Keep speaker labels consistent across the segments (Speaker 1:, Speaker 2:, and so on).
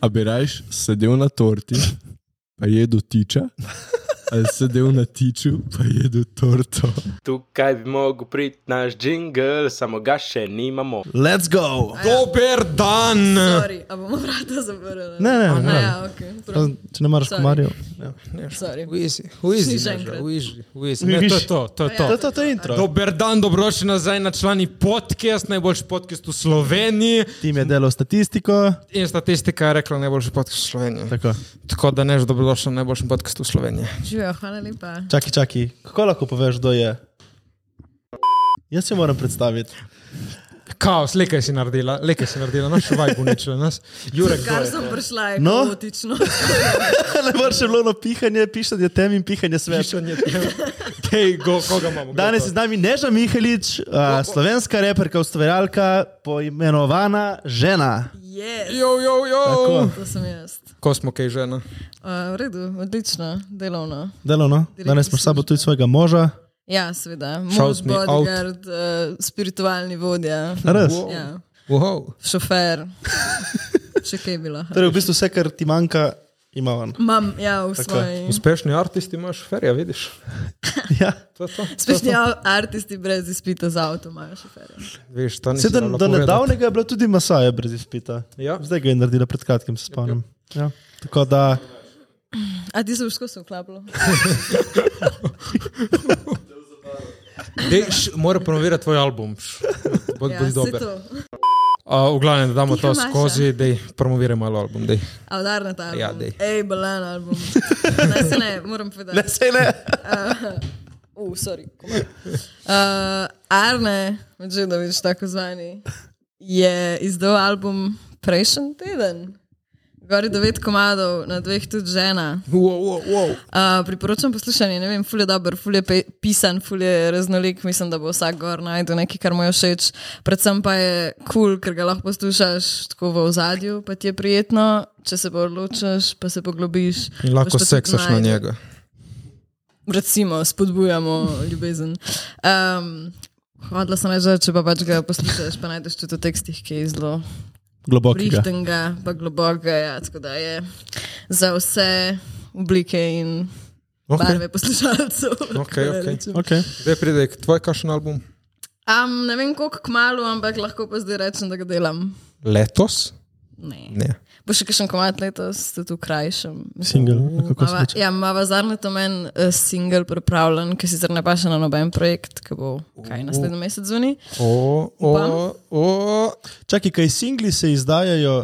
Speaker 1: A bi rajš sedel na torti, pa jedel tiča, ali sedel na tiču, pa jedel torto.
Speaker 2: Tukaj bi mogel priti naš jingle, samo ga še nimamo.
Speaker 3: Let's go!
Speaker 1: Dober dan!
Speaker 4: Sorry, a bomo vrata zaprli?
Speaker 3: Ne, ne,
Speaker 4: A
Speaker 3: ne.
Speaker 4: Ja, ok. prav.
Speaker 3: Če ne maraš
Speaker 4: Sorry.
Speaker 3: komarjev.
Speaker 4: Sorry.
Speaker 5: Uizi, uizi,
Speaker 4: Slišim
Speaker 5: možda,
Speaker 4: enkrat.
Speaker 5: uizi, uizi.
Speaker 3: Ne,
Speaker 5: Ne, to je
Speaker 3: viš.
Speaker 5: to, to je
Speaker 4: Ja.
Speaker 5: to.
Speaker 3: To, to, to je intro.
Speaker 5: Dober dan, dobrodošli nazaj na člani podcast, najboljši podcast v Sloveniji.
Speaker 3: Tim je delal statistiko.
Speaker 5: In statistika je rekla najboljši podcast v Sloveniji.
Speaker 3: Tako.
Speaker 5: Tako da ne, že dobrodošli na najboljšem podkastu v Sloveniji.
Speaker 4: Živijo, hvala lepa.
Speaker 3: Čaki, čaki. Kako lahko poveš, kdo je? Jaz se moram predstaviti.
Speaker 5: Kaos, lekaj si naredila, lekaj si naredila, naš vajb uničila nas. Jurek, kdo
Speaker 4: Kar
Speaker 5: je?
Speaker 4: sem prišla, je
Speaker 3: No?
Speaker 4: no? kaotično.
Speaker 3: ne moreš še bilo pihanje, pišanje tem in pihanje svet.
Speaker 5: Pišanje, Dej, go, koga imamo? Kdo je
Speaker 3: Danes
Speaker 5: to?
Speaker 3: je z nami Neža Mihelič, uh, slovenska reperka, ustvarjalka, poimenovana žena.
Speaker 4: Yes.
Speaker 5: Jo, jo, jo.
Speaker 3: Tako.
Speaker 4: To sem jaz.
Speaker 5: Ko smo kaj žena?
Speaker 4: Uh, v redu, odlično, delovno.
Speaker 3: Delovno. no. Danes smo s sabo tudi svojega moža.
Speaker 4: Ja, seveda,
Speaker 5: Shout
Speaker 4: mož,
Speaker 5: me out. No.
Speaker 4: bodyguard, uh, spiritualni vodja,
Speaker 3: A Res.
Speaker 5: Wow.
Speaker 4: ja,
Speaker 5: Wow.
Speaker 4: šofer. Še kaj je bilo?
Speaker 3: Torej, v bistvu vse, kar ti manjka, ima on.
Speaker 4: Imam, ja, v svoji.
Speaker 5: Uspešni artisti imaš, ferja, vidiš.
Speaker 3: Ja.
Speaker 5: To, je to, to, je
Speaker 4: Uspešni artisti brez izpita za avto imajo šoferje.
Speaker 5: to. Veš, to nisi
Speaker 3: Se, do, do
Speaker 5: znala povedati.
Speaker 3: nedavnega je bila tudi masaja brez izpita.
Speaker 5: Ja.
Speaker 3: Zdaj ga je naredila pred kratkim, se spomnim. Ja. Tako da,
Speaker 4: A ti se boš skozi vklapljal?
Speaker 5: Dej, š, mora promovirati tvoj album. š. Bo,
Speaker 4: Ja,
Speaker 5: bo
Speaker 4: saj
Speaker 5: dober.
Speaker 4: to.
Speaker 5: A, v glavnem, da damo
Speaker 4: Tiha
Speaker 5: to
Speaker 4: Maša.
Speaker 5: skozi, da promoviramo malo album. Dej.
Speaker 4: A udarna ta album.
Speaker 5: Ja, dej.
Speaker 4: Ej, balan album. Ne, se ne, moram povedati.
Speaker 3: ne, sej ne.
Speaker 4: Uh, sorry. komar. Uh, Arne Medžedovič, tako zvani, je izdal album prejšnji teden. Gori devet komadov, na dveh tudi žena.
Speaker 5: Wow, wow, wow.
Speaker 4: Uh, priporočam poslušanje, ne vem, ful je dober, ful je pe- pisan, ful je raznolik, mislim, da bo vsak gor najdel nekaj, kar mu je všeč. Predvsem pa je kul, cool, ker ga lahko poslušaš tako v ozadju, pa ti je prijetno, če se pa odločiš, pa se poglobiš.
Speaker 5: In lahko
Speaker 4: boš pa tudi
Speaker 5: seksaš na
Speaker 4: našel.
Speaker 5: njega.
Speaker 4: Recimo, spodbujamo ljubezen. Um, Hvala sem reči, da če pa pač ga poslušaš, pa najdeš tudi v tekstih, ki je zelo
Speaker 3: Globokega.
Speaker 4: prihtenega, pa globokega, ja, tako da je za vse oblike in barve poslušalcev.
Speaker 5: Okej, okej.
Speaker 3: Okay.
Speaker 5: Zdaj pride k tvoj kašen album.
Speaker 4: Um, ne vem koliko kmalo, ampak lahko pa zdaj rečem, da ga delam.
Speaker 5: Letos?
Speaker 4: Ne.
Speaker 5: Ne.
Speaker 4: Bo še kakšen komat letos, tudi v krajšem.
Speaker 3: Single, kako se
Speaker 4: Mava,
Speaker 3: reče.
Speaker 4: ja, mava zadnje to meni uh, single pripravljen, ki sicer ne paše na noben projekt, ki bo kaj naslednji mesec zunaj.
Speaker 5: O, o,
Speaker 4: Upam.
Speaker 5: o.
Speaker 3: Čakaj, kaj singli se izdajajo,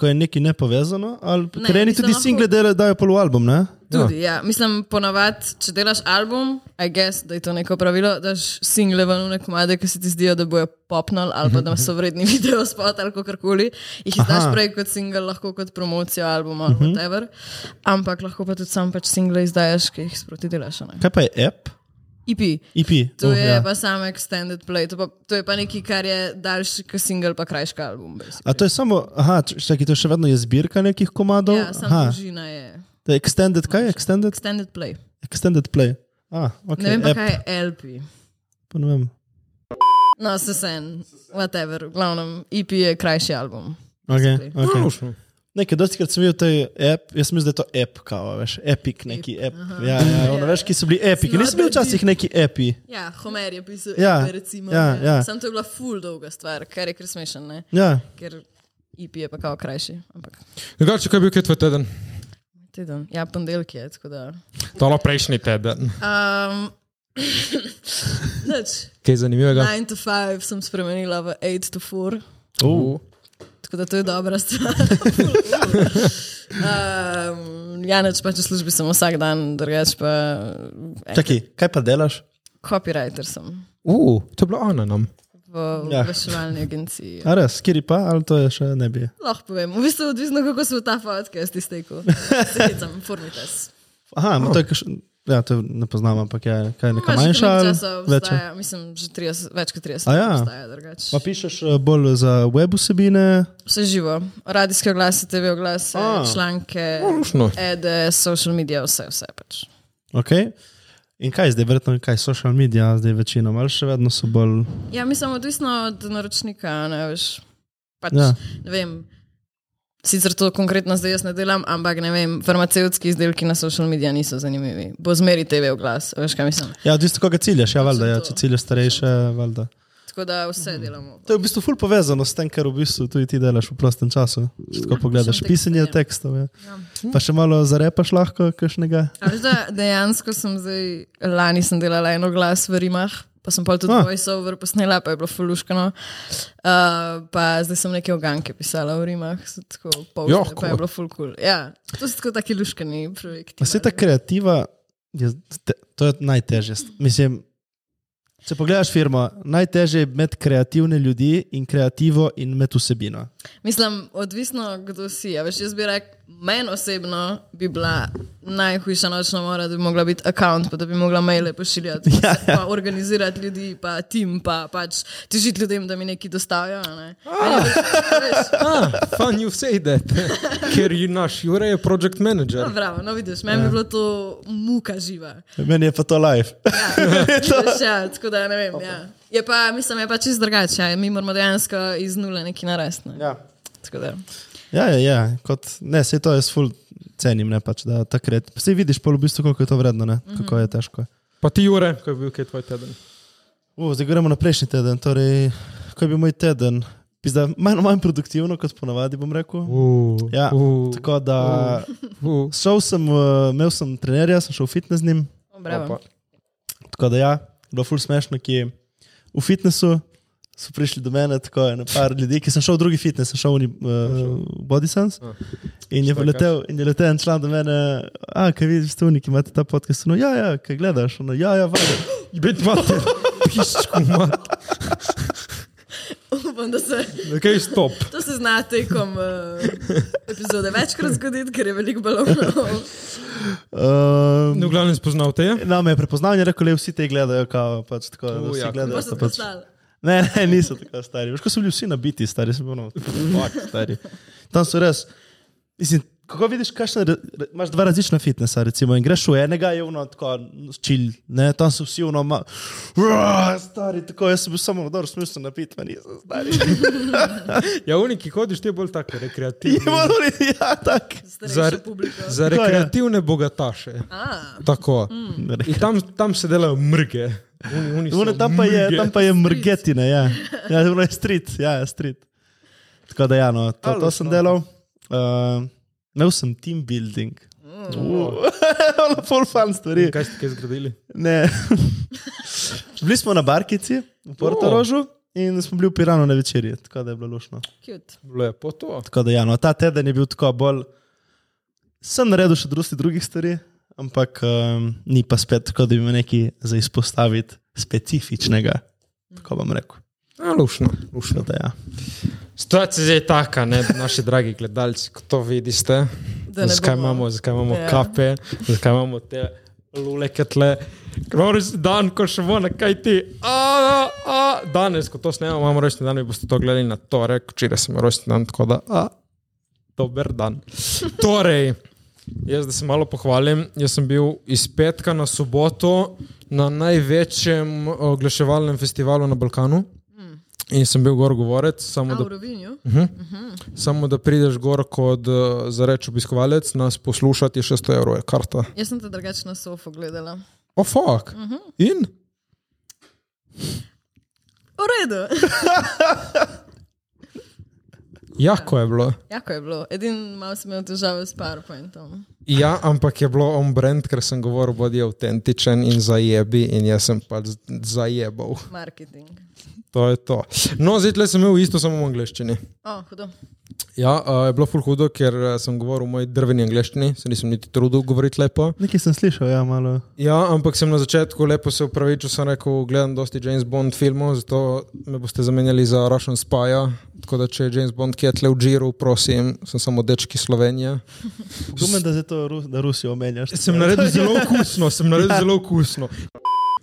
Speaker 3: ko je nekaj nepovezano? ali-
Speaker 4: Ne,
Speaker 3: Ker eni
Speaker 4: mislim,
Speaker 3: tudi
Speaker 4: lahko-
Speaker 3: single delajo, dajo polualbum, ne?
Speaker 4: Tudi, ja. Mislim, ponavadi, če delaš album, I guess, da je to neko pravilo, daš single ven v neke komade, ki se ti zdijo, da bojo popnali ali pa da so vredni video spot ali karkoli. Jih izdaš
Speaker 3: Aha. Mhm.
Speaker 4: prej kot single, lahko kot promocijo albuma ali whatever. Ampak lahko pa tudi sam pač single izdajaš, ki jih sproti delaš. a ne.
Speaker 3: Kaj pa je app?
Speaker 4: EP.
Speaker 3: IP.
Speaker 4: To
Speaker 3: Oh,
Speaker 4: je
Speaker 3: ja.
Speaker 4: pa samo extended play, to, pa, to je pa nekaj, kar je daljši kot single, pa krajši kot album. basically.
Speaker 3: A to je samo, aha, č- čakaj, to je še vedno je zbirka nekih komadov.
Speaker 4: Ja, samo
Speaker 3: aha,
Speaker 4: dolžina je.
Speaker 3: to je extended, kaj je extended?
Speaker 4: Extended play.
Speaker 3: Extended play. A, okay,
Speaker 4: Ne vem pa,
Speaker 3: app,
Speaker 4: kaj je LP.
Speaker 3: pa ne vem.
Speaker 4: No, se sen, whatever, v glavnem, EP je krajši album.
Speaker 3: Okay,
Speaker 4: Basically.
Speaker 3: okay.
Speaker 5: Lušno.
Speaker 3: Nekaj, dosti krat sem videl, da je app, jaz mislim, da je to app, kao, veš, epic, neki app. Ja, ja, ono, veš, ki so bili epiki.
Speaker 4: Smo
Speaker 3: Nisem bil
Speaker 4: naredili.
Speaker 3: včasih neki epi.
Speaker 4: Ja, Homer je pisal,
Speaker 3: Ja,
Speaker 4: Epe, recimo.
Speaker 3: ja, ja.
Speaker 4: Sam to je bila full dolga stvar, kar je kar smešen, ne?
Speaker 3: Ja,
Speaker 4: ker EP je pa kao krajši. Ampak
Speaker 5: Drugače, kaj je bil kaj tvoj teden?
Speaker 4: teden, ja, ponedeljek je, tako da.
Speaker 5: Tolo prejšnji teden.
Speaker 4: Um, Noč,
Speaker 5: Kaj
Speaker 3: Ja.
Speaker 5: zanimivega?
Speaker 4: 9 to 5 sem spremenila v 8 to 4.
Speaker 5: U.
Speaker 4: Tako da to je dobra stvar. um, ja, neč pač v službi sem vsak dan, drugač pa eh,
Speaker 3: čakaj, kaj pa delaš?
Speaker 4: copywriter sem.
Speaker 5: U, to je bilo Ana nam.
Speaker 4: v ja.
Speaker 3: Ja.
Speaker 4: oglaševalni agenciji.
Speaker 3: A res, kjer pa, ali to je še ne bi.
Speaker 4: Lahko povem, v bistvu je odvisno, kako se v ta podcast iztekel. Zahecam, formitas.
Speaker 3: Aha, oh. to je, kaš, ja, to ne poznam, ampak je kaj neka manjša. ali večja?
Speaker 4: Večja. Mislim, že 30, več kot 30
Speaker 3: A
Speaker 4: let
Speaker 3: ja.
Speaker 4: ja. obstaja drugače.
Speaker 3: Pa pišeš eh, bolj za web vsebine,
Speaker 4: Vse živo, radijske oglase, TV oglase,
Speaker 3: A.
Speaker 4: A. članke,
Speaker 5: Lušno.
Speaker 4: ede, social medije, vse, vse pač.
Speaker 3: ok? In kaj zdaj, verjetno, kaj social medija zdaj večino, ali še vedno so bolj.
Speaker 4: Ja, mislim, odvisno od naročnika, ne veš. Pač,
Speaker 3: Ja.
Speaker 4: ja. ne vem. Sicer to konkretno zdaj jaz ne delam, ampak ne vem, farmacevtski izdelki na social medijih niso zanimivi. Bo zmeri TV v glas, a veš kaj mislim.
Speaker 3: Ja, odvisno, koga ciljaš, ja, valjda, ja,
Speaker 4: to.
Speaker 3: če ciljaš starejše, valjda.
Speaker 4: Tako da vse delamo.
Speaker 3: Mhm. To je v bistvu ful povezano s tem, kar v bistvu tudi ti delaš v prostem času. Če tako pogledaš,
Speaker 4: pišem
Speaker 3: pisanje
Speaker 4: tekste, ja.
Speaker 3: tekstov. Ja. Pa še malo zarepaš lahko, kakšnega.
Speaker 4: A Veš, da dejansko sem zdaj, lani sem delala eno glas v Rimah, pa sem pa tudi
Speaker 3: Ah.
Speaker 4: voiceover posnela, pa je bilo fuluškano. Uh, pa zdaj sem neke oganke pisala v Rimah, so tako polno,
Speaker 5: Joh,
Speaker 4: pa
Speaker 5: cool.
Speaker 4: je bilo ful kul. Cool. Ja, to so tako taki luškani projekti.
Speaker 3: Vse ta kreativa, je, te, to je najtežje. Mislim, če pogledaš firmo, najtežje je med kreativne ljudi in kreativo in med vsebino.
Speaker 4: Mislim, odvisno kdo si. a Veš, jaz bi rekel, meni osebno bi bila najhujša nočna mora, da bi mogla biti account, pa da bi mogla maile pošiljati, pa, se- pa organizirati ljudi, pa tim, pa pač težiti ljudem, da mi nekaj dostavijo. a Ne? Meni je pač- veš,
Speaker 5: Ah, fun you say that. Ker je naš Jure je project manager.
Speaker 4: no, Bravo, no vidiš, meni
Speaker 3: Ja.
Speaker 4: je bilo to muka živa.
Speaker 3: Meni je pa to live.
Speaker 4: Veš, ja, tako da ne vem. Ja. Je pa, mislim, je pa čist drugače. ja, Mi moramo dejansko iz nule nekaj narasti. Ne?
Speaker 3: Ja.
Speaker 4: Tako da.
Speaker 3: Ja, ja, ja. Kot, ne, se to jaz ful cenim, ne pač, da ta kreativ. Vsi vidiš pol v bistvu, koliko je to vredno, ne? kako je težko.
Speaker 5: Pa ti Jure, ko je bil kaj tvoj teden.
Speaker 3: Uh, zdaj gremo na prejšnji teden, torej, ko je bil moj teden. Pizda, manj, manj produktivno, kot ponavadi bom rekel.
Speaker 5: Uh,
Speaker 3: Ja, tako da
Speaker 5: uh.
Speaker 3: šel sem, uh, imel sem trenerja, sem šel v fitness z njim,
Speaker 4: O, bravo.
Speaker 3: tako da ja, bilo ful smešno, ki v fitnessu so prišli do mene, tako je, na par ljudi, ki sem šel v drugi fitness, sem šel v uh, Body Sense
Speaker 5: Ah.
Speaker 3: in je
Speaker 5: Šta
Speaker 3: letel, in je letel en član do mene, a kaj vi ste uniki, imate ta podcast, no ja, ja, kaj gledaš, no ja, ja, valjda.
Speaker 5: Biti mater, piščku mater.
Speaker 4: Upam, da se
Speaker 5: Kaj stop?
Speaker 4: To se zna tekom uh, epizode večkrat zgoditi, ker je veliko balonov.
Speaker 3: Um,
Speaker 5: No, glavno spoznal te je.
Speaker 3: No, me je prepoznal in je rekel, da vsi te gledajo, kao, pač tako, da
Speaker 5: U,
Speaker 3: vsi
Speaker 5: ja,
Speaker 3: gledajo.
Speaker 4: Pa
Speaker 3: da
Speaker 4: so
Speaker 3: pač...
Speaker 4: postali.
Speaker 3: Ne, ne, niso tako stari. Veš, ko so bili vsi nabiti, stari so bili, no, fuck, stari. Tam so res. Mislim, kako vidiš, kakšne, ra- ra- imaš dva različna fitnesa, recimo, in greš v enega, je ono tako, čil, ne, tam so vsi ono, ma, "Uah, stari, tako, jaz sem bil samo, dobro, smisel napit, pa nisem stari.
Speaker 5: Ja, uniki hodiš, ti je bolj tako
Speaker 3: Je
Speaker 5: rekreativni.
Speaker 3: malo, ja, tako.
Speaker 4: Starejša publika.
Speaker 5: Za rekreativne bogataše.
Speaker 4: A,
Speaker 5: Tako.
Speaker 3: Hmm.
Speaker 5: In tam, tam se delajo mrge. Oni, oni so
Speaker 3: Ono, tam, pa je,
Speaker 5: mrge.
Speaker 3: tam pa je mrgetine, ja. Ja, ono je street, ja, je street. Tako da, ja, no, to, to sem delal. Uh, imel sem team building. Uh, Full fun stvari.
Speaker 5: Kaj ste kaj zgradili?
Speaker 3: Ne. bili smo na barkici v Portorožu in smo bili v Piranu na večerji, tako da je bilo lušno.
Speaker 4: cute.
Speaker 5: Lepo to.
Speaker 3: Tako da, ja, no, ta teden je bil tako bolj. Sem naredil še dosti drugih stvari, ampak um, ni pa spet tako, da bi imel nekaj za izpostaviti specifičnega. Tako bom rekel.
Speaker 5: A, lušno, lušno.
Speaker 3: Tako Da, ja.
Speaker 5: Situacija je taka, ne, naši dragi gledalci, kot to vidite.
Speaker 4: Da ne
Speaker 5: Zakaj
Speaker 4: bomo-
Speaker 5: imamo, zakaj imamo
Speaker 4: Ja.
Speaker 5: ja. kape, zakaj imamo te luleke tle. Rojš dan, ko še bo na kaj ti. A, a, danes, ko to snemamo, imamo rojšni dan, vi boste to gledali na torek, včeraj sem rojšni dan, tako da, a, dober dan. Torej, jaz da se malo pohvalim, jaz sem bil iz petka na soboto na največjem oglaševalnem festivalu na Balkanu. In sem bil gor govorec, samo
Speaker 4: Mm. A,
Speaker 5: da
Speaker 4: v Rovinju?
Speaker 5: Samo da prideš gor kot eh, zareč obiskovalec, nas poslušati je 600 evrov, je karta.
Speaker 4: Jaz sem te drugače na sofo gledala.
Speaker 5: O, oh, fuck. In?
Speaker 4: V redu.
Speaker 5: Jako Ja, je bilo.
Speaker 4: Jako je bilo. Edin malo sem imel težave s PowerPointom.
Speaker 5: Ja, ampak je bilo on brand, ker sem govoril, bodi avtentičen in zajebi, in jaz sem pač z- zajebal.
Speaker 4: Marketing.
Speaker 5: To je to. No, zdaj tle sem imel isto, samo v angleščini.
Speaker 4: O, hudo.
Speaker 5: Ja, uh, je bilo ful hudo, ker eh, sem govoril v moji drveni angleščini, se nisem niti trudil govoriti lepo.
Speaker 3: Nekaj sem slišal, ja, malo.
Speaker 5: Ja, ampak sem na začetku lepo se upravičil, sem rekel, gledam dosti James Bond filmov, zato me boste zamenjali za Russian Spy. Tako da, če je James Bond kje tle v Džiru, prosim, sem samo dečki Slovenije.
Speaker 3: Pogumem, da, zdaj to Ru- da Rusijo omenjaš.
Speaker 5: Sem naredil zelo okusno, sem naredil ja. zelo okusno.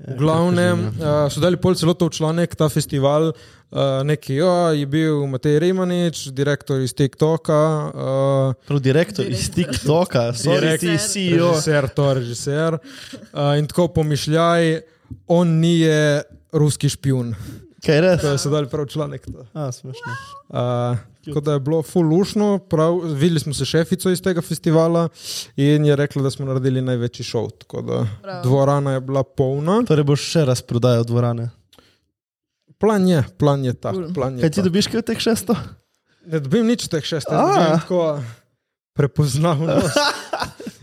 Speaker 5: V glavnem, uh, so dali pol celotov članek, ta festival, uh, neki jo, je bil Matej Rimanič, direktor iz TikToka, uh,
Speaker 3: Prav direktor iz TikToka, sorry, ti E CEO.
Speaker 5: režiser, eh, to režiser. Uh, in tako pomišljaj, on ni je ruski špijun.
Speaker 3: Kaj je res?
Speaker 5: To so dali prav članek. To.
Speaker 3: A, smešno.
Speaker 5: Uh, tako da je bilo fulušno, videli smo se šefico iz tega festivala in je rekla, da smo naredili največji šov. tako da
Speaker 4: Bravo.
Speaker 5: Dvorana je bila polna.
Speaker 3: Torej boš še raz prodajal dvorane.
Speaker 5: Plan je, plan je tak.
Speaker 4: Kul.
Speaker 5: Plan je
Speaker 3: Kaj ti
Speaker 5: tak.
Speaker 3: dobiš, kaj od teh šesto?
Speaker 5: Ne dobim nič od teh šestih,
Speaker 3: A.
Speaker 5: ne tako prepoznavnost.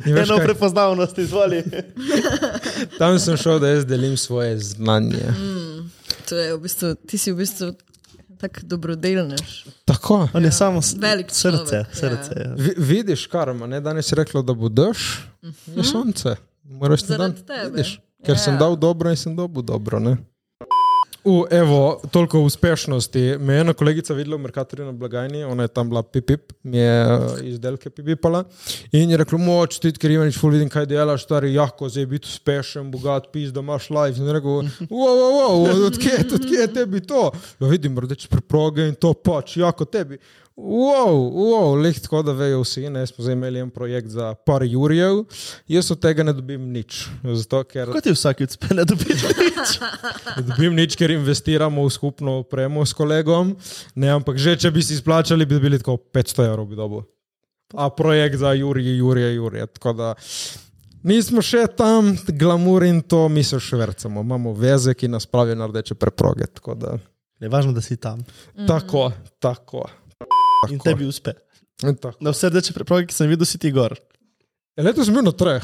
Speaker 5: In veš
Speaker 3: Eno
Speaker 5: kaj,
Speaker 3: prepoznavnost, izvoli.
Speaker 5: Tam sem šel, da jaz delim svoje znanje.
Speaker 3: Mm.
Speaker 4: To je v bistvu, ti si v bistvu tako dobrodelnež.
Speaker 5: Tako.
Speaker 3: On je samo s-
Speaker 4: Velik
Speaker 3: srce.
Speaker 4: človek, ja.
Speaker 3: srce ja.
Speaker 5: Vi, vidiš, karma, ne? danes je reklo, da bo dež, je sonce. Moraš ti dan.
Speaker 4: Mhm. Zaradi tebe.
Speaker 5: Vidiš, ker
Speaker 4: Ja.
Speaker 5: sem dal dobro in sem dobil dobro. Ne? U, evo, toliko o uspešnosti. Me je ena kolegica videla v Merkatorju na blagajni, ona je tam bila pipip, mi je eh, izdelke pipipala in je rekla: Moč ti, ker imaš ful, vidim, kaj delaš, stari, jako zdaj biti uspešen, bogat, pis, da imaš life. In je rekel: Wow, wow, wow, odkje, odkje je tebi to? Ja, vidim, rdeče preproge in to pač, jako tebi. Wow, wow, leh tako da vejo vsi. Ne, smo zdaj imeli en projekt za par jurjev, jaz od tega ne dobim nič. Zato, ker
Speaker 3: Kako ti vsakič uspe, ne dobiš nič?
Speaker 5: Ne dobim nič, ker investiramo v skupno opremo s kolegom. Ne, ampak že če bi si izplačali, bi bili tako 500 evrov bi dobil. A projekt za Jurije, Jurije, Jurije. Tako da nismo še tam, glamur in to mi se švrcamo. Imamo veze, ki nas pravijo na rdeče preproge. Tako, da,
Speaker 3: Je važno, da si tam.
Speaker 5: mm. tako, tako.
Speaker 3: In tebi uspe.
Speaker 5: In tako.
Speaker 3: Na vse reče preproge, ki sem videl, si ti gor.
Speaker 5: E, Letos sem bil na treh.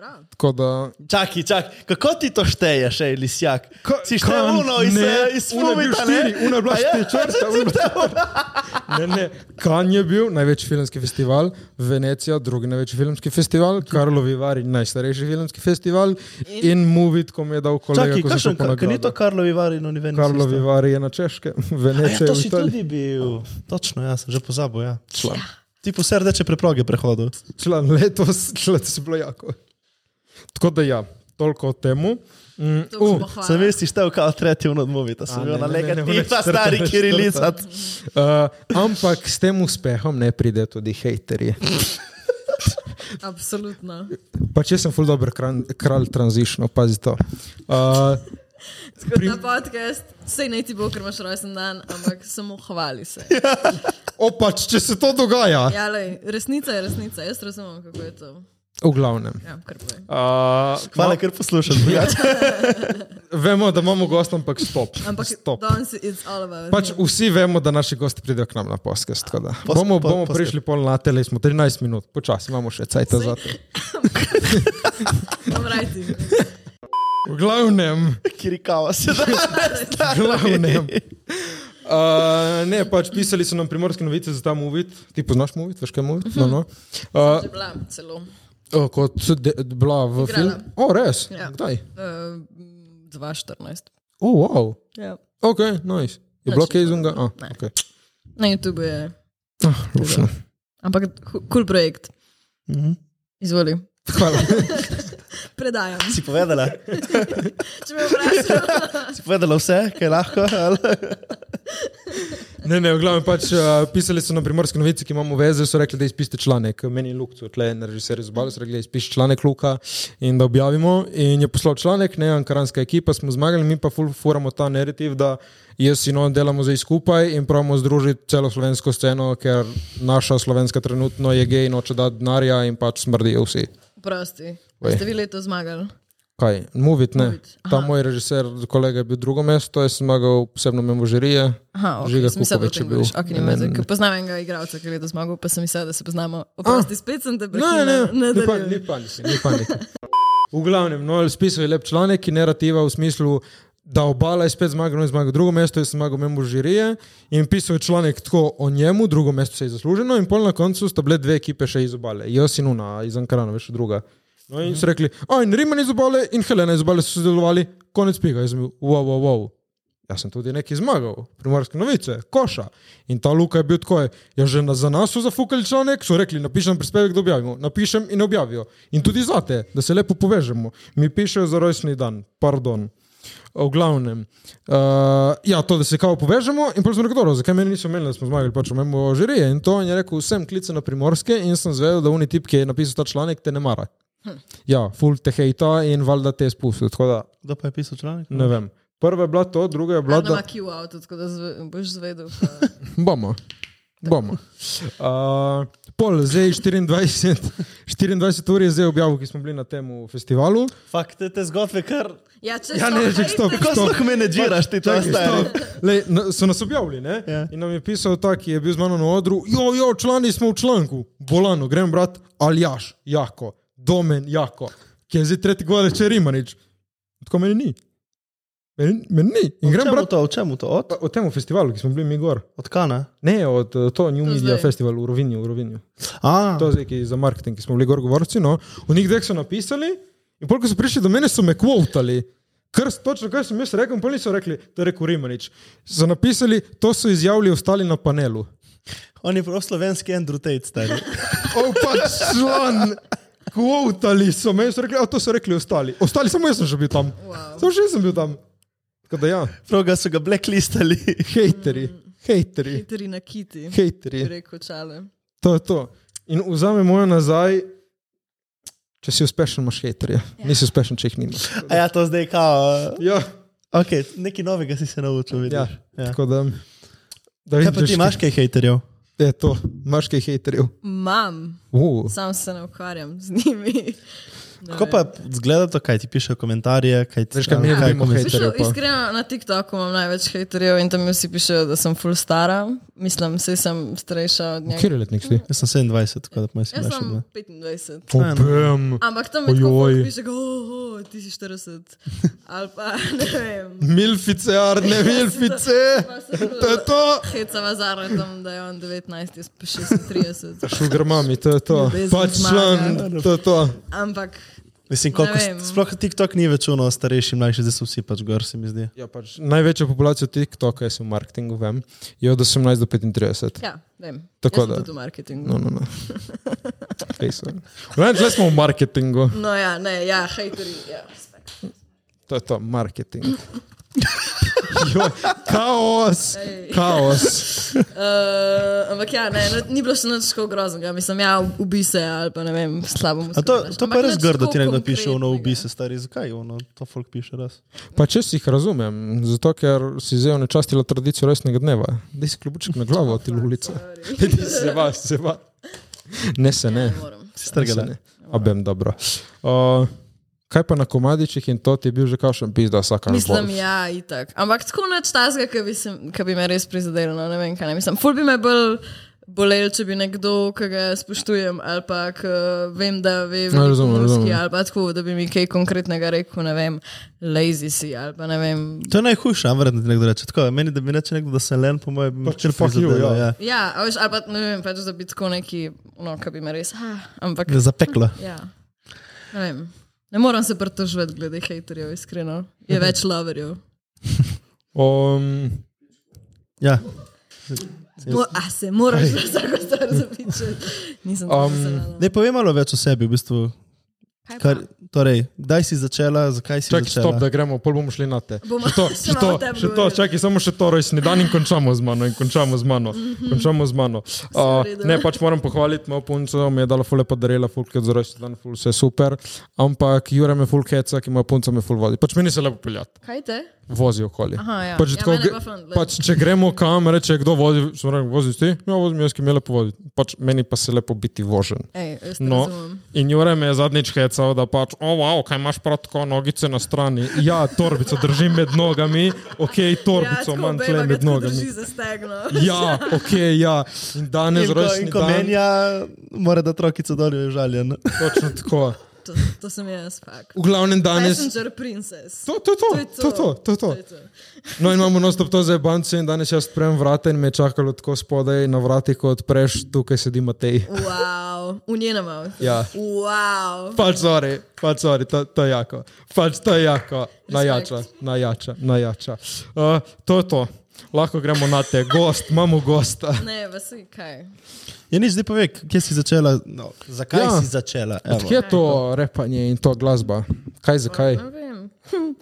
Speaker 4: Bravo.
Speaker 5: Tako da
Speaker 3: Čakaj, čakaj, kako ti to šteješ, še lisjak?
Speaker 5: Ka-
Speaker 3: Si
Speaker 5: kaj,
Speaker 3: štel uno iz,
Speaker 5: ne,
Speaker 3: eh, iz
Speaker 5: uno je bil
Speaker 3: Fumita,
Speaker 5: štiri, uno je bila
Speaker 3: A ja?
Speaker 5: štiri črte, uno je bila Ne, ne. Kan je bil največji filmski festival, Venecija, drugi največji filmski festival, Karlo Vivari, najstarejši filmski festival in Movitko mi je dal kolega,
Speaker 3: Čakaj,
Speaker 5: ko sem šel
Speaker 3: kakšen,
Speaker 5: po
Speaker 3: ka- kaj ni to
Speaker 5: nagrado.
Speaker 3: Karlovi Vari no, na univerzi?
Speaker 5: Karlo Vivari je na Češkem,
Speaker 3: Ja,
Speaker 5: Venecija
Speaker 3: to
Speaker 5: v
Speaker 3: si
Speaker 5: Italiji.
Speaker 3: tudi bil. Točno, ja, sem že pozabil. Ja.
Speaker 5: Član.
Speaker 3: Ti po vse reče preproge prehodu.
Speaker 5: Član letos, letos je bilo jako. Tako da ja, toliko o temu. Mm,
Speaker 4: To
Speaker 5: uh,
Speaker 4: bo hvala.
Speaker 3: Sem vesti štel kao tretji v nadmovi, da sem
Speaker 5: A,
Speaker 3: bil
Speaker 5: ne,
Speaker 3: na
Speaker 5: ne, ne, ne,
Speaker 3: lega
Speaker 5: ne, ne,
Speaker 3: tipa
Speaker 5: četrta,
Speaker 3: stari
Speaker 5: ne,
Speaker 3: kirilica.
Speaker 5: uh, ampak s tem uspehom ne pride tudi hejterji.
Speaker 4: Absolutno.
Speaker 5: Pa če sem ful dober kran, kralj tranzišnjo, pazi to. Uh,
Speaker 4: Tako da podcast, sej naj ti bo, ker imaš rojsten dan, ampak samo hvali se.
Speaker 5: Ja. opač, če se to dogaja.
Speaker 4: Ja, lej, resnica je resnica, jaz razumem, kako je to.
Speaker 5: V glavnem.
Speaker 4: Ja, kar povej.
Speaker 5: Uh, no,
Speaker 3: Hvala, ker poslušaš. drugače.
Speaker 5: Vemo, da imamo gost, ampak stop.
Speaker 4: Ampak
Speaker 5: stop.
Speaker 4: danes je all about.
Speaker 5: Pač vsi vemo, da naši gosti pridejo k nam na podcast. tako da. Bomo,
Speaker 3: po-
Speaker 5: bomo
Speaker 3: podcast.
Speaker 5: prišli pol na tele, smo 13 minut, počasi imamo še cajt za to.
Speaker 4: Dobrajti.
Speaker 5: V glavnem.
Speaker 3: Kirikava se da.
Speaker 5: glavnem. Uh, ne, pač pisali so nam primorske novice za ta movit. Ti poznaš movit, veš kaj movit? No,
Speaker 4: Mhm.
Speaker 5: no. Uh,
Speaker 4: Že bila celo.
Speaker 5: uh, kot de, bila v
Speaker 4: Igrala.
Speaker 5: filmu. O, oh, res?
Speaker 4: Ja.
Speaker 5: Kdaj?
Speaker 4: Uh, 2014.
Speaker 5: O, oh, wow.
Speaker 4: Ja.
Speaker 5: Ok, nice. Je bilo kaj izumga? Ah,
Speaker 4: Ne.
Speaker 5: okay.
Speaker 4: Na YouTube je.
Speaker 5: ah, lušno.
Speaker 4: Ampak kul cool projekt.
Speaker 5: Mhm.
Speaker 4: Izvoli.
Speaker 5: Hvala.
Speaker 4: Predajam.
Speaker 3: Si povedala?
Speaker 4: Če me vprašaš,
Speaker 3: Si povedala vse, kaj lahko? ali?
Speaker 5: Ne, ne, v glavnem pač uh, pisali so na primorski novici, ki imamo veze, so rekli, da izpišite članek. Meni je Lukcu, tle je režiser izbal, so rekli, da izpiš članek Luka in da objavimo. In je poslal članek, ne, ankaranska ekipa, smo zmagali, mi pa ful furamo ta narativ, da jaz in on delamo zdaj skupaj in pravimo združiti celo slovensko sceno, ker naša slovenska trenutno je gej, noče dati denarja in pač smrdijo vsi.
Speaker 4: prosti.
Speaker 5: Oj.
Speaker 4: Ste vi leto zmagali?
Speaker 5: Kaj, Movit ne.
Speaker 4: Movit,
Speaker 5: Ta moj režiser, kolega je bil drugo mesto, jaz sem zmagal posebno memožerije.
Speaker 4: Aha, okay,
Speaker 5: Žiga
Speaker 4: sem mislila, da o
Speaker 5: Kukovič je
Speaker 4: tem
Speaker 5: bil.
Speaker 4: govoriš. Okay,
Speaker 5: Ne,
Speaker 4: ne,
Speaker 5: ne. Ah!
Speaker 4: ne, poznam enega igralca, ki je leto zmagal, pa sem mislila, da se poznamo. Oprosti, spet sem te
Speaker 5: Ne, ne, ne, ne, pa-
Speaker 4: prekinil.
Speaker 5: ni panike, ni panike. V glavnem, no, spisal je lep članek, ki narativa v smislu, da obala je spet zmagala, no, je zmagal drugo mesto, je zmagal Membo Žirije in pisal je članek tako o njemu, drugo mesto se je zasluženo in pol na koncu sta bile dve ekipe še iz obale, jaz in Una, iz Ankarana, veš, druga. No in so rekli, a in Riman iz obale in Helena iz obale so sodelovali, konec piga, jaz sem bil, wow, wow, wow. Jaz sem tudi nekaj zmagal, primorske novice, koša. In ta Luka je bil tako, je že na, za nas so zafukali članek, so rekli, napišem prispevek, da objavimo, napišem in objavijo. In tudi zate, da se lepo povežemo. Mi pišejo za rojstni dan, pardon. V glavnem, uh, ja, to, da se kao povežemo, in pa sem rekel, dobro, zakaj meni niso menili, da smo zmagali, pač imamo žirije. In to in je rekel, vsem klice na primorske, in sem zvedel, da unitip, ki je napisal ta članek, te ne mara. Ja, full te hejta in valjda te je spustil. Tako da
Speaker 3: Kdo pa je pisal članek? No.
Speaker 5: Ne vem. Prva je bila to, druga je bila,
Speaker 4: Vlada ima
Speaker 5: da
Speaker 4: Q avto, tako da zve, boš zvedel.
Speaker 5: bomo. bomo. Uh, pol, zdaj 24, 24 ur je zdaj objavil, ki smo bili na tem festivalu.
Speaker 3: Fakt, te, te zgodbe kar...
Speaker 4: Ja, če
Speaker 5: Ja, ne, že stop,
Speaker 3: Kako
Speaker 5: stop.
Speaker 3: sploh menedžiraš ti to,
Speaker 5: Čakaj,
Speaker 3: stari?
Speaker 5: stop. Lej, na, so nas objavili ne?
Speaker 3: Ja.
Speaker 5: in nam je pisal ta, ki je bil z mano na odru, jo, jo, člani smo v članku, bolano, grem brat, aljaš, jako, domen, jako, ki je zdaj tretji govor, če rimanič. Tako meni ni. Meni, meni ni. In grem
Speaker 3: Čemu
Speaker 5: brat
Speaker 3: to, v čemu to? Od,
Speaker 5: o tem festivalu, ki smo bili mi gor.
Speaker 3: od kana?
Speaker 5: Ne, od eh, to New
Speaker 4: To
Speaker 5: Media
Speaker 4: zdaj.
Speaker 5: Festival v Rovinju, v Rovinju.
Speaker 3: A,
Speaker 5: To je zdaj, ki je za marketing, ki smo bili gor govorci. No. V njih dveh so napisali in polk so prišli do mene, so me kvotali. Krst, točno kaj sem jaz rekel, in polni so rekli, to je rekel Rimanič. So napisali, to so izjavili ostali na panelu.
Speaker 3: on je prav slovenski Andrew Tate, stari.
Speaker 5: Opa, član! Kvotali so me, in so rekli, a to so rekli ostali. Ostali samo jaz sem že bil tam.
Speaker 4: Wow.
Speaker 5: Samo še jaz sem bil tam. Tako da ja,
Speaker 3: Prav ga so ga blacklistali.
Speaker 5: hejteri, hejteri,
Speaker 4: Hitri na kiti.
Speaker 5: hejteri.
Speaker 4: bi Rekel čale.
Speaker 5: To je to. In vzame mojo nazaj, če si uspešen, imaš hejterje. Ja. Nisi uspešen, če jih nimaš.
Speaker 3: A ja, to zdaj kao...
Speaker 5: Ja,
Speaker 3: Ok, nekaj novega si se naučil,
Speaker 5: ja.
Speaker 3: vidiš.
Speaker 5: ja.
Speaker 3: Ja.
Speaker 5: Tako da, da
Speaker 3: Kaj pa ti imaš kaj hejterjev?
Speaker 5: Je to, imaš kaj hejterjev.
Speaker 4: Mam,
Speaker 5: Uh.
Speaker 4: sam se ne ukvarjam z njimi. Ne
Speaker 3: Kako
Speaker 4: vem.
Speaker 3: pa zgleda to, kaj ti pišejo komentarje, kaj ti
Speaker 5: Veš, kaj mi ne dobimo
Speaker 3: komentarje?
Speaker 5: hejterjev.
Speaker 4: Slišal,
Speaker 5: pa.
Speaker 4: iskreno, na TikToku imam največ haterjev in tam mi vsi pišejo, da sem full stara. Mislim, sej sem starejša od njega.
Speaker 5: Kjer je letnik si?
Speaker 3: Jaz sem 27, tako da moj sem
Speaker 4: Jaz
Speaker 3: našel.
Speaker 4: sem
Speaker 3: dva.
Speaker 4: 25.
Speaker 5: Opem.
Speaker 4: Ampak tam je tako,
Speaker 5: Ojoj.
Speaker 4: da piše, "O, o, ti si 40. Ali pa ne vem.
Speaker 5: Milfice, arne, milfice.
Speaker 4: Pa se
Speaker 5: To je to.
Speaker 4: hecava zaradi tam, da je on 19, jaz pa 36.
Speaker 5: Sugar mami, to je to.
Speaker 4: Ljubezen
Speaker 5: Pač
Speaker 4: zmaga.
Speaker 5: član, to je to.
Speaker 4: Ampak
Speaker 3: Mislim, koliko,
Speaker 4: Ne vem.
Speaker 3: sploh TikTok ni več uno starejši, mlajši, zdaj so vsi pač gor, se mi zdi.
Speaker 5: Ja, pač, največja populacija TikToka, jaz sem v marketingu, vem, je od 18 do 35.
Speaker 4: ja, vem.
Speaker 5: Tako
Speaker 4: Jaz sem
Speaker 5: da.
Speaker 4: Tudi v marketingu.
Speaker 5: No, no, no. Kaj so? Vem, že smo v marketingu.
Speaker 4: No, ja, ne, ja, hejteri. Ja, respekt.
Speaker 5: To je to, marketing. Joj, kaos,
Speaker 4: Ej.
Speaker 5: kaos.
Speaker 4: uh, ampak ja, ne, no, ni bilo še nič tako groznega. Mislim, ja, ubi se ali pa ne vem, slabo mu
Speaker 3: A to,
Speaker 4: skrbiš.
Speaker 3: to
Speaker 4: Ampak
Speaker 3: pa res
Speaker 4: nič
Speaker 3: grdo
Speaker 4: pač tako
Speaker 3: ti nekdo piše, ono
Speaker 4: konkretnega.
Speaker 3: ubi se stari, zakaj ono, to folk piše res.
Speaker 5: Pa če si jih razumem, zato ker si zdaj onečastila tradicijo rojstnega dneva. Daj si klobuček na glavo, ti lulica. Ti se vas, se vas. Ne se ne.
Speaker 4: Ne morem.
Speaker 5: Strgala. Abem dobro. Uh, kaj pa na komadičih in to ti je bil že kakšen pizda vsaka
Speaker 4: Mislim, ja, itak. Ampak tako nič tazga, ki bi, se- ke bi me res prizadelo, no, ne vem, kaj ne mislim. Ful bi me bolj bolel, če bi nekdo, ki ga spoštujem, ali pa ki vem, da ve veliko
Speaker 5: No, razumem,
Speaker 4: ruski,
Speaker 5: razumem.
Speaker 4: ali pa tako, da bi mi kaj konkretnega rekel, ne vem, lazy si, ali pa ne vem.
Speaker 3: To je najhujše, a verjetno ti nekdo reče. Tako, meni, da bi reče nekdo, da sem len, po mojem, pač
Speaker 5: Pač
Speaker 3: kar
Speaker 5: fuck you,
Speaker 3: prizadelo.
Speaker 5: ja.
Speaker 3: Ja.
Speaker 4: Ja, a veš, ali pa ne vem, pač da bi tako neki, no, ki bi me res, ah, ampak
Speaker 3: Ja. Zapekla.
Speaker 4: ja, ne vem. Ne moram se pritoževati glede haterjev, iskreno. Je več loverjev.
Speaker 5: Um,
Speaker 3: Ja.
Speaker 4: Mo a se moraš za vsako stvar zapičati. Nisem tako
Speaker 5: Um,
Speaker 4: um,
Speaker 3: Ne povej malo več o sebi, v bistvu. Kar, torej, kdaj si začela, zakaj si
Speaker 5: čakaj,
Speaker 3: začela?
Speaker 5: stop, da gremo, pol bomo šli na te.
Speaker 4: Bomo
Speaker 5: Še to,
Speaker 4: še
Speaker 5: še to,
Speaker 4: malo o tem
Speaker 5: še to,
Speaker 4: govorili.
Speaker 5: čakaj, samo še to rojstni dan in končamo z mano. In končamo z mano. Končamo z mano. Uh,
Speaker 4: Mhm. redu.
Speaker 5: ne, pač moram pohvaliti mojo punco, mi je dala fule podarila, fulke za rojstni dan, ful vse super. Ampak Jure me ful heca, ki ima punco me ful vodi. Pač meni se lepo peljati,
Speaker 4: Kaj te?
Speaker 5: vozi okoli.
Speaker 4: Aha, ja.
Speaker 5: Pač,
Speaker 4: Ja,
Speaker 5: tako,
Speaker 4: mene
Speaker 5: ge-
Speaker 4: pa fant, glej.
Speaker 5: pač, če gremo kam, reče kdo vozi, sem rekel, vozi ti, ja, vozim jaz, ki mi je lepo vodi. Pač, meni pa se lepo biti vožen.
Speaker 4: Ej, jaz te
Speaker 5: No,
Speaker 4: razumem.
Speaker 5: in Jure me je zadnjič hecal, da pač, o, oh, wow, kaj imaš prav tako nogice na strani. Ja, torbico držim med nogami, ok, torbico imam ja, tle med nogami. Ja, ok, ja. In danes
Speaker 3: In ko, in
Speaker 5: rojstni
Speaker 3: ko
Speaker 5: dan.
Speaker 3: menja, mora da trokica dol, je žaljen.
Speaker 5: Točno tako.
Speaker 4: To, to sem jaz, fakt.
Speaker 5: V glavnem danes.
Speaker 4: Messenger princess.
Speaker 5: To, to, to,
Speaker 4: je
Speaker 5: to, to, to, to.
Speaker 4: To je to.
Speaker 5: No, in imamo nostop to za banco in danes jaz odprem vrata in me je čakalo tako spodaj na vrati, ko odpreš, tukaj sedi Matej.
Speaker 4: Wow. V njenem avtu.
Speaker 5: Ja.
Speaker 4: Wow.
Speaker 5: Pač sorry, pač sorry, to, to je jako. Pač to je jako, najjača, najjača, najjača. Uh, to je to. Lahko gremo na te, gost, imamo gosta.
Speaker 4: Ne, vasi, kaj.
Speaker 3: Ja, nič zdaj povej, kje si začela, no, zakaj
Speaker 5: Ja.
Speaker 3: ja. si začela. evo.
Speaker 5: Kje je to repanje in to glasba? Kaj, zakaj?
Speaker 4: Ne vem. Hm.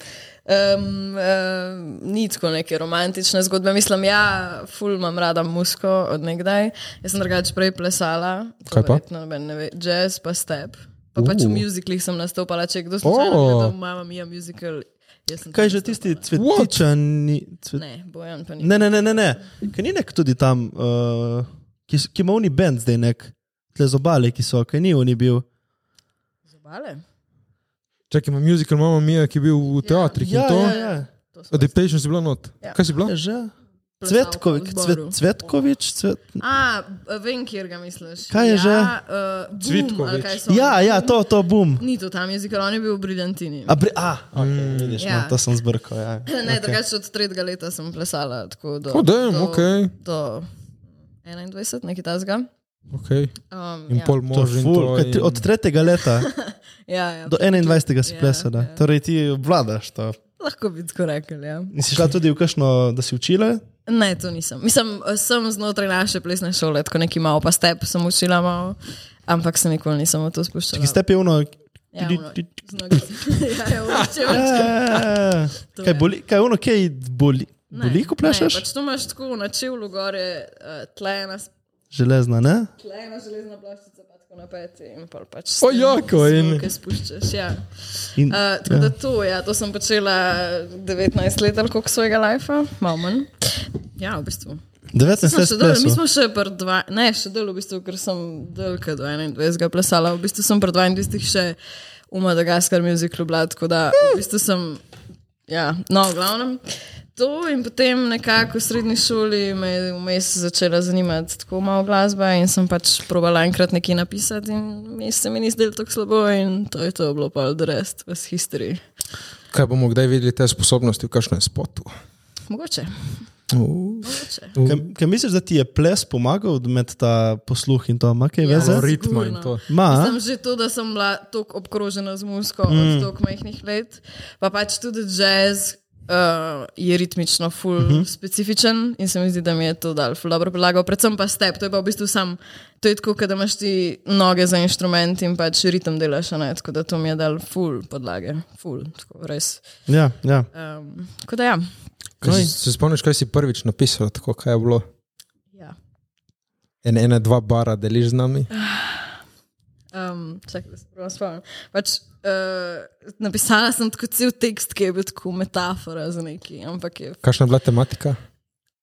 Speaker 4: Um, um, ni tako neke romantične zgodbe. Mislim, ja, ful imam rada musko od nekdaj. Jaz sem drugače prej plesala. to
Speaker 5: Kaj pa?
Speaker 4: verjetno noben ne ve, jazz pa step. Pa pač
Speaker 5: Uh.
Speaker 4: v muziklih sem nastopala, če je kdo slučajno
Speaker 5: Oh.
Speaker 4: oh. gledal, mama mija muzikal. Jaz sem
Speaker 3: Kaj
Speaker 4: to
Speaker 3: že
Speaker 4: nastopala.
Speaker 3: tisti cvetičani? Cvet...
Speaker 4: Ne, bojan pa ni.
Speaker 3: Ne, ne, ne, ne. ne. Kaj ni nek tudi tam, uh, ki, s- ki ima oni bend zdaj nek, tle z obale, ki so, kaj ni oni bil.
Speaker 4: Zobale?
Speaker 5: Čakaj, ima muzikal Mama Mia, ki je bil v teatrih in to.
Speaker 3: ja, ja.
Speaker 4: To so-
Speaker 5: Adaptation si bila not.
Speaker 4: Ja.
Speaker 5: Kaj si bila?
Speaker 3: Je že?
Speaker 4: Plezal
Speaker 3: Cvetkovič,
Speaker 4: v
Speaker 3: cvet,
Speaker 4: zboru.
Speaker 3: Cvetkovič, cvet...
Speaker 4: A, vem, kjer ga misliš.
Speaker 3: Kaj je
Speaker 4: ja,
Speaker 3: že?
Speaker 4: Uh, Cvitko.
Speaker 5: Cvitkovič.
Speaker 3: ja, ja, to, to bum.
Speaker 4: Ni to tam jezik, on je bil v Brilantini.
Speaker 3: A, bre, a okay, vidiš,
Speaker 4: ja.
Speaker 3: ja. no, to sem zbrkal. Ja.
Speaker 4: Ne, okay. drugače od tretjega leta sem plesala. Tako do,
Speaker 5: O, dajem,
Speaker 4: do,
Speaker 5: okej.
Speaker 4: do 21, nekaj tasga.
Speaker 5: Okay.
Speaker 4: Um,
Speaker 5: In
Speaker 4: ja.
Speaker 5: pol
Speaker 3: To je
Speaker 5: možen.
Speaker 3: ful, kaj ti- od tretjega leta
Speaker 4: Ja, ja.
Speaker 3: do 21. si
Speaker 4: Ja,
Speaker 3: plesala.
Speaker 4: ja.
Speaker 3: Torej ti obvladaš to.
Speaker 4: Lahko bi tako rekel. Ja.
Speaker 3: In si šla tudi v kakšno, da si učila?
Speaker 4: Ne, to nisem. Mislim, sem znotraj naše plesne šole, tako neki malo pa step sem učila, malo, ampak se nikoli nisem v to spuščala.
Speaker 3: Ki ste pevno.
Speaker 4: Ja, ono, z nogic. ja, ja, ono, če več. To
Speaker 3: Kaj
Speaker 4: je.
Speaker 3: boli, kaj ono, kaj boli?
Speaker 4: Ne,
Speaker 3: Boli, ko
Speaker 4: Ne,
Speaker 3: plešeš?
Speaker 4: pač to imaš tako na čevlu gore, uh, tlena,
Speaker 3: Železna, ne?
Speaker 4: tlena železna ploščica, pa tako napeti in pol pač.
Speaker 5: O, jako in-
Speaker 4: Kaj spuščaš, ja.
Speaker 3: In,
Speaker 4: Uh, tako da to, ja, to sem počela 19 let ali koliko svojega lajfa, malo manj. Ja, v bistvu.
Speaker 3: 19
Speaker 4: Smo
Speaker 3: let
Speaker 4: še dol, mi
Speaker 3: plesal.
Speaker 4: smo še pred 2, ne, še dol, v bistvu, ker sem dolga do 21 plesala, v bistvu sem pred 22 še v Madagaskar muziklu bila, tako da v bistvu sem, ja, no, v glavnem. To in potem nekako v srednji šoli me je vmes začela zanimati tako malo glasba in sem pač probala enkrat nekaj napisati in mi se mi ni zdelo tako slabo in to je to bilo pa the rest, vas history.
Speaker 5: Kaj bomo kdaj videli te sposobnosti v kakšnem spotu?
Speaker 4: Mogoče,
Speaker 5: Uh,
Speaker 4: mogoče.
Speaker 3: Kaj, kaj misliš, da ti je ples pomagal med ta posluh in to? Ma, kaj
Speaker 4: Ja.
Speaker 3: veze?
Speaker 5: ritma in
Speaker 3: no.
Speaker 4: sigurno.
Speaker 5: to.
Speaker 3: Ma,
Speaker 4: Sem že to, da sem bila tako obkrožena z muziko mm. od tako majhnih let, pa pač tudi jazz. Uh, je ritmično ful uh -huh. specifičen in se mi zdi, da mi je to dal ful dobro prilagal, predvsem pa step, to je pa v bistvu sam, to je tako, kot da imaš ti noge za inštrument in pač ritem delaš, a ne, tako da to mi je dal ful podlage, ful, tako res.
Speaker 3: ja, ja.
Speaker 4: Um, tako da ja.
Speaker 5: Kaj,
Speaker 3: Kaj?
Speaker 5: si- se spomniš, kaj si prvič napisal, tako kaj je bilo?
Speaker 4: ja.
Speaker 5: En, ena, dva bara deliš z nami.
Speaker 4: Um, čakaj, da se prvo spomnim. Pač, uh, napisala sem tako cel tekst, ki je bil tako metafora za neki, ampak je
Speaker 5: Kakšna je bila tematika?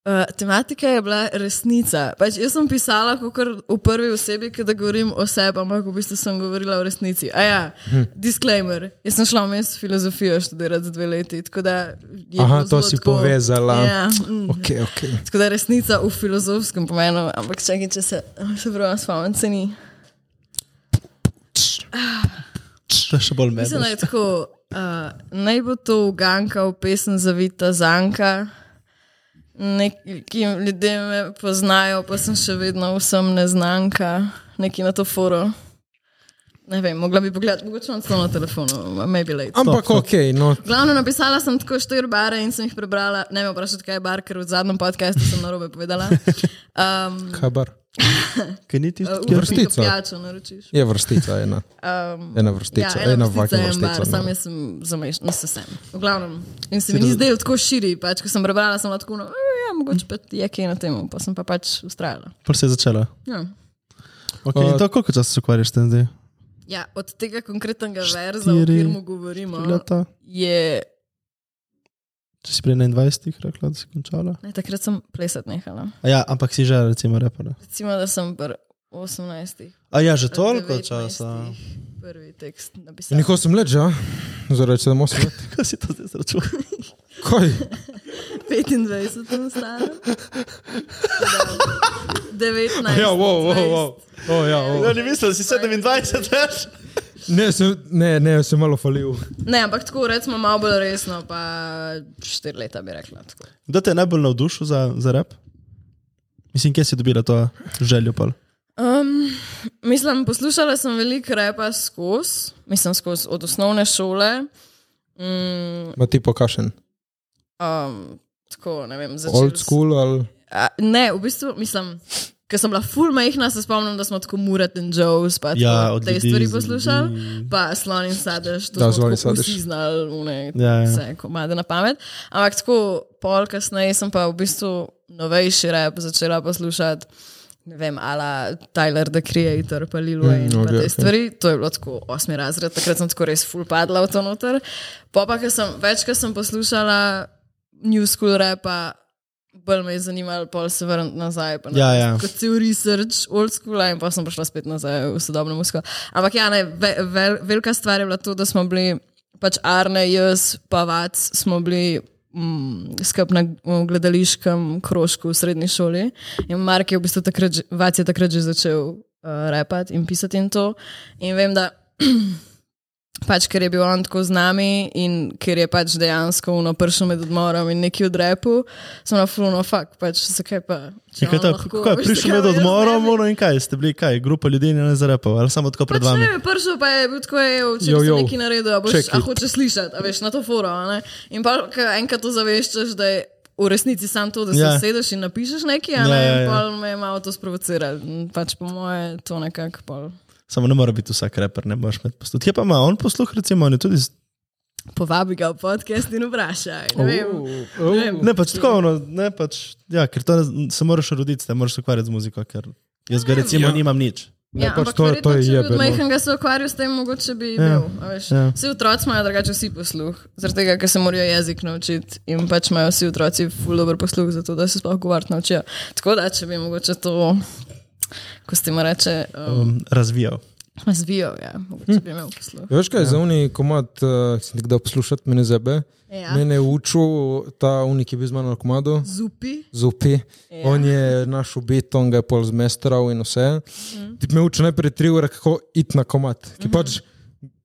Speaker 4: Uh, tematika je bila resnica. Pač jaz sem pisala kot v prvi osebi, ki da govorim o sebi, ampak v bistvu sem govorila o resnici. A ja, hm. disclaimer. Jaz sem šla vmes filozofijo študirati za dve leti, tako da je
Speaker 5: Aha,
Speaker 4: bilo
Speaker 5: to
Speaker 4: zelo
Speaker 5: si
Speaker 4: tako-
Speaker 5: povezala.
Speaker 4: Ja, mm. okay.
Speaker 5: Ok, ok.
Speaker 4: Tako da resnica v filozofskem pomenu, ampak čakaj, če se, se pravi spomnim, se ni.
Speaker 3: To je še bolj
Speaker 4: Mislim, da
Speaker 3: medno.
Speaker 4: je tako, uh, naj bo to uganka v pesem Zavita Zanka. Neki ljudje me poznajo, pa sem še vedno vsem neznanka, neki na to foro. Ne vem, mogla bi pogledati, mogoče imam celo na telefonu, maybe late.
Speaker 5: Ampak ok, no.
Speaker 4: Glavno napisala sem tako štiri bare in sem jih prebrala. Ne me vprašati, kaj je bar, ker v zadnjem podkastu sem narobe povedala. Um,
Speaker 5: Kaj bar?
Speaker 3: Kaj ni tisto?
Speaker 5: Kjer-
Speaker 4: uh, upam, da
Speaker 5: Vrstica.
Speaker 4: pijačo naročiš.
Speaker 5: Je vrstica ena.
Speaker 4: Um,
Speaker 5: Ena vrstica, ena
Speaker 4: vrstica,
Speaker 5: vaka
Speaker 4: en bar,
Speaker 5: vrstica.
Speaker 4: Sam
Speaker 5: no.
Speaker 4: jaz sem zamešan, nisem sem. V glavnem. In se mi ni zdelo tako širi, pač, ko sem prebrala, sem bila tako, no, "E, ja, mogoče pa je kaj na tem, pa sem pa pač ustrajala.
Speaker 3: Prvo se je začela.
Speaker 4: Ja.
Speaker 3: Okay, in to koliko časa se ukvarjaš s tem zdaj?
Speaker 4: ja, od tega konkretnega verza, o katerem govorimo,
Speaker 3: Štiri Leta?
Speaker 4: je,
Speaker 3: Če si pri 21 rekla, da si končala?
Speaker 4: ne, takrat sem plesati nehala.
Speaker 3: A ja, ampak si že recimo repala.
Speaker 4: Recimo, da sem pri 18.
Speaker 3: A ja, že
Speaker 4: ali
Speaker 3: toliko
Speaker 4: 19
Speaker 3: časa.
Speaker 4: Prvi tekst napisal.
Speaker 5: Nekaj sem let, že, a? Zdaj rečem 8 let.
Speaker 3: Kaj si to zdaj zračunal?
Speaker 5: Kaj?
Speaker 4: 25 sem stara. 19.
Speaker 5: Ja, wow, wow, wow. Oh, ja, wow.
Speaker 3: Ja, ne mislim, da si 27 več.
Speaker 5: Ne, sem, ne, ne, sem malo falil.
Speaker 4: Ne, ampak tako recimo malo bolj resno, pa štiri leta bi rekla. Tako.
Speaker 3: Kdo te je najbolj navdušil za, za rep? Mislim, kje si dobila to željo? Pol?
Speaker 4: Um, mislim, poslušala sem veliko repa skozi, mislim, skozi od osnovne šole. Mm,
Speaker 5: Ma ti pokašen.
Speaker 4: um, tako, ne vem, začela.
Speaker 5: Old school ali...
Speaker 4: A, ne, v bistvu mislim. Ker sem bila full majhna, se spomnim, da smo tako Murat in Joe's, pa
Speaker 3: Ja,
Speaker 4: tako
Speaker 3: od
Speaker 4: te
Speaker 3: ljudi
Speaker 4: stvari
Speaker 3: z
Speaker 4: poslušali,
Speaker 3: ljudi.
Speaker 4: pa slon in sadež, to
Speaker 5: Da,
Speaker 4: smo
Speaker 5: Slon in
Speaker 4: tako
Speaker 5: Sadež.
Speaker 4: vsi znali, une,
Speaker 3: Ja, ja.
Speaker 4: vse komade na pamet. Ampak tako pol kasneje sem pa v bistvu novejši rap začela poslušati. ne vem, ala Tyler, the creator, pa Lil Wayne, mm,
Speaker 5: Mm,
Speaker 4: okay, pa
Speaker 5: okej,
Speaker 4: te
Speaker 5: okej.
Speaker 4: stvari. To je bilo tako osmi razred, takrat sem tako res full padla v to noter. Po pa, ker sem večkrat sem poslušala new school repa, bolj me je zanimalo, pol se vrniti nazaj. pa
Speaker 3: Ja,
Speaker 4: narediti
Speaker 3: ja.
Speaker 4: Kot cel research, old school, ja, in pa sem prišla spet nazaj v sodobno muziko. Ampak ja, ne, ve, vel, velika stvar je bila to, da smo bili, pač Arne, jaz, pa Vac, smo bili mm, skup na v gledališkem krožku v srednji šoli. In Mark je v bistvu takrat, že- Vac je takrat že začel uh, repati in pisati in to. In vem, da pač ker je bil on tako z nami in ker je pač dejansko uno prišel med odmorom in neki odrepu, sem na fuluno fakt, pač zakaj pa. če
Speaker 3: Ja, kaj
Speaker 4: on
Speaker 3: ta,
Speaker 4: lahko,
Speaker 3: kako je
Speaker 4: veš,
Speaker 3: prišel
Speaker 4: zakaj
Speaker 3: med
Speaker 4: pa jaz
Speaker 3: odmorom
Speaker 4: ne bi?
Speaker 3: ono, in kaj ste bili, kaj, grupa ljudi in ne zarepal, ali samo tako pred
Speaker 4: Pač
Speaker 3: vami.
Speaker 4: ne, prišel pa je bil tako, ejo, če
Speaker 5: Jo,
Speaker 4: bi
Speaker 5: jo.
Speaker 4: nekaj naredil, a, boš,
Speaker 5: Check
Speaker 4: a
Speaker 5: it.
Speaker 4: hočeš slišati, a veš na to foro. a Ne? In pa ko enkrat to zaveščaš, da je v resnici sam to, da se
Speaker 3: Ja.
Speaker 4: yeah. sedeš in napišeš nekaj,
Speaker 3: Ja,
Speaker 4: a ne,
Speaker 3: ja,
Speaker 4: yeah,
Speaker 3: ja.
Speaker 4: yeah. pol me je malo to sprovociralo. In Pač po moje to nekako pol
Speaker 3: Samo ne mora biti vsak reper, ne moreš med posluh. Kje pa ima on posluh, recimo, on je tudi. s-
Speaker 4: povabi ga v podcast in vprašaj. Ne vem.
Speaker 5: oh.
Speaker 4: vem.
Speaker 3: Ne, pač tako, ono, ne, pač, ja, ker to ne, se moraš roditi, s tem, moraš se ukvarjati z muziko, ker jaz ga recimo ja.
Speaker 5: Ja.
Speaker 3: nimam nič.
Speaker 5: Ne,
Speaker 4: Ja,
Speaker 5: pač
Speaker 4: ampak
Speaker 5: to- to je
Speaker 4: verjetno, če bi
Speaker 5: jebeno.
Speaker 4: od majhnega se ukvarjal s tem, mogoče bi
Speaker 3: Ja,
Speaker 4: bil. a veš.
Speaker 3: ja.
Speaker 4: Vsi otroci imajo drugače vsi posluh, zaradi tega, ker se morajo jezik naučiti in pač imajo vsi otroci ful dober posluh, zato da se sploh govoriti naučijo. Tako da, če bi mogoče to, ko ste mu reče, um,
Speaker 3: Um, razvijal.
Speaker 4: razvijal, ja, mogoče bi imel posluh.
Speaker 5: Veš kaj, ja. za unik komad, uh, sem nekdaj poslušal, mene zebe.
Speaker 4: Ja.
Speaker 5: Ja. Mene je učil ta unik, ki je bil z mano na komadu.
Speaker 4: Zupi.
Speaker 5: Zupi. Ja. On je naš ubit, on ga je pol zmestral in vse.
Speaker 4: Mhm.
Speaker 5: Mm. Ti me uči najprej tri ure, kako iti na komat. Ki mm -hmm. pač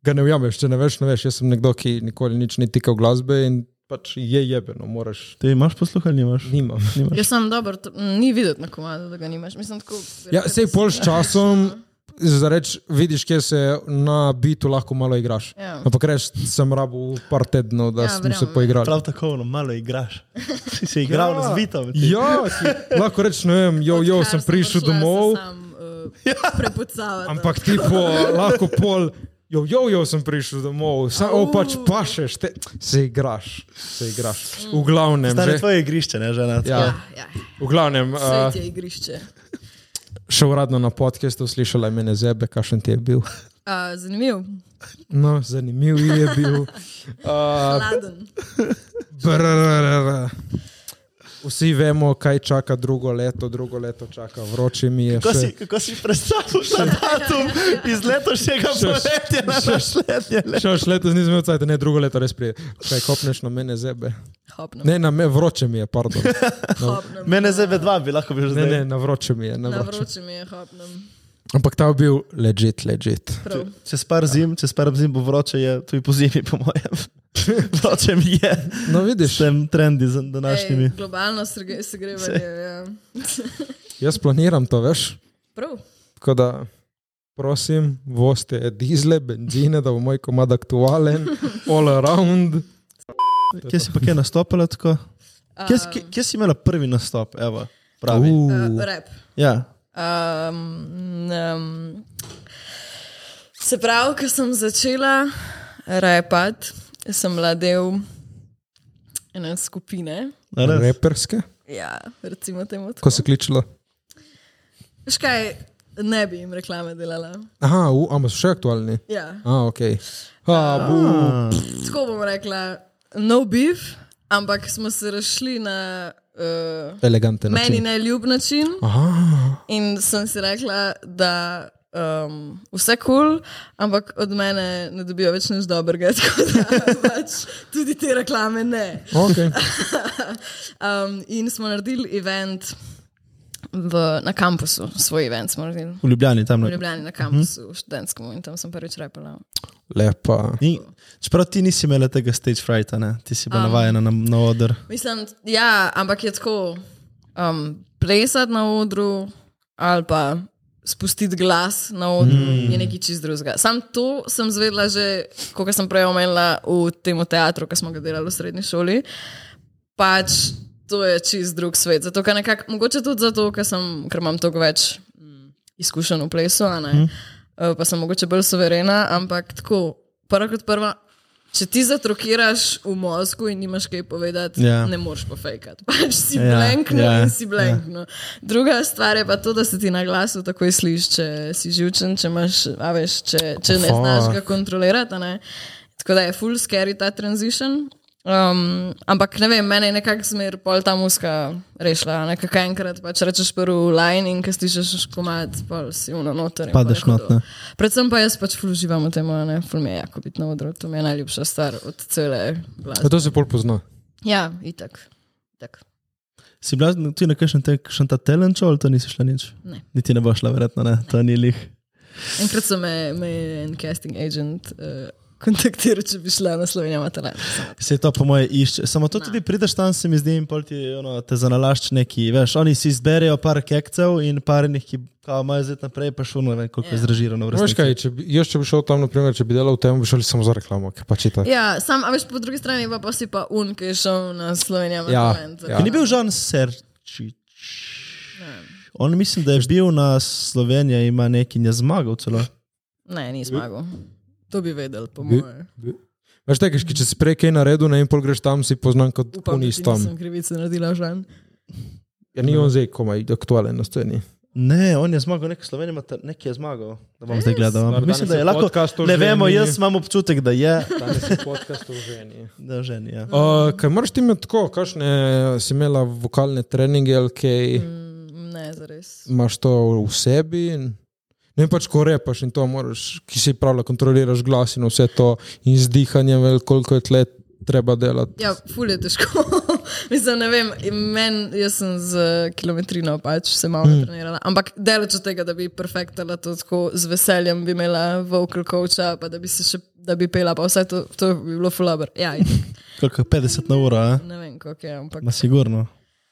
Speaker 5: ga ne ujameš, če ne veš, ne veš. Jaz sem nekdo, ki nikoli nič ni tikal glasbe in pač je jebeno, moraš.
Speaker 3: Ti imaš posluh ali nimaš?
Speaker 5: Nimam.
Speaker 3: nimaš.
Speaker 4: Jaz sem dober, to, m, ni videti na komadu, da ga nimaš. Mislim, tako,
Speaker 5: Ja, sej pol s časom. Zareč, vidiš, kje se na bitu lahko malo igraš.
Speaker 4: Ja.
Speaker 5: Ampak reš, sem rabu par tednov, da
Speaker 4: Ja,
Speaker 5: ja, smo se
Speaker 4: verjamem.
Speaker 5: poigrali.
Speaker 3: Prav tako, ono, malo igraš. Si se igral ja. z bitom. ti.
Speaker 5: Ja, ti- lahko rečeš, ne vem, jo, jo, sem prišel domov,
Speaker 4: uh,
Speaker 5: Ja.
Speaker 4: Prepucavati.
Speaker 5: ampak ti po, lahko pol. Jo, jo, jo, sem prišel domov, samo oh. pač pašeš, te, se igraš, se igraš.
Speaker 3: Mm.
Speaker 5: V glavnem,
Speaker 3: Stare
Speaker 5: že,
Speaker 3: tvoje igrišče, ne, žena.
Speaker 5: Ja.
Speaker 4: Ja, ja,
Speaker 5: v glavnem uh,
Speaker 4: svetje igrišče.
Speaker 5: še uradno na podkastu slišala je mene zebe, kakšen ti je bil.
Speaker 4: Uh, zanimiv,
Speaker 5: No, zanimiv je bil. Uh,
Speaker 4: hladen.
Speaker 5: brrrr. Vsi vemo, kaj čaka drugo leto, drugo leto čaka vroče mi je.
Speaker 3: Kako
Speaker 5: še-
Speaker 3: si, kako si predstavljaš ta datum iz letošnjega poletja na našletnje leto?
Speaker 5: Šel še letos nisem imel cajt, ne drugo leto res prije. Kaj kopneš na mene zebe?
Speaker 4: Hopno.
Speaker 5: Ne, na me vroče mi je, pardon.
Speaker 4: Hopnem.
Speaker 3: Mene zebe dva bi lahko bil
Speaker 5: Ne,
Speaker 3: zdaj.
Speaker 5: ne, na vroče mi je. Na
Speaker 4: Na
Speaker 5: vroče.
Speaker 4: vroče mi je hopnem.
Speaker 5: Ampak ta je bil legit, legit.
Speaker 4: Prav.
Speaker 3: Čez par zim, čez par zim bo vroče, je tudi po zimi, po mojem. Vroče mi je,
Speaker 5: No, vidiš,
Speaker 3: s tem trendi z današnjimi.
Speaker 4: Ej, globalno se, se gre v ja.
Speaker 5: jaz planiram to, veš.
Speaker 4: Prav.
Speaker 5: Tako da, prosim, vozite dizle, benzine, da bo moj komad aktualen, all around.
Speaker 3: Kje si pa kaj nastopila tako? Kje, si-
Speaker 4: Um,
Speaker 3: kje, kje si imela prvi nastop, evo, pravi? Uh.
Speaker 5: Uh,
Speaker 4: Uh, rep.
Speaker 3: Ja,
Speaker 4: Um, um, se pravi, ko sem začela repati, sem bila del ene skupine.
Speaker 3: a res?
Speaker 5: reperske,
Speaker 4: Ja, recimo temu tako.
Speaker 5: ko se kličilo.
Speaker 4: Veš kaj, ne bi jim reklame delala.
Speaker 5: Aha, u, a so še aktualni.
Speaker 4: Ja.
Speaker 5: A, ok. A, bu,
Speaker 4: Tako bom rekla, no beef, ampak smo se rešili na uh,
Speaker 5: eleganten.
Speaker 4: meni
Speaker 5: način. Ah.
Speaker 4: neljub način.
Speaker 5: Aha,
Speaker 4: In sem si rekla, da um, vse kul, cool, ampak od mene ne dobijo več nič dobrega. Tako da pač tudi te reklame ne.
Speaker 5: ok.
Speaker 4: Um, in smo naredili event v, na kampusu, svoj event smo naredili.
Speaker 3: V Ljubljani tam
Speaker 4: V
Speaker 3: nekaj.
Speaker 4: Ljubljani na kampusu, v študentskem, in tam sem prvič repala.
Speaker 5: Lepa.
Speaker 3: Ni, čeprav ti nisi imela tega stage frighta, ne? ti si bila um. navajena na, na oder.
Speaker 4: Mislim, ja, ampak je tako, um, plesati na odru ali pa spustiti glas na odru mm. je nekaj čist drugega. Sam to sem zvedela že, kot sem prej omenila, v tem teatru, ki smo ga delali v srednji šoli. Pač to je čist drug svet. Zato, ker nekako, mogoče tudi zato, ker, sem, ker imam toliko več mm, izkušenj v eh, plesu, a ne. Mm. Pa sem mogoče bolj suverena, ampak tako, prvo kot prvo, Če ti zatrokiraš v možgu in nimaš kaj povedati,
Speaker 3: Ja.
Speaker 4: yeah. ne moreš pofejkati. Pač si
Speaker 3: Ja,
Speaker 4: yeah. blankno
Speaker 3: ja,
Speaker 4: yeah. in si
Speaker 3: ja.
Speaker 4: blankno. Yeah. Druga stvar je pa to, da se ti na glasu takoj sliši, če si živčen, če, imaš, a veš, če, če ne znaš ga kontrolirati. a ne. Tako da je full scary ta transition. Um, ampak ne vem, mene je nekako smer pol ta muska rešila. Nekako enkrat pač rečeš prvi line in ko slišiš komad, pol si uno noter. in pol je
Speaker 3: Padeš
Speaker 4: hudo.
Speaker 3: not, ne.
Speaker 4: Predvem pa jaz pač ful uživam v tem, a ne, ful mi je jako biti na odru, to mi je najljubša stvar od cele glasbe.
Speaker 5: To se bolj pozna.
Speaker 4: Ja, itak. itak.
Speaker 3: Si bila na- ti na kakšen tek, še ta talent show ali to nisi šla nič?
Speaker 4: Ne.
Speaker 3: Niti ne boš šla, verjetno ne, to ni lih.
Speaker 4: Enkrat so me, me je en casting agent uh, kontaktiral, če bi šla na Slovenijo Matalan.
Speaker 3: Se to po moje išče. Samo to tudi prideš tam, se mi zdi, in pol ti ono, te zanalašč neki. Veš, oni si izberejo par kekcev in par enih, ki kao, imajo zdaj naprej, pa šuno, ne vem,
Speaker 4: Ja.
Speaker 3: koliko je zražirano v
Speaker 5: Veš
Speaker 3: resnici.
Speaker 5: kaj, če bi, jaz če bi šel tam, naprimer, če bi delal v tem, bi šel samo za reklamo, ker pač je tako.
Speaker 4: Ja, sam, a veš po drugi strani pa, pa si pa un, ki je šel na Slovenijo
Speaker 5: Ja,
Speaker 4: Matalan.
Speaker 5: ja.
Speaker 3: Ki ni bil Žan Serčič. On mislim, da je bil na Sloveniji, ima neki in je zmagal celo.
Speaker 4: Ne, ni zmagal. To bi vedel, po
Speaker 5: Bi-
Speaker 4: mojem.
Speaker 5: Veš, tekaš, če si prej kaj naredil, ne in pol greš tam, si poznan kot
Speaker 4: Upam, da
Speaker 5: unis
Speaker 4: ti
Speaker 5: tam.
Speaker 4: nisem krivice naredila, žan.
Speaker 5: Ja, ni on zdaj komaj aktualen na sceni.
Speaker 3: Ne, on je zmagal, nek Slovenija, nek je zmagal. Da bom zdaj gledal. ampak
Speaker 5: Danes
Speaker 3: No, Mislim, da
Speaker 5: je
Speaker 3: je lahko.
Speaker 5: podcast o
Speaker 3: Ne vemo,
Speaker 5: ženi.
Speaker 3: jaz imam občutek, da je.
Speaker 5: Danes je podcast o ženi.
Speaker 3: Da, ženi, ja.
Speaker 5: Uh, kaj moraš ti imeti tako, kakšne si imela vokalne treninge ali kaj, mm.
Speaker 4: Mm, Ne, zares.
Speaker 5: imaš to v sebi? in- Ne pač, ko repaš in to moraš, ki si pravila, kontroliraš glas in vse to in zdihanje, vel, koliko je tle treba delati.
Speaker 4: Ja, ful je težko. Mislim, ne vem, men, jaz sem z eh, kilometrino pač se malo mm. trenirala. Ampak daleč od tega, da bi perfektala to tako z veseljem, bi imela vocal coacha, pa da bi se še, da bi pela, pa vse to, to bi bilo fulaber. Ja, itak,
Speaker 3: Koliko 50 na uro, a?
Speaker 4: ne vem, kako je, ampak.
Speaker 3: Ma sigurno.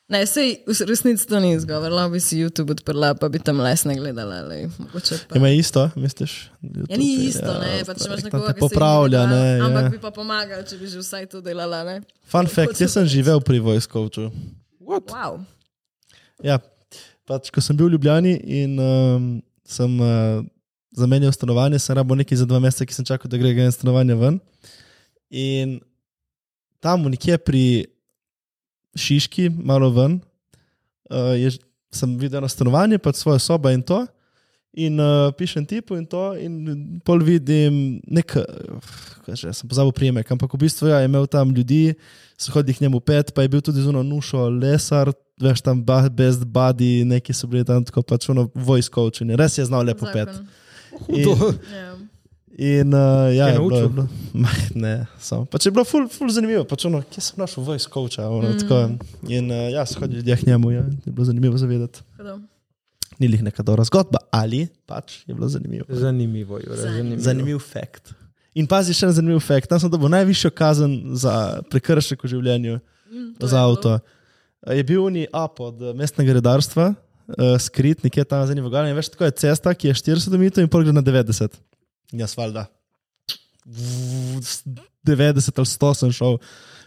Speaker 4: Ne, sej, v resnici to ni izgovor, lahko bi si YouTube odprla, pa bi tam lesne gledala, ali mogoče pa.
Speaker 3: Ima isto, misliš?
Speaker 4: Ja, ni isto, ne, pa če imaš
Speaker 3: stvari,
Speaker 4: nekoga,
Speaker 3: te
Speaker 4: ki se jim
Speaker 3: popravlja.
Speaker 4: ne da,
Speaker 3: Ne,
Speaker 4: Ampak
Speaker 3: ja.
Speaker 4: bi pa pomagal, če bi že vsaj to delala, ne?
Speaker 3: Fun fact, jaz sem živel pri vojskovcu.
Speaker 4: Wow.
Speaker 3: Ja, pač, ko sem bil v Ljubljani in um, sem uh, zamenjal stanovanje, sem rabo nekaj za dva meseca, ki sem čakal, da gre en stanovanje ven. In tam nekje pri Šiški, malo ven, uh, je, ž- sem videl eno stanovanje, pač svojo sobo in to. In uh, pišem tipu in to, in pol vidim nek, eh, že sem pozabil prijemek, ampak v bistvu ja, je imel tam ljudi, so hodili k njemu pet, pa je bil tudi zunaj nušo, lesar, veš tam ba- best buddy, neki so bili tam tako pač ono vojskovčeni, res je znal lepo pet.
Speaker 4: zakon.
Speaker 3: In,
Speaker 4: Ja.
Speaker 3: in uh, ja,
Speaker 5: Je
Speaker 3: je bilo, je
Speaker 5: naučil?
Speaker 3: bilo, ma, ne, samo. Pač je bilo ful, ful zanimivo, pač ono, kje sem našel vojskovča, ono, mm. tako. In uh, ja, so hodili ljudje k njemu, ja, je bilo zanimivo zavedati.
Speaker 4: tako da.
Speaker 3: Ni lih neka dobra zgodba, ali pač je bilo zanimivo.
Speaker 5: Zanimivo, Jure, zanimivo.
Speaker 3: Zanimiv fakt. In pazi, še en zanimiv fakt. Tam sem dobil najvišjo kazen za prekršek v življenju mm, za avto. Eh, Je bil ni A pod eh, mestnega redarstva, uh, skrit nekje tam za njim, in veš, tako je cesta, ki je 40 metrov in pol gre na 90. In jaz valjda. v- s 90 ali 100 sem šel,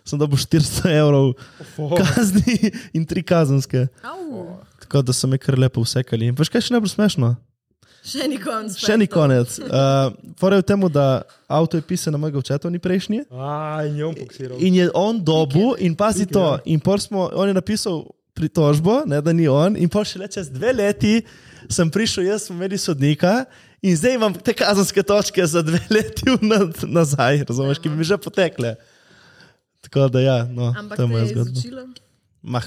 Speaker 3: sem dobil 400 evrov kazni in tri kazenske.
Speaker 4: Au,
Speaker 3: Tako da so me kar lepo vsekali. In veš, kaj je še najbolj smešno?
Speaker 4: še ni konc.
Speaker 3: Še ni konec. Uh, Fore je v tem, da avto je pisan na mojega očeta, ni prejšnji.
Speaker 5: Aj, njom poksiral.
Speaker 3: In je on dobu, in pazi to.
Speaker 4: ja.
Speaker 3: In pol smo, on je napisal pritožbo, ne, da ni on, in pol še le čez dve leti sem prišel, jaz smo imeli sodnika. In zdaj imam te kazenske točke za dve leti vna- nazaj, razumete, ki bi mi že potekle. Tako da, ja, no,
Speaker 4: Ampak
Speaker 3: to je
Speaker 4: te
Speaker 3: moja
Speaker 4: je
Speaker 3: zgodba.
Speaker 4: izučila.
Speaker 3: Mah,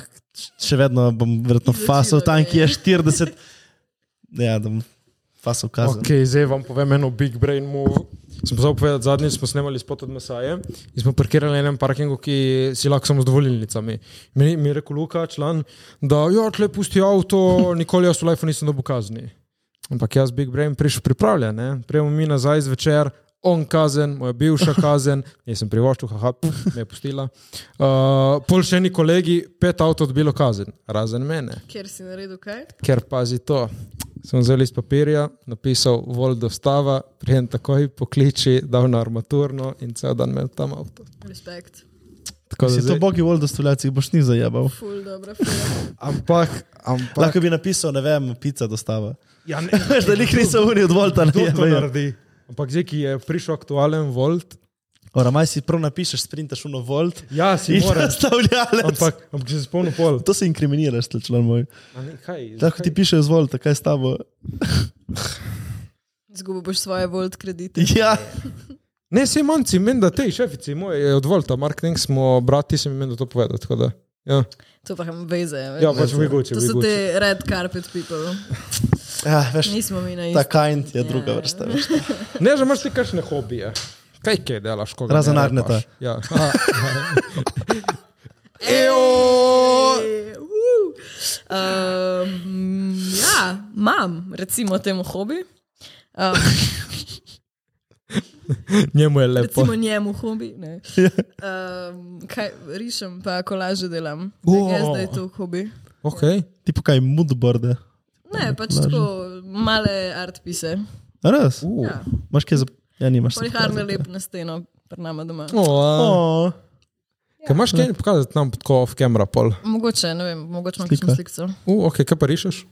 Speaker 3: še vedno bom verjetno
Speaker 4: Izločilo
Speaker 3: fasal tam,
Speaker 4: ga
Speaker 3: ki je
Speaker 4: je.
Speaker 3: 40. Ja, da bom fasal kazen.
Speaker 5: Ok, zdaj vam povem eno big brain move. Sem pozabil povedati, zadnjič smo snemali spot od Mesaje in smo parkirali na enem parkingu, ki si lahko samo z dovolilnicami. Mi, mi je rekel Luka, član, da jo tle pusti avto, nikoli jaz v lifeu nisem dobil kazni. Ampak jaz big brain prišel pripravljen, ne? prejmo mi nazaj zvečer. On kazen, moja bivša kazen, jaz sem privoščil, haha, pf, me je pustila. Uh, pol še eni kolegi, pet avto odbilo kazen, razen mene.
Speaker 4: Ker si naredil kaj?
Speaker 5: Ker pazi to, sem vzel iz papirja, napisal volj dostava, prijem takoj, pokliči, dal na armaturno in cel dan imel tam avto.
Speaker 4: Respekt.
Speaker 5: Tako da
Speaker 3: Si to
Speaker 5: zdaj,
Speaker 3: bogi vol dostavljalci, boš ni zajabal.
Speaker 4: Ful, dobro, ful.
Speaker 5: ampak,
Speaker 3: Pa.
Speaker 5: ampak,
Speaker 3: Lahko bi napisal, ne vem, pica dostava.
Speaker 5: ja, ne,
Speaker 3: Veš, da jih niso oni od volta, ne
Speaker 5: kdo to
Speaker 3: vem.
Speaker 5: naredi. Ampak zdaj, ki je prišel aktualen volt,
Speaker 3: Ora, maj si prav napišeš, sprintaš uno volt.
Speaker 5: Ja, si
Speaker 3: In
Speaker 5: moraš.
Speaker 3: nastavljalec.
Speaker 5: Ampak, ampak se spomnim pol.
Speaker 3: To se inkriminiraš, tle, član moj.
Speaker 5: A ne, Kaj?
Speaker 3: Lahko ti
Speaker 5: zakaj?
Speaker 3: piše z volta, kaj je s tabo.
Speaker 4: Zgubil boš svoje volt kredite.
Speaker 3: Ja,
Speaker 5: Ne, se manjci, meni da te šefici moje, od Volta, Mark Neng smo brati, sem jim meni da to povedal. tako da, Ja,
Speaker 4: To pa imam veze. veš.
Speaker 5: ja pač v Igoči,
Speaker 4: To
Speaker 5: v
Speaker 4: so
Speaker 5: Igoči.
Speaker 4: te red carpet people.
Speaker 3: ja veš,
Speaker 4: Nismo mi na
Speaker 3: ta
Speaker 4: isti.
Speaker 3: kind je druga vrsta. Veš.
Speaker 5: Ne, že imaš ti kakšne hobije. Kaj kaj delaš, ko ga
Speaker 3: Razen
Speaker 5: ne
Speaker 3: Arneta.
Speaker 5: repaš? Ja.
Speaker 4: Eh, uh. Um, ja, imam recimo temu hobi. Um,
Speaker 5: Njemu je lepo.
Speaker 4: recimo njemu hobi. ne. Um, kaj rišem, pa kolaže delam.
Speaker 5: O.
Speaker 4: Jaz da je to hobi.
Speaker 5: Okay.
Speaker 3: Tipo kaj moodboarde.
Speaker 4: Ne, pač tako male art pise.
Speaker 3: A Res?
Speaker 5: Uh.
Speaker 4: Ja.
Speaker 3: Imaš kaj za... Ja, nimaš.
Speaker 4: Pa jih arne lep na steno, pri nama doma.
Speaker 5: Oh,
Speaker 3: Oh,
Speaker 5: ja. Kaj imaš kaj pokazati nam tako off camera pol?
Speaker 4: Mogoče, ne vem, mogoče imam
Speaker 3: Slika.
Speaker 4: kakšno sliko.
Speaker 5: Uh, ok, kaj pa rišeš?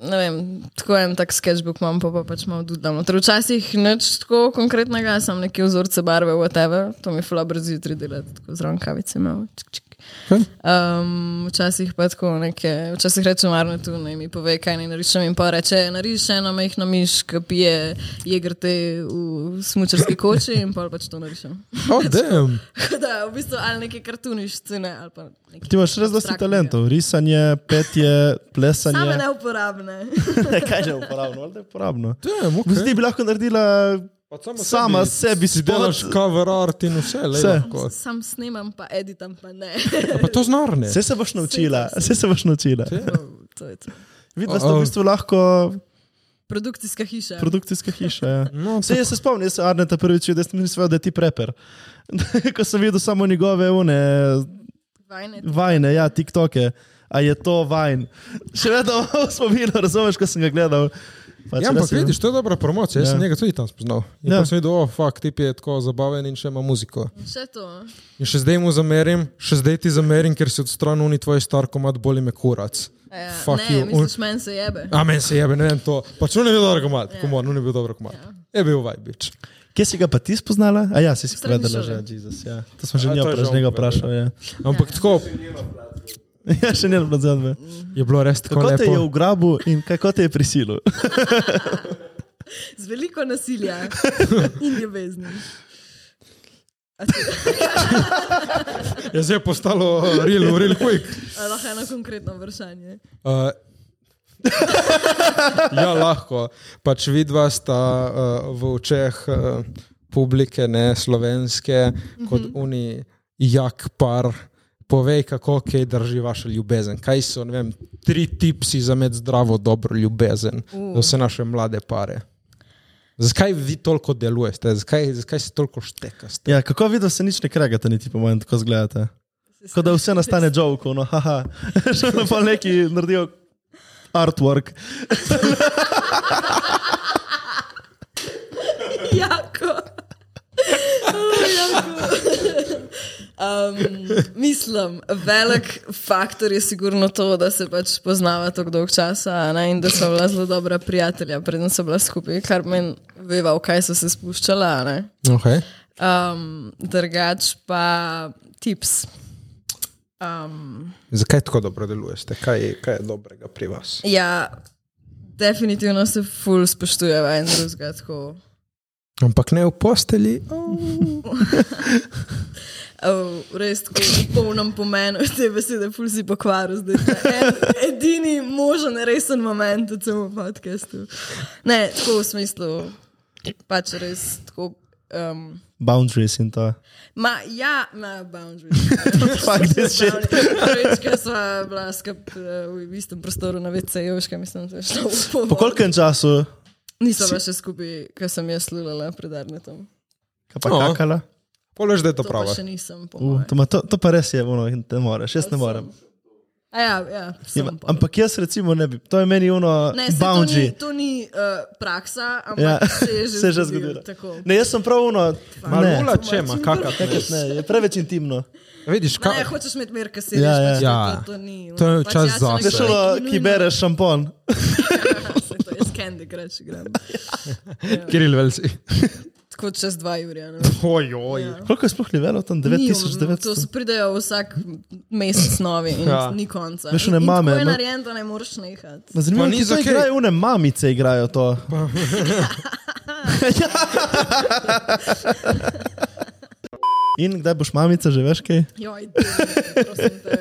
Speaker 4: ne vem, tako en tak sketchbook imam, pa, pa pač malo dudam. Torej, včasih nič tako konkretnega, sem neke vzorce barve, whatever, to mi fula brez jutri delati, tako z rokavicami imam. čik, čik.
Speaker 5: Kaj?
Speaker 4: Um, včasih pa tako neke, včasih rečem arno tu, naj mi pove, kaj naj narišem in pa reče, nariši eno majhno miš, ki pije jegrte v smučarski koči in pa pač to narišem.
Speaker 5: Oh, damn.
Speaker 4: Tako da, v bistvu ali neke kartuniščine ali pa nekaj.
Speaker 3: ti imaš res dosti talentov. Risanje, petje,
Speaker 4: Same
Speaker 3: plesanje.
Speaker 4: neuporabne.
Speaker 3: kaj je uporabno? Valjda je uporabno.
Speaker 5: Damn, okay.
Speaker 3: Zdaj bi lahko naredila sama sebi
Speaker 5: si
Speaker 3: spot.
Speaker 5: delaš cover art in vse, le
Speaker 3: Vse.
Speaker 5: lahko.
Speaker 4: Sam snemam, pa editam, pa ne.
Speaker 5: Ja, Pa to znarne.
Speaker 3: Vse se boš naučila, vse se boš naučila.
Speaker 4: to je to.
Speaker 3: Videla
Speaker 5: Oh.
Speaker 3: si to v bistvu lahko
Speaker 4: Produkcijska hiša.
Speaker 3: produkcijska hiša. Ja.
Speaker 5: No,
Speaker 3: Vse jaz se spomnim, jaz sem Arneta prvič videl, jaz sem mislil, da je ti preper. Ko sem videl samo njegove une
Speaker 4: Vajnet.
Speaker 3: vajne, ja, tiktoke, a je to vajn. Še vedno spominjam, razumeš, ko sem ga gledal. Pač res
Speaker 5: Ja, ampak
Speaker 3: je-
Speaker 5: vidiš, to je dobra promocija. Jaz
Speaker 3: Ja.
Speaker 5: sem njega tudi tam spoznal. In
Speaker 3: Ja.
Speaker 5: ja. sem videl, oh, fuck, tip je tako zabaven in še ima muziko.
Speaker 4: Še to.
Speaker 5: In še zdaj mu zamerim, še zdaj ti zamerim, ker si odstranil ni tvoj star komat, boli me kurac.
Speaker 4: Ja,
Speaker 5: Fuck
Speaker 4: ne,
Speaker 5: you.
Speaker 4: misliš, meni se jebe.
Speaker 5: Amen se jebe, ne vem to. Pač on je bil dober komat,
Speaker 3: Ja.
Speaker 5: yeah. komor, on je bil dober komat. Yeah. Je bil vajbič.
Speaker 3: Kje si ga pa ti spoznala? A ja, si si
Speaker 4: srednji
Speaker 3: povedala že,
Speaker 4: šoli.
Speaker 3: Jezus, ja. To smo že
Speaker 5: A,
Speaker 3: njo
Speaker 5: to je
Speaker 3: praž
Speaker 5: žal
Speaker 3: njega
Speaker 5: povedala.
Speaker 3: vprašali. Ja.
Speaker 5: Ampak yeah. tako
Speaker 3: ja, še ne razumem.
Speaker 5: je bilo res tako
Speaker 3: Kako te je
Speaker 5: lepo.
Speaker 3: ugrabil in kako te je prisilil?
Speaker 4: Z veliko nasilja in ljubezni.
Speaker 5: Je zdaj postalo uh, real, real quick.
Speaker 4: A Lahko eno konkretno vprašanje.
Speaker 5: Uh, ja, lahko. Pač vidva sta uh, v očeh uh, publike, ne slovenske,
Speaker 3: Mhm.
Speaker 5: kot oni, jak par. Povej, kako kaj drži vaša ljubezen. Kaj so ne vem, tri tipsi za med zdravo, dobro ljubezen uh. za vse naše mlade pare? Zakaj vi toliko delujete, zakaj, zakaj se toliko štekate?
Speaker 3: Ja, kako vidim, se nič ne kregate, niti po mojem, tako zgledate. Kot da vse nastane žovko, no, haha. Še vedno pa neki naredijo artwork.
Speaker 4: Jako. O, jako. Um, mislim, velik faktor je sigurno to, da se pač poznava tako dolg časa a ne, in da so bila zelo dobra prijatelja, preden so bila skupaj, kar meni veva, v kaj so se spuščala. a ne.
Speaker 5: Okay.
Speaker 4: Um, drugač pa tips. Um,
Speaker 5: Zakaj tako dobro delujete? Kaj, kaj je dobrega pri vas?
Speaker 4: ja, definitivno se ful spoštujeva in drugega tako.
Speaker 5: Ampak ne v posteli.
Speaker 4: Oh, res tako v polnem pomenu te besede, ful si pokvaril zdaj. ta En, edini možen resen moment v celem podkastu. Ne, tako v smislu, pač res tako. Um,
Speaker 3: Boundaries in to.
Speaker 4: ma, ja, na boundaries.
Speaker 3: Fuck this shit.
Speaker 4: Prvič, ko sva bila skup, eh, v istem prostoru na VC-ju, mislim, da je šlo v
Speaker 3: Po
Speaker 4: pomoč.
Speaker 3: kolkem času?
Speaker 4: Nisva bila še skupaj, ko sem jaz lulala pred Arnetom.
Speaker 3: Kaj pa
Speaker 5: No.
Speaker 3: kakala?
Speaker 5: Poleš, da je to
Speaker 4: To pa
Speaker 5: prava.
Speaker 4: še nisem
Speaker 3: U,
Speaker 4: pomagala.
Speaker 3: to, ma, to, to pa res je, ono, in ne moreš, jaz ne morem.
Speaker 4: Ja, ja, sem
Speaker 3: Ima-
Speaker 4: pol.
Speaker 3: Ampak jaz recimo ne bi, to je meni ono
Speaker 4: Ne, saj to ni,
Speaker 3: boundary.
Speaker 4: to ni uh, praksa,
Speaker 3: Ja,
Speaker 4: ampak ja, se je že,
Speaker 3: se je že
Speaker 4: zgodilo.
Speaker 3: zgodilo.
Speaker 4: Tako.
Speaker 3: Ne, jaz sem prav ono, ne,
Speaker 5: Malula, če ima, kakak ne.
Speaker 3: ne, je preveč intimno.
Speaker 5: Vidiš,
Speaker 4: Ma Ne,
Speaker 5: kaj
Speaker 4: hočeš imeti mir, ki si
Speaker 3: Ja, ja.
Speaker 4: rečeš,
Speaker 5: Ja.
Speaker 4: to ni.
Speaker 5: To je
Speaker 4: pač
Speaker 5: čas
Speaker 4: ja, če
Speaker 5: zase.
Speaker 4: nekdo
Speaker 3: Veš, ono,
Speaker 4: neki
Speaker 3: ki
Speaker 4: nujno-
Speaker 3: bereš šampon.
Speaker 4: Saj To je skendi, greš igram.
Speaker 5: je, Kiril Velsi.
Speaker 4: kot čez dva jurja. no.
Speaker 5: Ojoj. Ja.
Speaker 3: Koliko je sploh levelov tam? 9900?
Speaker 4: To so pridejo vsak mesec novi in
Speaker 5: Ja.
Speaker 4: ja. ni konca.
Speaker 3: Veš, one mame,
Speaker 4: Ko je
Speaker 3: no.
Speaker 4: narejen, to ne moreš nehati.
Speaker 3: Ma Zanimivo
Speaker 5: Pa
Speaker 3: je,
Speaker 5: ni
Speaker 3: kako
Speaker 5: zakaj.
Speaker 3: okay. igrajo une mamice, igrajo to. Ja. In kdaj boš mamica, že veš kaj?
Speaker 4: Joj, ti, prosim te.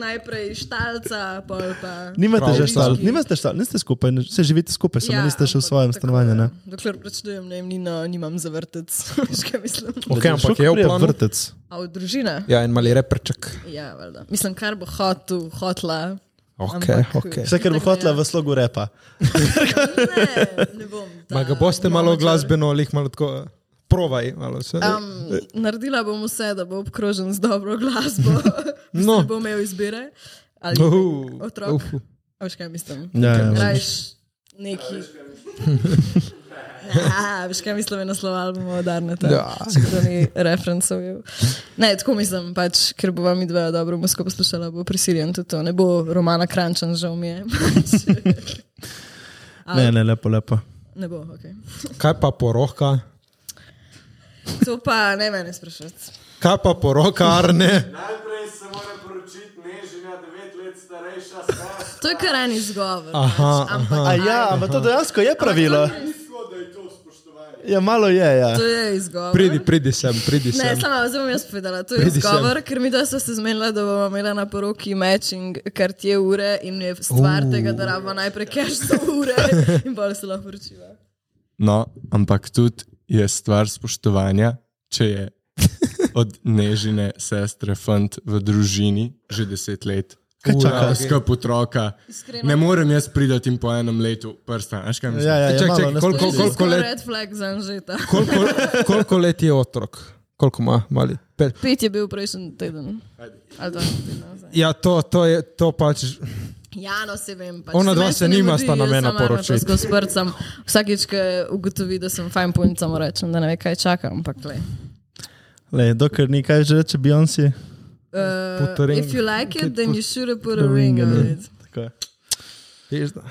Speaker 4: Najprej štalca, pol pa.
Speaker 3: Nimate
Speaker 5: Prav,
Speaker 3: že štal,
Speaker 4: Viški.
Speaker 3: nimate štal, niste skupaj, ne- se živite skupaj, samo ja, niste še v
Speaker 4: ampak
Speaker 3: svojem
Speaker 4: tako
Speaker 3: stanovanju.
Speaker 4: je.
Speaker 3: Ne?
Speaker 4: Dokler plačujem najemnino, nimam za vrtec. Veš, kaj mislim?
Speaker 5: Ok, ampak
Speaker 3: Šel
Speaker 5: je v
Speaker 3: prije
Speaker 5: planu.
Speaker 3: vrtec.
Speaker 4: A v družine?
Speaker 5: Ja, en mali reprček.
Speaker 4: Ja, valjda. Mislim, kar bo hotel, hotla.
Speaker 5: Ok,
Speaker 4: Ampak-
Speaker 5: ok.
Speaker 3: Vse, kar bo
Speaker 4: Tako da
Speaker 3: hotela
Speaker 4: ja.
Speaker 3: v slogu repa.
Speaker 4: Ne, ne bom. ta
Speaker 5: Ma ga boste malo
Speaker 4: mamačar.
Speaker 5: glasbeno, lih malo tako. eh, Provaj, malo vse.
Speaker 4: Um, naredila bom vse, da bo obkrožen z dobro glasbo.
Speaker 5: No.
Speaker 4: no. Ne bo imel izbire. Ali
Speaker 5: Uhu,
Speaker 4: otrok.
Speaker 5: uhu.
Speaker 4: A Veš kaj mislim?
Speaker 3: Ja, ja,
Speaker 4: Rajš neki. Ja, veš kaj mislim, na sloval bomo udarni.
Speaker 5: Ja.
Speaker 4: Ja. Če kdo ni referencev. je. Ne, tako mislim, pač, ker bo vam dva dobro musko poslušala, bo prisiljen tudi to. Ne bo Romana Krančan, žal mi je. pač.
Speaker 3: Ne, ne, lepo, lepo.
Speaker 4: Ne bo, ok.
Speaker 5: Kaj pa poroka?
Speaker 4: To pa ne mene sprašati.
Speaker 5: Kaj pa poroka, Arne?
Speaker 6: Najprej se mora poročiti nežena, devet let starejša stvar.
Speaker 4: To je kar en izgovor.
Speaker 5: Aha,
Speaker 4: pač, ampak
Speaker 3: A
Speaker 4: aj,
Speaker 3: ja, ampak to dejansko je pravilo.
Speaker 6: Nizko, da je to spoštovanje.
Speaker 3: Ja, malo je, ja.
Speaker 4: To je izgovor.
Speaker 5: Pridi, pridi sem, pridi
Speaker 4: Ne,
Speaker 5: sem.
Speaker 4: sama zdaj bom jaz povedala. To je
Speaker 5: Pridi sem.
Speaker 4: izgovor, ker mi da so se zmenila, da bomo imela na poroki matching kartje ure in je stvar tega, da rabimo najprej cash za ure in bolj se lahko poročiva.
Speaker 1: No, ampak tudi je stvar spoštovanja, če je od nežine sestre fant v družini že deset let.
Speaker 3: Kaj čaka?
Speaker 1: Ura, Skup otroka.
Speaker 4: Iskreno.
Speaker 1: Ne morem jaz pridati in po enem letu prsta. Veš kaj mislim?
Speaker 3: Ja, ja, ja,
Speaker 5: Čak,
Speaker 3: malo
Speaker 5: čak,
Speaker 3: nas-
Speaker 5: koliko-
Speaker 4: To je
Speaker 5: koliko-
Speaker 4: že skoraj
Speaker 5: let-
Speaker 4: Red flag za Anžeta.
Speaker 5: Koliko, koliko let je otrok? Koliko ima mali? Pet.
Speaker 4: Pet je bil prejšnji teden. Ali dva tedna nazaj.
Speaker 5: Ja, to, to je to pač.
Speaker 4: Ja, no se vem. Pač.
Speaker 5: Ona dva
Speaker 4: meni
Speaker 5: se
Speaker 4: ne
Speaker 5: nima
Speaker 4: mudi,
Speaker 5: sta namena
Speaker 4: jaz sama imam to
Speaker 5: poročiti.
Speaker 4: skozi prcem. Vsakič, ko ugotovi, da sem fajn punca, mu rečem, da ne ve, kaj čaka, ampak le.
Speaker 3: Lej, dokler ni kaj že reče Beyoncé.
Speaker 4: Uh,
Speaker 5: Put a ring.
Speaker 4: if you like it, then you should put a
Speaker 5: ring
Speaker 4: ring
Speaker 5: in
Speaker 4: on
Speaker 5: it.
Speaker 4: it.
Speaker 3: Tako je.
Speaker 5: veš, da-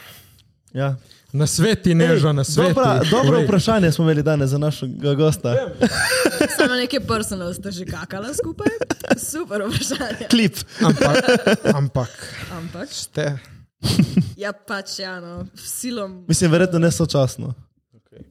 Speaker 3: Ja.
Speaker 5: Na sveti neža, na sveti.
Speaker 3: Dobra, dobro
Speaker 5: Glej.
Speaker 3: vprašanje smo imeli danes za našega gosta.
Speaker 4: Samo neke personal ste že kakala skupaj. Super vprašanje.
Speaker 3: Klip.
Speaker 5: Ampak, ampak
Speaker 4: Ampak,
Speaker 5: ste.
Speaker 4: ja pač, ja, no, silom.
Speaker 3: Mislim, verjetno ne sočasno.
Speaker 4: Ne,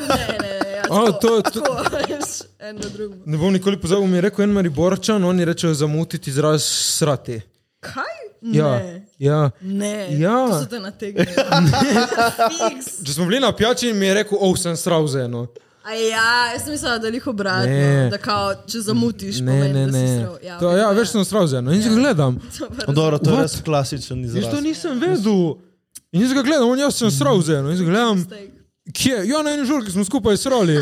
Speaker 4: ne, ne, ja,
Speaker 5: O,
Speaker 4: tako,
Speaker 5: to- to-
Speaker 4: tako, veš, eno drugo.
Speaker 5: Ne bom nikoli pozabil, mi je rekel en Mariborčan, oni rečejo zamutiti izraz srati.
Speaker 4: Kaj?
Speaker 5: Ja,
Speaker 4: Ne.
Speaker 5: ja.
Speaker 4: Ne,
Speaker 5: Ja.
Speaker 4: to so te nategnili. Fiks.
Speaker 5: Če smo bili na pijači, mi je rekel, oh, sem sral za eno.
Speaker 4: A ja, jaz sem mislila, da jih obratno,
Speaker 5: Ne.
Speaker 4: ne. da kao, če zamutiš,
Speaker 5: Ne,
Speaker 4: pomeni,
Speaker 5: ne,
Speaker 4: da si
Speaker 5: ne.
Speaker 4: srov.
Speaker 5: To, ja, veš, sem sral za eno. In jaz ga
Speaker 4: Ja.
Speaker 5: gledam.
Speaker 3: No, Dobro, to je
Speaker 5: What?
Speaker 3: res klasičen
Speaker 5: Jaz
Speaker 3: izraz.
Speaker 5: to nisem vedel. In jaz ga gledam, on jaz sem sral za eno. In jaz ga gledam, kje, ja, na eni žurki smo skupaj srali.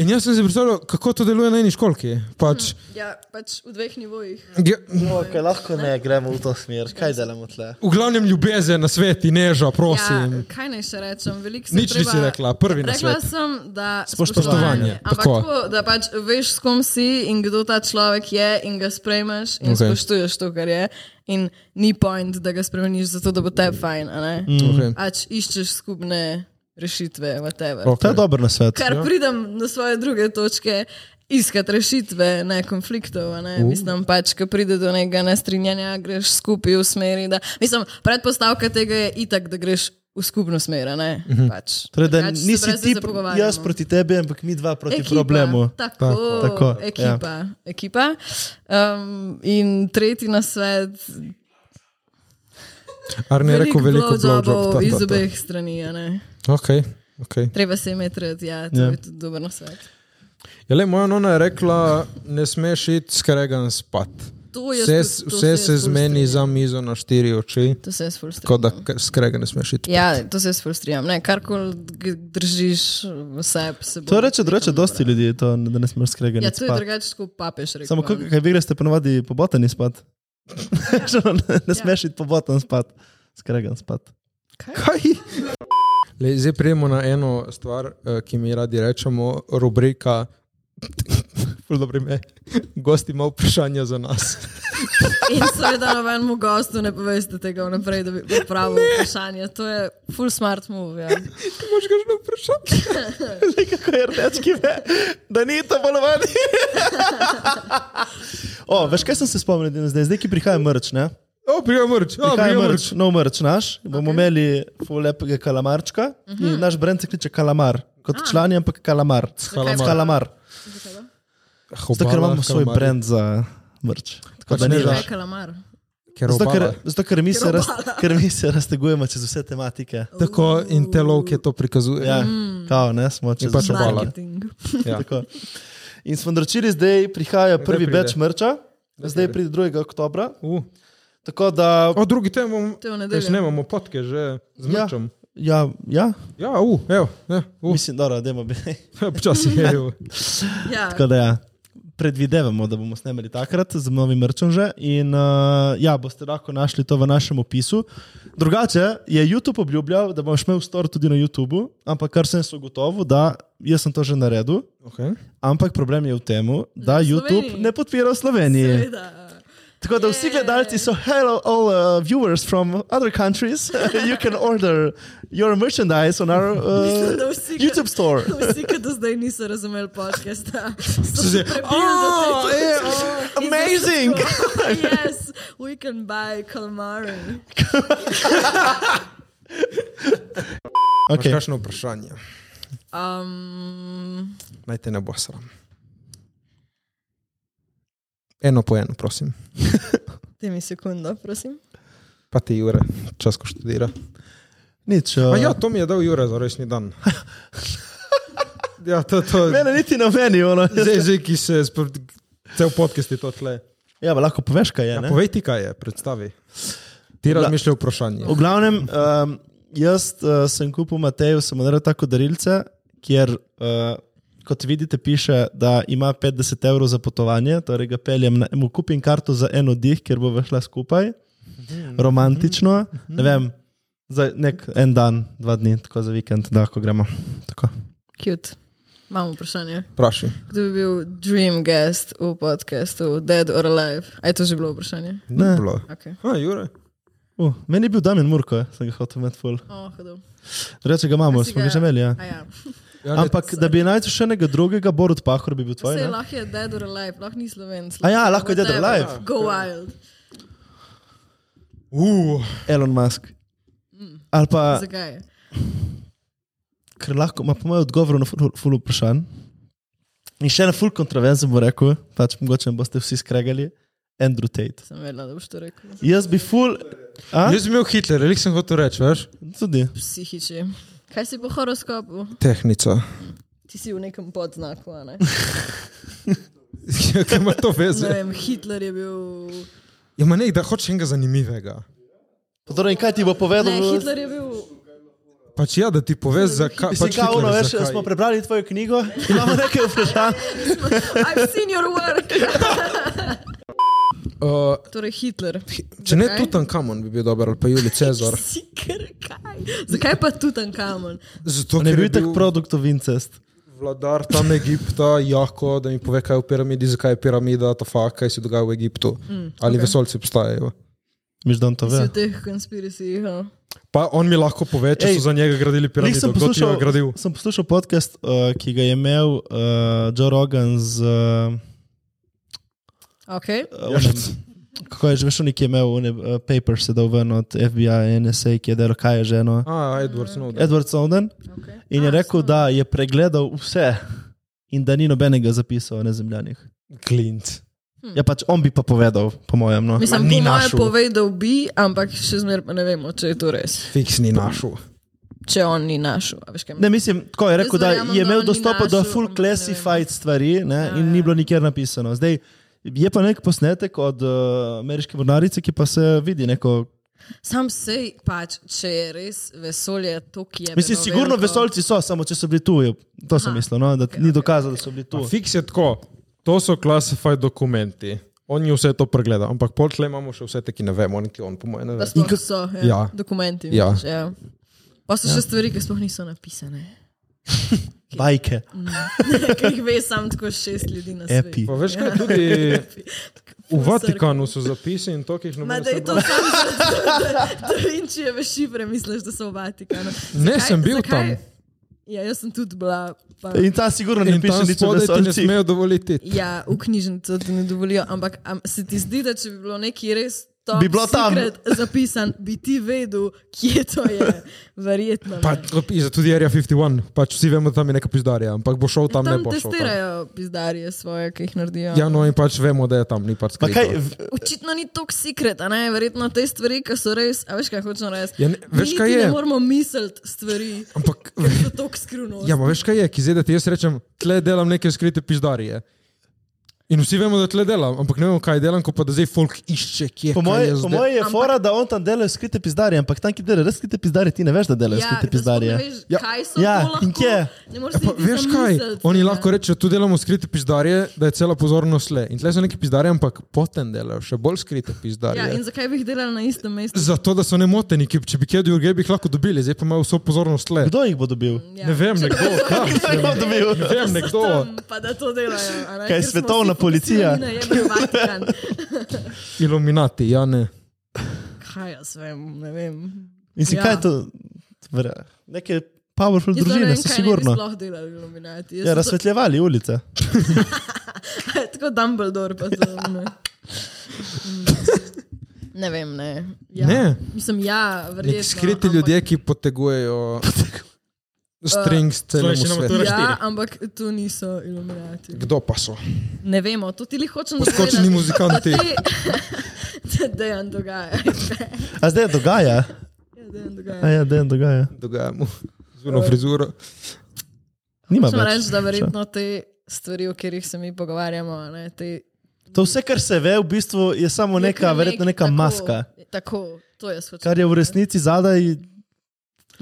Speaker 5: In jaz sem si predstavljal, kako to deluje na eni školki. Pač,
Speaker 4: Ja, pač v dveh nivojih.
Speaker 5: ja,
Speaker 3: Okay, lahko ne gremo v to smer, kaj delamo tle.
Speaker 5: v glavnem ljubezen na sveti neža, prosim.
Speaker 4: Ja, kaj naj še rečem? Veliko se
Speaker 5: Nič
Speaker 4: treba...
Speaker 5: nisi rekla, prvi na
Speaker 4: Rekla
Speaker 5: svet.
Speaker 4: sem, da
Speaker 3: Spoštovanje.
Speaker 4: spoštovanje. Ampak
Speaker 5: Tako.
Speaker 4: tako. tako, da pač veš, s kom si in kdo ta človek je in ga sprejmeš in
Speaker 5: Okej.
Speaker 4: okay. spoštuješ to, kar je. In ni point, da ga spremeniš zato, da bo te fajn, a ne?
Speaker 5: Okay.
Speaker 4: Pač iščeš skupne rešitve, whatever.
Speaker 5: Ok.
Speaker 3: To je dober nasvet.
Speaker 4: Kar
Speaker 5: Ja.
Speaker 4: pridem na svoje druge točke, iskati rešitve, ne konfliktov. a Ne? Uh. Mislim pač, ko pride do nekega nestrinjanja, greš skupaj v smeri. Da, mislim, predpostavka tega je itak, da greš v skupno smer. a Ne? Uh -huh. pač,
Speaker 3: Torej, da
Speaker 4: drugače se
Speaker 3: nisi
Speaker 4: brez
Speaker 3: ti,
Speaker 4: veze
Speaker 3: pr-
Speaker 4: pogovarjamo.
Speaker 3: jaz proti tebi, ampak mi dva proti
Speaker 4: Ekipa,
Speaker 3: problemu.
Speaker 4: Tako,
Speaker 5: Tako,
Speaker 4: tako,
Speaker 3: tako,
Speaker 4: tako
Speaker 3: ja.
Speaker 4: ekipa. Ja. ekipa. Um, in tretji na svet,
Speaker 5: Ar ne rekel veliko blowjob, ta, ta,
Speaker 4: iz
Speaker 5: ta.
Speaker 4: obeh strani. a ne.
Speaker 5: Ok, ok.
Speaker 4: Treba se jim je truditi, ja, to
Speaker 3: Ja.
Speaker 4: ja. je tudi dober na svet.
Speaker 5: Ja, le, moja nona je rekla, ne smeš iti skregan spat.
Speaker 4: To jaz
Speaker 5: Vse,
Speaker 4: tudi-
Speaker 5: s-
Speaker 4: to
Speaker 5: vse
Speaker 4: jaz
Speaker 5: se
Speaker 4: ful
Speaker 5: zmeni
Speaker 4: strinjam.
Speaker 5: za mizo na štiri oči,
Speaker 4: To se jaz fulstram.
Speaker 5: tako da k- skregan ne smeš iti.
Speaker 4: Ja, to se jaz frustriram. Ne, Karkoli g- držiš v sebi, se bo.
Speaker 3: To reče, da reče dosti ljudi, to, da ne smeš skregati.
Speaker 4: Ja, to je drugače, kot papež reče.
Speaker 3: Samo kaj, kaj vi greste ponovadi pobotani spat? Še ne,
Speaker 4: Ja.
Speaker 3: ne smeš iti pobotan spat, skregan spat.
Speaker 5: Kaj? Le, zdaj prijemo na eno stvar, eh, ki mi jo radi rečemo, rubrika ful dobro ime. Gost ima vprašanja za nas.
Speaker 4: In seveda nobenemu gostu ne poveste tega vnaprej, da bi popravil vprašanje. To je full smart move. Ja.
Speaker 5: Moš ga že na vprašanje?
Speaker 3: Zdaj, kako je rdečki, ve, da ni to bolovanje. o, veš, kaj sem se spomnil danes zdaj? Zdaj, ki prihaja mrč, ne?
Speaker 5: O, prijem mrč, o,
Speaker 3: No, Prihaja
Speaker 5: prijem
Speaker 3: mrč,
Speaker 5: mrč.
Speaker 3: nov mrč naš. Bomo imeli ful lepega kalamarčka. In naš brend se kliče kalamar. Kot člani, ampak kalamar.
Speaker 4: Kalamar.
Speaker 3: Kalamar. Zato, ker imamo svoj brend za mrč. Tako da
Speaker 5: Pač
Speaker 3: ni
Speaker 5: ne
Speaker 3: žal.
Speaker 4: Kaj kalamar.
Speaker 3: Zato, ker, zato ker, mi se raz, ker mi se raztegujemo čez vse tematike.
Speaker 5: Tako in telo, ki to prikazuje.
Speaker 3: Ja, kao, ne, smo čez
Speaker 5: In pač
Speaker 3: vse
Speaker 5: obala.
Speaker 3: tematike.
Speaker 4: Marketing.
Speaker 5: Ja.
Speaker 3: Tako. In smo naročili, zdaj prihaja prvi
Speaker 5: pride?
Speaker 3: več mrča, zdaj pride 2. oktober.
Speaker 5: U.
Speaker 3: Tako da,
Speaker 5: O, drugi tem imamo,
Speaker 4: To je v nedeljo.
Speaker 5: ne imamo potke že z
Speaker 3: Ja.
Speaker 5: mrčom.
Speaker 3: ja, ja
Speaker 5: Ja, u, evo, ja, u,
Speaker 3: mislim, da je bi.
Speaker 5: počasi je. u.
Speaker 4: Ja.
Speaker 3: Tako da, ja. predvidevamo, da bomo snemali takrat z novim mrčem že. In uh, ja, boste lahko našli to v našem opisu. Drugače je YouTube obljubljal, da boš imel store tudi na YouTubu, ampak kar sem se ugotovil, da jaz sem to že naredil.
Speaker 5: Okay.
Speaker 3: Ampak problem je v tem, da
Speaker 4: v
Speaker 3: YouTube
Speaker 4: Sloveniji.
Speaker 3: ne podpira v Sloveniji.
Speaker 4: Seveda.
Speaker 3: Tako da vsi gledalci so, hello, all uh, viewers from other countries, you can order your merchandise on our uh,
Speaker 4: Mislim, da vsi ga-
Speaker 3: YouTube store.
Speaker 4: Vsi, ki do zdaj niso razumeli podcasta, so
Speaker 5: zdaj,
Speaker 4: se
Speaker 3: Ah,
Speaker 4: prebili.
Speaker 3: eh, amazing!
Speaker 4: Yes, we can buy calamari.
Speaker 5: Okay.
Speaker 3: Okay.
Speaker 5: Kakšno vprašanje?
Speaker 4: Um,
Speaker 5: Naj te ne bo sram. Eno po eno, prosim.
Speaker 4: Daj mi sekundo, prosim.
Speaker 5: Pa ti Jure, čas, ko študira.
Speaker 3: Nič.
Speaker 5: Ma
Speaker 3: Uh,
Speaker 5: ja, to mi je dal Jure za rojstni dan. Ja, to je to.
Speaker 3: mene niti na meni, ono.
Speaker 5: Zdaj, zdaj, ki se je spod... cel podcast je to tle.
Speaker 3: Ja, pa lahko poveš, kaj je.
Speaker 5: Ja,
Speaker 3: ne?
Speaker 5: povej ti, kaj je, predstavi. Ti razmišljaj o vprašanju.
Speaker 3: V glavnem, um, jaz uh, sem kupil Mateju, sem mu naredil tako darilce, kjer, uh, kot vidite, piše, da ima 50 evrov za potovanje, torej ga peljem, na, mu kupim karto za en oddih, ker bo šla skupaj, romantično, ne vem, za nek en dan, dva dni, tako za vikend, da lahko gremo. Tako.
Speaker 4: Cute. Imamo vprašanje.
Speaker 5: Vprašaj.
Speaker 4: Kdo bi bil dream guest v podkastu Dead or Alive? A je to že bilo vprašanje?
Speaker 5: Ne. Bilo.
Speaker 4: Okay.
Speaker 5: A, Jure.
Speaker 3: Uh, meni je bil Damien Murko, eh, sem ga hotel imeti full.
Speaker 4: Oh, hodil.
Speaker 3: Reče ga imamo,
Speaker 4: A si
Speaker 3: smo ga
Speaker 4: ga-
Speaker 3: že imeli. Ja.
Speaker 4: A ja.
Speaker 5: Ja, ne,
Speaker 3: Ampak da bi najdel še enega drugega, Borut Pahor bi bil tvoj.
Speaker 4: Vse
Speaker 3: ne?
Speaker 4: lahko je Dead or Alive, lahko ni slovenc.
Speaker 3: A ja, lahko je Dead or
Speaker 4: Whatever.
Speaker 3: Alive.
Speaker 4: Go wild.
Speaker 5: Uh,
Speaker 3: Elon Musk.
Speaker 4: Mm.
Speaker 3: Ali pa
Speaker 4: Zakaj?
Speaker 3: ker lahko ima po mojem odgovoru na ful, ful vprašanj. In še en ful kontroverzen bo rekel, pač mogoče me boste vsi skregali, Andrew Tate.
Speaker 4: Sem vedela, da boš to rekel.
Speaker 3: Jaz bi ful, A?
Speaker 5: jaz sem imel Hitler, ali sem hotel reči, veš?
Speaker 3: tudi.
Speaker 4: Psihiči. Kaj si po horoskopu?
Speaker 5: Tehnica.
Speaker 4: Ti si v nekem podznaku, a ne?
Speaker 5: Kaj ima to
Speaker 4: Ne
Speaker 5: veze?
Speaker 4: vem, Hitler je bil.
Speaker 5: Ima nekaj, da hočeš enega zanimivega.
Speaker 3: Torej, in kaj ti bo povedal?
Speaker 4: Ne, Hitler je bil.
Speaker 5: Pač ja, da ti poveš, zakaj.
Speaker 3: Mislim,
Speaker 5: Pač
Speaker 3: kao, no,
Speaker 5: Hitler,
Speaker 3: veš,
Speaker 5: zakaj.
Speaker 3: smo prebrali tvojo knjigo, imamo nekaj vprašanj.
Speaker 4: I've seen your work.
Speaker 5: Uh,
Speaker 4: Torej, Hitler.
Speaker 5: če ne,
Speaker 4: Zakaj?
Speaker 5: Tutankamon bi bil dober, ali pa Juli Cezar.
Speaker 4: Si kar kaj. Zakaj pa tu tam kamen?
Speaker 5: Zato,
Speaker 3: Ne
Speaker 5: ker
Speaker 3: bi
Speaker 5: je
Speaker 3: bil tak
Speaker 5: bil
Speaker 3: produkt of incest.
Speaker 5: vladar tam Egipta, Jako, da mi pove, kaj je v piramidi, zakaj je piramida, ta fakt, kaj se dogaja v Egiptu. Mm, ali okay. vesolci obstajajo.
Speaker 3: Miš, da on to
Speaker 4: Si
Speaker 3: ve.
Speaker 4: v teh ja. konspiracijih. a?
Speaker 5: Pa on mi lahko pove, če
Speaker 3: Ej,
Speaker 5: Ej, so za njega gradili
Speaker 3: Lih
Speaker 5: piramido,
Speaker 3: sem
Speaker 5: kdo ti jo
Speaker 3: poslušal,
Speaker 5: je gradil.
Speaker 3: sem poslušal podcast, uh, ki ga je imel uh, Joe Rogan z... Uh,
Speaker 4: Okay.
Speaker 5: Ja,
Speaker 3: Uh, onem, Kako je že veš, nek je imel one, uh, paper, se dal ven od FBI, NSA, ki je delo kaj je že eno.
Speaker 5: A, Edward Snowden.
Speaker 3: Ja. Edward Snowden
Speaker 4: Okay.
Speaker 3: in je rekel, da je pregledal vse in da ni nobenega zapisal o nezemljanih.
Speaker 5: Clint.
Speaker 3: Ja, pač on bi pa povedal, po mojem. No.
Speaker 4: Hm. Mislim,
Speaker 5: Ma, ni
Speaker 4: po moje
Speaker 5: našel.
Speaker 4: povedal bi, ampak še zmeraj pa ne vemo, če je to res.
Speaker 5: Fiksni našel.
Speaker 4: Če on ni našel. a veš, kaj
Speaker 3: Ne, mislim, tako je rekel, da
Speaker 4: verjamem,
Speaker 3: je
Speaker 4: da
Speaker 3: imel
Speaker 4: on ni
Speaker 3: dostop do
Speaker 4: našel,
Speaker 3: full
Speaker 4: ampak ne vem. Ja,
Speaker 3: classified stvari ne, in ni bilo nikjer napisano. Zdaj, je pa nek posnetek od uh, ameriške mornarice, ki pa se vidi
Speaker 4: Ja,
Speaker 3: neko.
Speaker 4: Sam sej pač, če je res vesolje, to ki je.
Speaker 3: Mislim, sigurno vesolci so, samo če so bili tu. To sem mislil, no, da ni dokazalo, da so bili tu.
Speaker 5: Fiks je tako, to so classified dokumenti. On je vse to pregledal, ampak potlej imamo še vse te, ki ne vemo, niti on, po mojem, ne ve.
Speaker 4: Da sploh so ja,
Speaker 5: Ja.
Speaker 4: dokumenti.
Speaker 5: Ja.
Speaker 4: misliš, ja. Pa so še stvari, ki sploh niso napisane.
Speaker 3: Bajke,
Speaker 4: Ker jih ve sam tako šest ljudi na svetu.
Speaker 3: epi.
Speaker 5: Pa veš
Speaker 4: Ja.
Speaker 5: kaj, tudi v Vatikanu so zapisi in to, ki jih
Speaker 4: Ma
Speaker 5: nobeno
Speaker 4: da je to samo zato, da Vinčijeve šifre misliš, da so v Vatikanu.
Speaker 5: Ne,
Speaker 4: Zakaj-
Speaker 5: sem bil
Speaker 4: zakaj-
Speaker 5: tam.
Speaker 4: Ja, jaz sem tudi bila. Pa...
Speaker 3: In ta sigurno ne
Speaker 5: In
Speaker 3: piše
Speaker 5: tam
Speaker 3: nič o
Speaker 5: spodaj ti ne
Speaker 3: vesolcih.
Speaker 5: smejo dovoliti.
Speaker 4: Ja, v knjižnico ti ne dovolijo, ampak am, se ti zdi, da če bi bilo neki res to
Speaker 3: Bi bilo tam.
Speaker 4: zapisan, bi ti vedel, kje to je. Verjetno. ne.
Speaker 5: Pa za tudi Area 51, pač vsi vemo, da tam je neka pizdarja, ampak bo šel tam, ne
Speaker 4: tam
Speaker 5: bo šel. Tam.
Speaker 4: testirajo pizdarje svoje, ki jih naredijo.
Speaker 5: Ja, no in pač vemo, da je tam, ni pač
Speaker 3: Pa kaj,
Speaker 5: skrito.
Speaker 3: v-
Speaker 4: Očitno ni tako sekret, a ne? verjetno te stvari, ki so res, a veš kaj hočem reči.
Speaker 5: Ja, ne, veš,
Speaker 4: Mi
Speaker 5: kaj
Speaker 4: niti
Speaker 5: je?
Speaker 4: Ne moramo misliti stvari,
Speaker 5: Ampak,
Speaker 4: ki so tako skrivnostne.
Speaker 5: ja, ma veš kaj je, ki zdaj, da ti jaz rečem, tle delam neke skrite pizdarje. In vsi vemo, da tle delam, ampak ne vemo, kaj delam, ko pa da zdaj folk išče, kje
Speaker 3: po
Speaker 5: kaj
Speaker 3: moje,
Speaker 5: je
Speaker 3: po
Speaker 5: zdaj.
Speaker 3: moje je
Speaker 4: Ampak-
Speaker 3: fora, da on tam dela skrite pizdarje, ampak tam, ki dela res skrite pizdarje, ti ne veš, da dela skrite
Speaker 4: Ja, da
Speaker 3: pizdarje.
Speaker 4: sploh ne veš, kaj so
Speaker 3: Ja,
Speaker 4: to lahko.
Speaker 3: in kje?
Speaker 4: Ne moreš
Speaker 5: Ja,
Speaker 4: si
Speaker 5: pa,
Speaker 4: niti
Speaker 5: veš kaj,
Speaker 4: zamisliti,
Speaker 5: oni
Speaker 4: ja.
Speaker 5: lahko rečejo, tu delamo skrite pizdarje, da je cela pozornost le. In tle so neki pizdarje, ampak potem delajo še bolj skrite
Speaker 4: Ja,
Speaker 5: pizdarje.
Speaker 4: in zakaj bi jih delali na istem mestu?
Speaker 5: Zato, da so nemoteni, ki če bi kje drugje bi jih lahko dobili, zdaj pa imajo vso pozornost le.
Speaker 3: Kdo jih bo dobil?
Speaker 4: Ja.
Speaker 5: Ne vem,
Speaker 4: Če
Speaker 5: nekdo,
Speaker 4: da so
Speaker 5: kam,
Speaker 4: neki
Speaker 3: Kdo jih bo dobil?
Speaker 5: Vem, nekdo.
Speaker 4: tam, Pa da to delajo. a ne,
Speaker 3: Kaj,
Speaker 4: ker smo
Speaker 3: svetovna
Speaker 4: vsi fokusirani
Speaker 3: policija?
Speaker 4: na jebeni Vatikan.
Speaker 5: Iluminati, ja ne.
Speaker 4: Kaj jaz vem, ne vem.
Speaker 5: No,
Speaker 3: Mislim,
Speaker 4: Ja.
Speaker 3: kaj je to? Vra- Neke powerful
Speaker 4: Jaz
Speaker 3: družine
Speaker 4: ne vem,
Speaker 3: so
Speaker 4: kaj
Speaker 3: sigurno.
Speaker 4: Ne bi sploh delali iluminati.
Speaker 3: Ja, razsvetljevali ulice.
Speaker 4: Tako Dumbledore pa to. Ne, Mm. ne vem, ne. Ja.
Speaker 5: Ne.
Speaker 4: Mislim, ja, verjetno.
Speaker 5: Nek skriti
Speaker 4: ampak-
Speaker 5: ljudje, ki potegujejo strings celemu
Speaker 2: Slovenščina ima to
Speaker 5: svetu.
Speaker 2: res-
Speaker 3: torej-
Speaker 4: Ja,
Speaker 2: štiri.
Speaker 4: ampak to niso iluminati.
Speaker 5: Kdo pa so?
Speaker 4: Ne vemo, to ti li hočem
Speaker 5: Poskočni
Speaker 4: povedati,
Speaker 5: muzikanti.
Speaker 4: da dejan dogaja.
Speaker 3: A zdaj dogaja?
Speaker 4: Ja, dejan
Speaker 3: A
Speaker 4: dogaja.
Speaker 3: ja, dejan dogaja.
Speaker 5: Dogajamo.
Speaker 4: Eh.
Speaker 5: Zuno frizuro.
Speaker 3: Nima
Speaker 4: Hočem
Speaker 3: več.
Speaker 4: reči, da verjetno te stvari, o katerih se mi pogovarjamo, a ne, te,
Speaker 3: To vse, kar se ve, v bistvu je samo
Speaker 4: je
Speaker 3: neka,
Speaker 4: kar
Speaker 3: verjetno
Speaker 4: nek-
Speaker 3: neka
Speaker 4: tako-
Speaker 3: maska,
Speaker 4: Tako, to jaz hočem.
Speaker 3: kar je v resnici zadaj.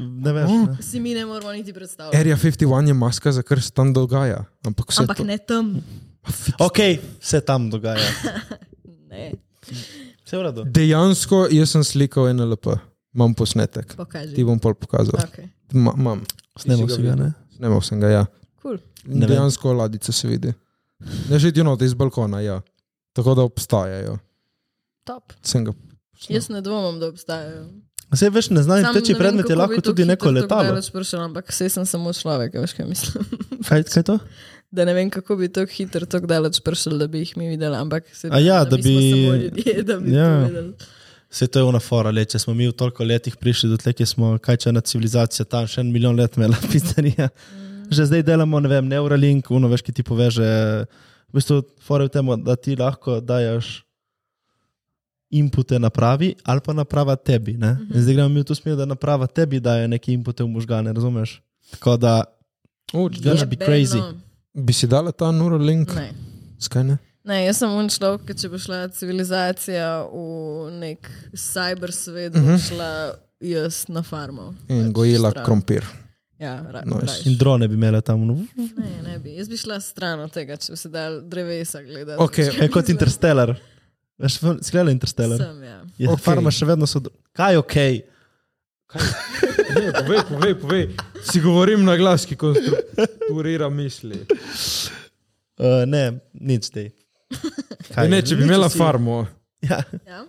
Speaker 3: Ne veš.
Speaker 5: Mm.
Speaker 3: Ne.
Speaker 4: Si mi ne moramo niti predstavljati.
Speaker 5: Area 51 je maska, za kar se tam dogaja. Ampak vse.
Speaker 4: Ampak
Speaker 5: to-
Speaker 4: ne tam.
Speaker 3: Ok, se tam dogaja.
Speaker 4: Ne,
Speaker 3: Vse v redu.
Speaker 5: Dejansko jaz sem slikal NLP. Imam posnetek.
Speaker 4: pokaži.
Speaker 5: Ti bom pol pokazal.
Speaker 4: Okay.
Speaker 5: Ma- Imam.
Speaker 3: Snemal
Speaker 5: si ga
Speaker 3: si ga, ne?
Speaker 5: Snemal sem ga, ja.
Speaker 4: Cool.
Speaker 5: In
Speaker 3: Ne vem.
Speaker 5: Dejansko ladica se vidi. Ne že enote iz balkona, ja. Tako da obstajajo.
Speaker 4: Top.
Speaker 5: Sem ga.
Speaker 3: no.
Speaker 4: Jaz ne dvomim, da obstajajo.
Speaker 3: Vse veš, ne znaš,
Speaker 4: Samo
Speaker 3: teči
Speaker 4: ne vem,
Speaker 3: predmet je
Speaker 4: kako bi
Speaker 3: lahko
Speaker 4: to
Speaker 3: tudi
Speaker 4: hitro
Speaker 3: neko
Speaker 4: tako
Speaker 3: letalo.
Speaker 4: daleč prišel, ampak vse sem samo človek, a veš kaj mislim.
Speaker 3: Kaj, kaj je to?
Speaker 4: da ne vem, kako bi tako hitro, tako daleč prišel, da bi jih mi videli. Ampak se
Speaker 3: A ja, da
Speaker 4: mi smo
Speaker 3: bi-
Speaker 4: samo Ljudje, da bi
Speaker 3: Ja.
Speaker 4: ja. videli.
Speaker 3: Vse to je unafora, le če smo mi v toliko letih prišli do tle, ki smo, kaj če ena civilizacija tam še en milijon let imela pizzerija.
Speaker 4: Mm.
Speaker 3: Že zdaj delamo, ne vem, Neuralink, uno veš, ki ti poveže. V bistvu, fora je v tem, da ti lahko dajaš inpute napravi ali pa naprava tebi. Ne?
Speaker 4: Mhm.
Speaker 3: In zdaj gremo mi v to smer, da naprava tebi daje neke inpute v možgane, razumeš? Tako da,
Speaker 5: Oh,
Speaker 3: Gonna be crazy.
Speaker 5: bi si dala ta Neuralink?
Speaker 4: no, Ne.
Speaker 5: Skaj ne?
Speaker 4: ne, jaz sem un človek, ki če bo šla civilizacija v nek cyber svet,
Speaker 3: Mhm.
Speaker 4: bo šla jaz na farmo.
Speaker 5: In
Speaker 4: Pač
Speaker 5: gojila
Speaker 4: stran.
Speaker 5: krompir.
Speaker 4: Ja, ra,
Speaker 5: Nice.
Speaker 4: nice.
Speaker 3: No, in drone bi imele tam, no,
Speaker 4: Ne, ne bi. Jaz bi šla stran od tega, če bi se dal drevesa gledati.
Speaker 5: Ok,
Speaker 4: Veš, kaj
Speaker 3: je kot
Speaker 4: mislim?
Speaker 3: Interstellar. Veš, si gledal Interstellar?
Speaker 4: Sem, ja.
Speaker 3: Je,
Speaker 5: Okej.
Speaker 3: okay. Farma še vedno so. Kaj je ok?
Speaker 5: Ne, povej, povej, povej. Si govorim na glas, ki konstruira misli.
Speaker 3: Uh, ne, nič te.
Speaker 5: Kaj, E, ne, če bi imela farmo,
Speaker 3: Ja.
Speaker 4: Ja?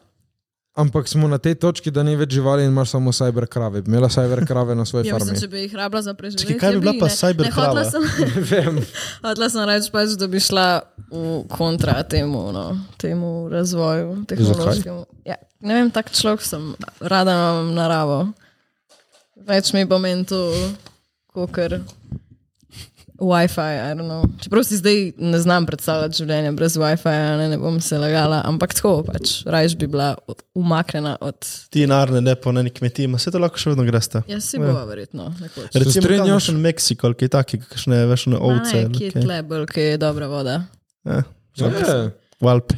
Speaker 5: ampak smo na tej točki, da ni več živali in imaš samo cyber krave. Bi imela cyber krave na svoji
Speaker 4: Ja,
Speaker 5: farmi.
Speaker 4: mislim, če bi jih rabila za preživetje.
Speaker 3: Čakaj, kaj bi bila
Speaker 4: bi,
Speaker 3: pa
Speaker 4: ne.
Speaker 3: cyber
Speaker 4: Ne, hotela
Speaker 3: krava?
Speaker 4: sem,
Speaker 5: Ne vem.
Speaker 4: hotela sem reči, pač, da bi šla v kontra temu, no, temu razvoju, tehnološkemu. Ja, ne vem, tak človek sem, rada imam naravo. Več mi pomeni to, kot kar Wi-Fi, I don't know. Čeprav si zdaj ne znam predstavljati življenja brez Wi-Fi, ne, ne bom se lagala, ampak tako pač, rajš bi bila od- umaknjena od.
Speaker 3: Ti narne lepo na neki kmetiji, ima vse to lahko še vedno greste.
Speaker 4: Jaz si Ja, bova verjetno nekoč.
Speaker 3: Recimo,
Speaker 5: strinjaš?
Speaker 3: tam še Meksiko, ali kaj takega, kakšne veš, ne
Speaker 4: Ma
Speaker 3: ovce. Eh,
Speaker 4: Ne, ki je tle bolj, ki je dobra voda.
Speaker 5: Ja,
Speaker 3: Valpe.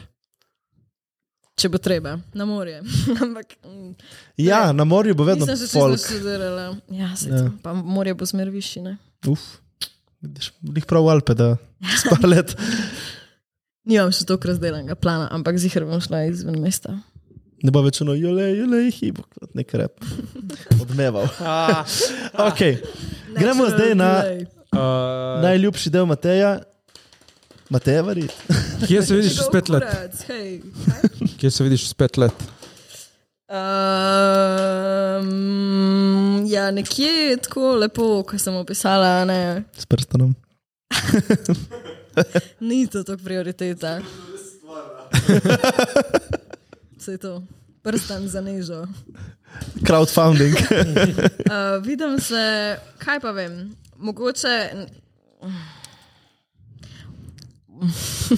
Speaker 4: Če bo treba, na morje. Ampak mm,
Speaker 3: Ja, na morju bo vedno
Speaker 4: nisem še čisto
Speaker 3: folk.
Speaker 4: študirala. Ja, se
Speaker 3: Ja.
Speaker 4: ja. pa morje bo smer višine.
Speaker 3: Uf, vidiš, glih prav Valpe, da spar let.
Speaker 4: Nimam še tako razdeljenega plana, ampak zihar bom šla izven mesta.
Speaker 3: Ne bo več
Speaker 4: Ah,
Speaker 3: ono, jole, jole, hibo, kot nek rep. Odmeval. ok, Gremo zdaj na
Speaker 5: Uh,
Speaker 3: najljubši del Mateja. Matej, varit.
Speaker 5: kje se vidiš čez pet let? Kje se vidiš čez pet let?
Speaker 4: Um, ja, nekje je tako lepo, kot sem opisala, a ne.
Speaker 3: S prstanom.
Speaker 4: ni to tako prioriteta. Vse je to, prstan za nežo.
Speaker 3: Crowdfunding.
Speaker 4: Uh, vidim se, kaj pa vem, mogoče.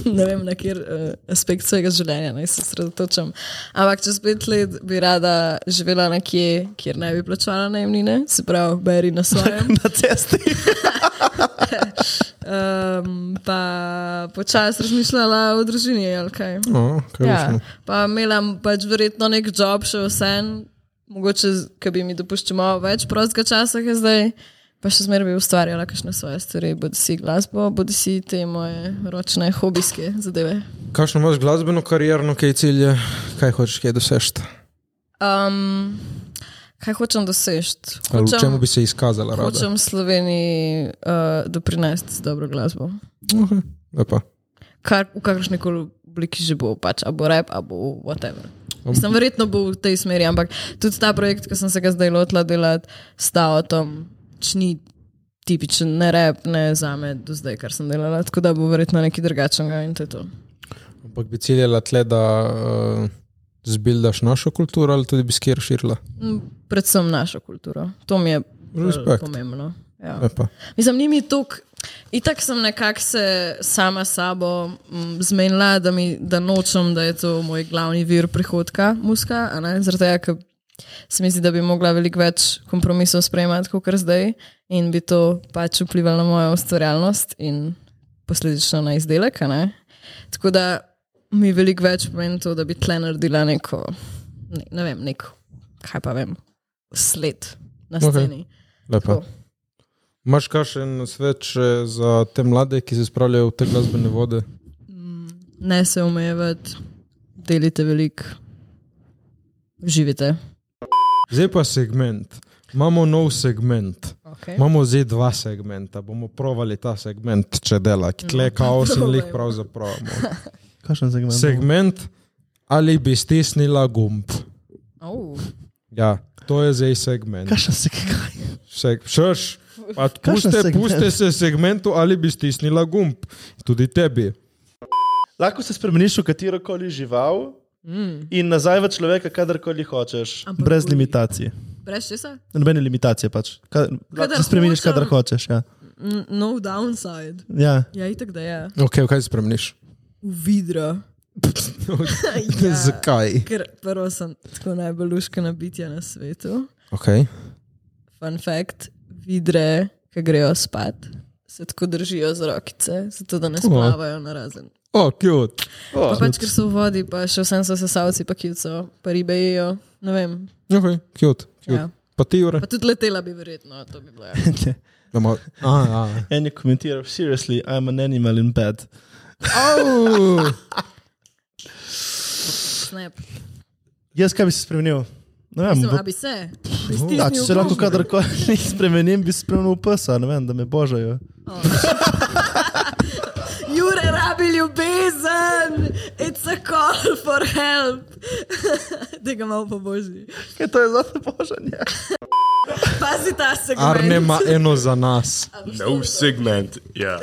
Speaker 4: ne vem, na kjer uh, aspekt svojega življenja naj se osredotočam. Ampak čez pet let bi rada živela nekje, kjer ne bi plačala najemnine, se pravi, beri na svojem.
Speaker 3: Na cesti.
Speaker 4: Um, pa počasi razmišljala o družini ali kaj.
Speaker 5: Oh, kaj boš
Speaker 4: Ja,
Speaker 5: imel?
Speaker 4: pa imela pač verjetno nek job še vsem, mogoče, ki bi mi dopuščal malo več prostega časa, ki je zdaj. Pa še zmeraj bi ustvarjala kakšne svoje stvari, bodi si glasbo, bodi si te moje ročne hobijske zadeve.
Speaker 5: Kakšno imaš glasbeno karierno, kaj cilje, kaj hočeš, kaj dosežeš?
Speaker 4: Um, kaj hočem doseči?
Speaker 5: V čemu
Speaker 4: Hočem,
Speaker 5: bi se izkazala? Rada?
Speaker 4: hočem Sloveniji uh, doprinesti z dobro glasbo.
Speaker 5: Okay. Lepa.
Speaker 4: kar v kakršni koli obliki že bo, pač, a bo rep, a bo whatever. Mislim, verjetno bo v tej smeri, ampak tudi ta projekt, ki sem se ga zdaj lotila delati s Taotom, pač ni tipičen, ne rep, ne za me do zdaj, kar sem delala, tako da bo verjetno nekaj drugačnega in to je to.
Speaker 5: Ampak bi ciljala tle, da uh, zbildaš našo kulturo ali tudi bi skir širila.
Speaker 4: Mm, Predvsem našo kulturo, to mi je
Speaker 5: Respekt.
Speaker 4: pomembno. Ja.
Speaker 5: Lepa.
Speaker 4: Mislim, ni mi tok. Itak sem nekako se sama s sabo mm, zmenila, da, mi, da nočem, da je to moj glavni vir prihodka, muska. a ne, Zaradi tega, ker se mi zdi, da bi mogla veliko več kompromisov sprejemati kot zdaj in bi to pač vplivalo na mojo ustvarjalnost in posledično na izdelek. a ne. Tako da mi veliko več pomeni to, da bi tle naredila neko, ne, ne vem, nek, kaj pa vem, sled na
Speaker 5: Okej.
Speaker 4: sceni. Okay.
Speaker 5: Lepa.
Speaker 4: Tako.
Speaker 5: Imaš kakšen svet še za te mlade, ki se spravljajo v te glasbene vode?
Speaker 4: ne se omejevati, delite veliko, živite.
Speaker 5: Zdaj pa segment. Imamo nov segment.
Speaker 4: Okay.
Speaker 5: Imamo zdaj dva segmenta. Bomo provali ta segment, če dela, ki tle kaos in lih pravzaprav. imamo.
Speaker 3: Kakšen segment?
Speaker 5: Segment ali bi stisnila gumb.
Speaker 4: Oh,
Speaker 5: Ja, to je zdaj segment.
Speaker 3: Kakšen segment?
Speaker 5: Seg, šeš, pa
Speaker 3: Kakšen
Speaker 5: puste,
Speaker 3: segment?
Speaker 5: puste se segmentu ali bi stisnila gumb. Tudi tebi.
Speaker 3: Lahko se spremeniš v katero koli žival mm. in nazaj v človeka, kadarkoli hočeš.
Speaker 4: Ampak
Speaker 3: Ampak brez
Speaker 4: koli.
Speaker 3: limitacije.
Speaker 4: brez česa?
Speaker 3: Nobene limitacije pač. Ka, lahko se
Speaker 4: Kadar
Speaker 3: spremeniš,
Speaker 4: hočem.
Speaker 3: kadar hočeš. Ja.
Speaker 4: N- No downside.
Speaker 3: Ja.
Speaker 4: Ja, itak da je.
Speaker 5: Ok, kaj spremeniš?
Speaker 4: Uvidra.
Speaker 5: Ja. Zakaj?
Speaker 4: Ker prvo sem tako najbolj luškana bitja na svetu.
Speaker 5: Okay.
Speaker 4: Fun fact, vidre, ki grejo spat, se tako držijo z rokice, zato da ne splavajo na razen.
Speaker 5: O, oh, cute.
Speaker 4: Pa pač, ker so v vodi, pa še vsem so sesalci, pa kivco, pa ribe jejo, ne vem.
Speaker 5: Ok, cute. cute.
Speaker 4: Ja.
Speaker 5: Ja. Pa ti ure.
Speaker 4: Pa tudi letela bi verjetno, to bi bilo. ja.
Speaker 5: Doma. A, a.
Speaker 3: En je komentiral, seriously, I'm an animal in bed.
Speaker 5: Au!
Speaker 4: Snap.
Speaker 3: Jaz kaj bi se spremenil? Ne vem,
Speaker 4: Mislim,
Speaker 3: v-
Speaker 4: a bi se.
Speaker 3: ja, če se lahko kadarkoli spremenim, bi se spremenil v psa, ne vem, da me božajo.
Speaker 4: Jure rabi ljubezen, it's a call for help. da ga malo pobožji.
Speaker 3: Kaj to je za te božanje?
Speaker 4: Pazi ta segment.
Speaker 5: Arne ima eno za nas.
Speaker 1: Nov No segment, ja.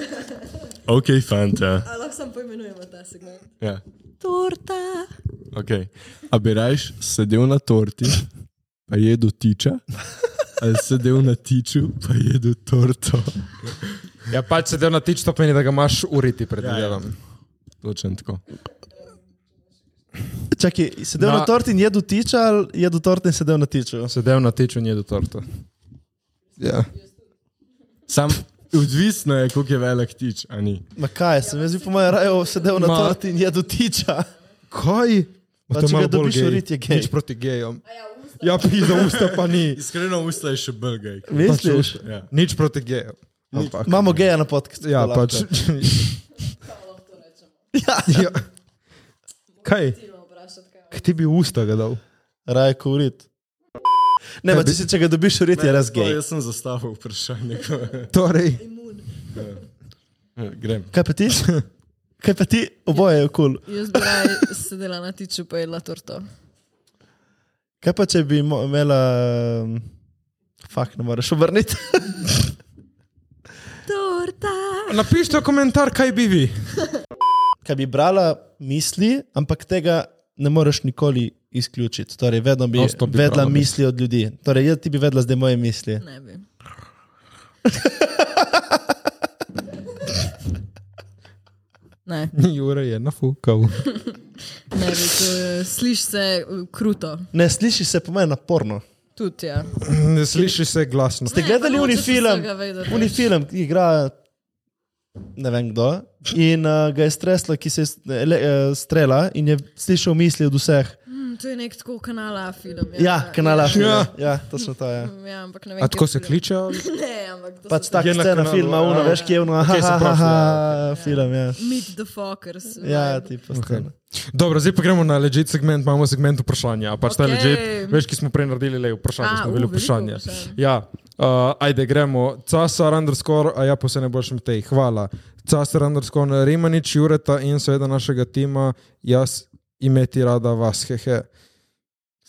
Speaker 1: Ok, fanta.
Speaker 4: A Lahko samo poimenujemo ta segment.
Speaker 1: Ja.
Speaker 4: Torta.
Speaker 1: Okay. A bi rajš sedel na torti, pa jedel tiča, ali sedel na tiču, pa jedel torto.
Speaker 5: Ja, pač se del na tič, to pomeni, da ga imaš uriti pred delom.
Speaker 1: Točno tako.
Speaker 3: Čakaj, sedel
Speaker 5: Na-
Speaker 3: na, na torti in jedel tiča, ali jedel torti in sedel na tiču?
Speaker 5: Se del na tič in je do torta. Ja.
Speaker 1: Sam, odvisno je, koliko je velik tič, a ni.
Speaker 3: Ma kaj, sem jaz bi po mojem raju sedel na
Speaker 5: Ma-
Speaker 3: torti in jedel tiča.
Speaker 5: Kaj?
Speaker 3: Pa
Speaker 5: To je
Speaker 3: če
Speaker 5: malo
Speaker 3: ga
Speaker 5: bolj
Speaker 3: dobiš
Speaker 5: gej.
Speaker 3: urit, je gej.
Speaker 5: Nič proti gejom. Ja, pizda usta pa ni.
Speaker 1: Iskreno, usta je še belgaj.
Speaker 3: Misliš?
Speaker 1: Ja.
Speaker 5: Nič proti gejom. Ampak.
Speaker 3: Pač Imamo geja na podkastu.
Speaker 5: Ja, pač. ja. Kaj? K ti bi usta ga dal.
Speaker 3: Raj kurit. Ne, pa če si če ga dobiš, uriti je res gej.
Speaker 1: Jaz sem zastavil vprašanje. ko- Ja,
Speaker 5: Torej,
Speaker 1: Grem.
Speaker 3: Kaj pa ti? Kaj pa ti? Oboje je kul. Cool.
Speaker 4: Jaz bi raje sedela na tiču pa jedla torto.
Speaker 3: Kaj pa če bi mo- imela... um, Fak, ne moreš obrniti.
Speaker 4: Torta!
Speaker 5: napišite v komentar, kaj bi vi.
Speaker 3: Kaj bi brala misli, ampak tega ne moreš nikoli izključiti. Torej, vedno bi,
Speaker 5: Nonstop bi
Speaker 3: bi vedla
Speaker 5: brala
Speaker 3: misli od ljudi. Torej, jaz ti bi vedla zdaj moje misli.
Speaker 4: Ne bi. Ne,
Speaker 5: Jure je nafukal.
Speaker 4: ne bi. to je- Sliš se uh, kruto.
Speaker 3: Ne sliši se po meni naporno.
Speaker 4: Tudi, ja.
Speaker 5: Ne sliši se glasno.
Speaker 3: Ste gledali
Speaker 4: pa
Speaker 3: uni
Speaker 4: nočeš
Speaker 3: film?
Speaker 4: vsega vedeti.
Speaker 3: Uni film, ki igra ne vem kdo. In uh, ga je stresla, ki se je s- ele, uh, strela in je slišal misli od vseh.
Speaker 4: Hm, To je nek tako kanala film.
Speaker 3: Ja, kanala. Ja,
Speaker 5: Ja.
Speaker 3: ja točno to je. Ja.
Speaker 4: Ja, ampak ne vem.
Speaker 5: A
Speaker 4: kje
Speaker 5: tako se
Speaker 4: film.
Speaker 5: kliče?
Speaker 4: Ne, ampak to
Speaker 3: Pač
Speaker 4: so
Speaker 3: tak
Speaker 5: Je na
Speaker 3: scena
Speaker 5: kanalu,
Speaker 3: filma,
Speaker 5: ja.
Speaker 3: uno, veš, ki je uno, aha,
Speaker 5: Okej, sem
Speaker 3: aha,
Speaker 5: prosil,
Speaker 3: aha,
Speaker 5: ja,
Speaker 3: film, ja.
Speaker 4: Meet the fuckers.
Speaker 3: Ja, tipa
Speaker 5: Okay.
Speaker 3: scena.
Speaker 5: Dobro, zdaj pa gremo na legit segment, imamo segment vprašanja. Pač okay.
Speaker 4: Okej.
Speaker 5: legit, veš, ki smo prej naredili, le vprašanje,
Speaker 4: A,
Speaker 5: smo
Speaker 4: u,
Speaker 5: bili
Speaker 4: veliko
Speaker 5: vprašanje.
Speaker 4: vprašanj.
Speaker 5: Ja, uh, ajde, gremo. Casar underscore, a ja, pa se ne boš tej. Hvala. Casar underscore, Rimanič, Jureta in seveda našega tima, jaz imeti rada vas, hehe.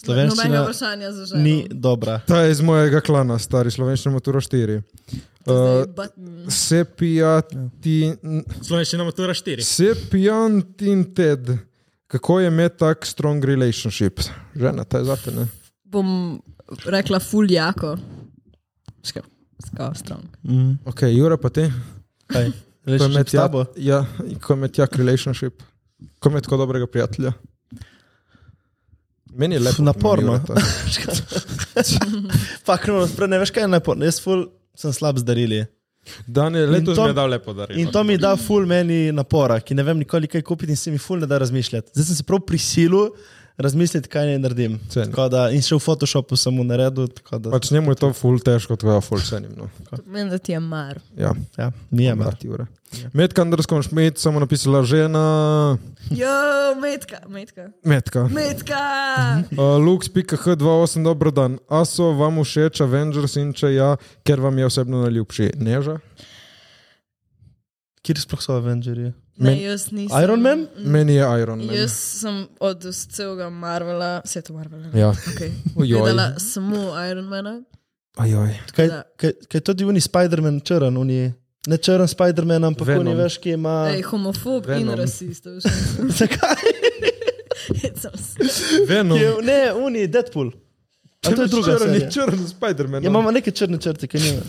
Speaker 4: Nobenega
Speaker 3: Slovenščina
Speaker 4: vprašanja za
Speaker 5: ja.
Speaker 4: žene.
Speaker 3: ni dobra.
Speaker 5: Ta je iz mojega klana, stari slovenščina matura 4.
Speaker 3: eh,
Speaker 5: Uh, Sepijati,
Speaker 7: Slovenščina matura 4.
Speaker 5: Sepijant in Ted. Kako je imeti tak strong relationship? Žena, ta je zate, ne?
Speaker 4: Bom rekla fuljako. Skoro strong.
Speaker 5: Ok, Jure, pa ti.
Speaker 3: Kaj?
Speaker 5: Ko je
Speaker 3: Ležiš
Speaker 5: med
Speaker 3: med tabo?
Speaker 5: Ja, in ko je med jak relationship. Ko je med tako dobrega prijatelja. Meni je
Speaker 3: Pf,
Speaker 5: lepo. ko
Speaker 3: naporno.
Speaker 5: ima Jureta.
Speaker 3: Fak, no, spre- ne veš, kaj je naporno. Jaz ful sem slab z darili.
Speaker 5: Daniel, letos
Speaker 3: to-
Speaker 5: mi je dal lepo darilo.
Speaker 3: In to mi da ful meni napora, ki ne vem nikoli kaj kupiti in se mi ful ne da razmišljati. Zdaj sem se prav prisilil razmisliti, kaj naj naredim.
Speaker 5: Cenim.
Speaker 3: Tako Da, in še v Photoshopu sem mu naredil. tako Da,
Speaker 5: Pač njemu je to ful težko, tako da ful cenim. No.
Speaker 4: Menim, da ti je mar.
Speaker 5: Ja,
Speaker 3: ja, mi je mar.
Speaker 5: Marti, Jure. Metka, Anderskom Šmit, samo napisala žena.
Speaker 4: Jo, metka, metka.
Speaker 5: Metka.
Speaker 4: Metka!
Speaker 3: Mhm.
Speaker 5: Uh, Lux.h28, dobro dan. A so vam všeč Avengers in če ja, ker vam je osebno najljubši? Neža?
Speaker 3: Kjer sploh so Avengerji?
Speaker 4: Ne, jaz nisem. Mm,
Speaker 3: Iron Man?
Speaker 5: Meni je Iron Man.
Speaker 4: Jaz sem od vs- celega Marvela, vse to Marvela. ne?
Speaker 5: Ja,
Speaker 4: Okay.
Speaker 5: Ujoj.
Speaker 4: Gledala samo Ironmana.
Speaker 5: ajoj.
Speaker 3: Kaj,
Speaker 4: Da.
Speaker 3: kaj, kaj tudi uni Spider-Man črn, uni, ne črn Spider-Man, ampak
Speaker 5: Venom.
Speaker 3: uni veš, ki ima.
Speaker 4: Ej, homofob Venom. in
Speaker 5: Venom.
Speaker 4: rasist. veš.
Speaker 3: Zakaj?
Speaker 4: Hecam se.
Speaker 5: Venom.
Speaker 3: Je, ne, uni Deadpool. A to je druga
Speaker 5: No. Črn,
Speaker 3: stvar.
Speaker 5: no. je črn Spider-Man.
Speaker 3: Ja, imamo neke črne črte, ki nima.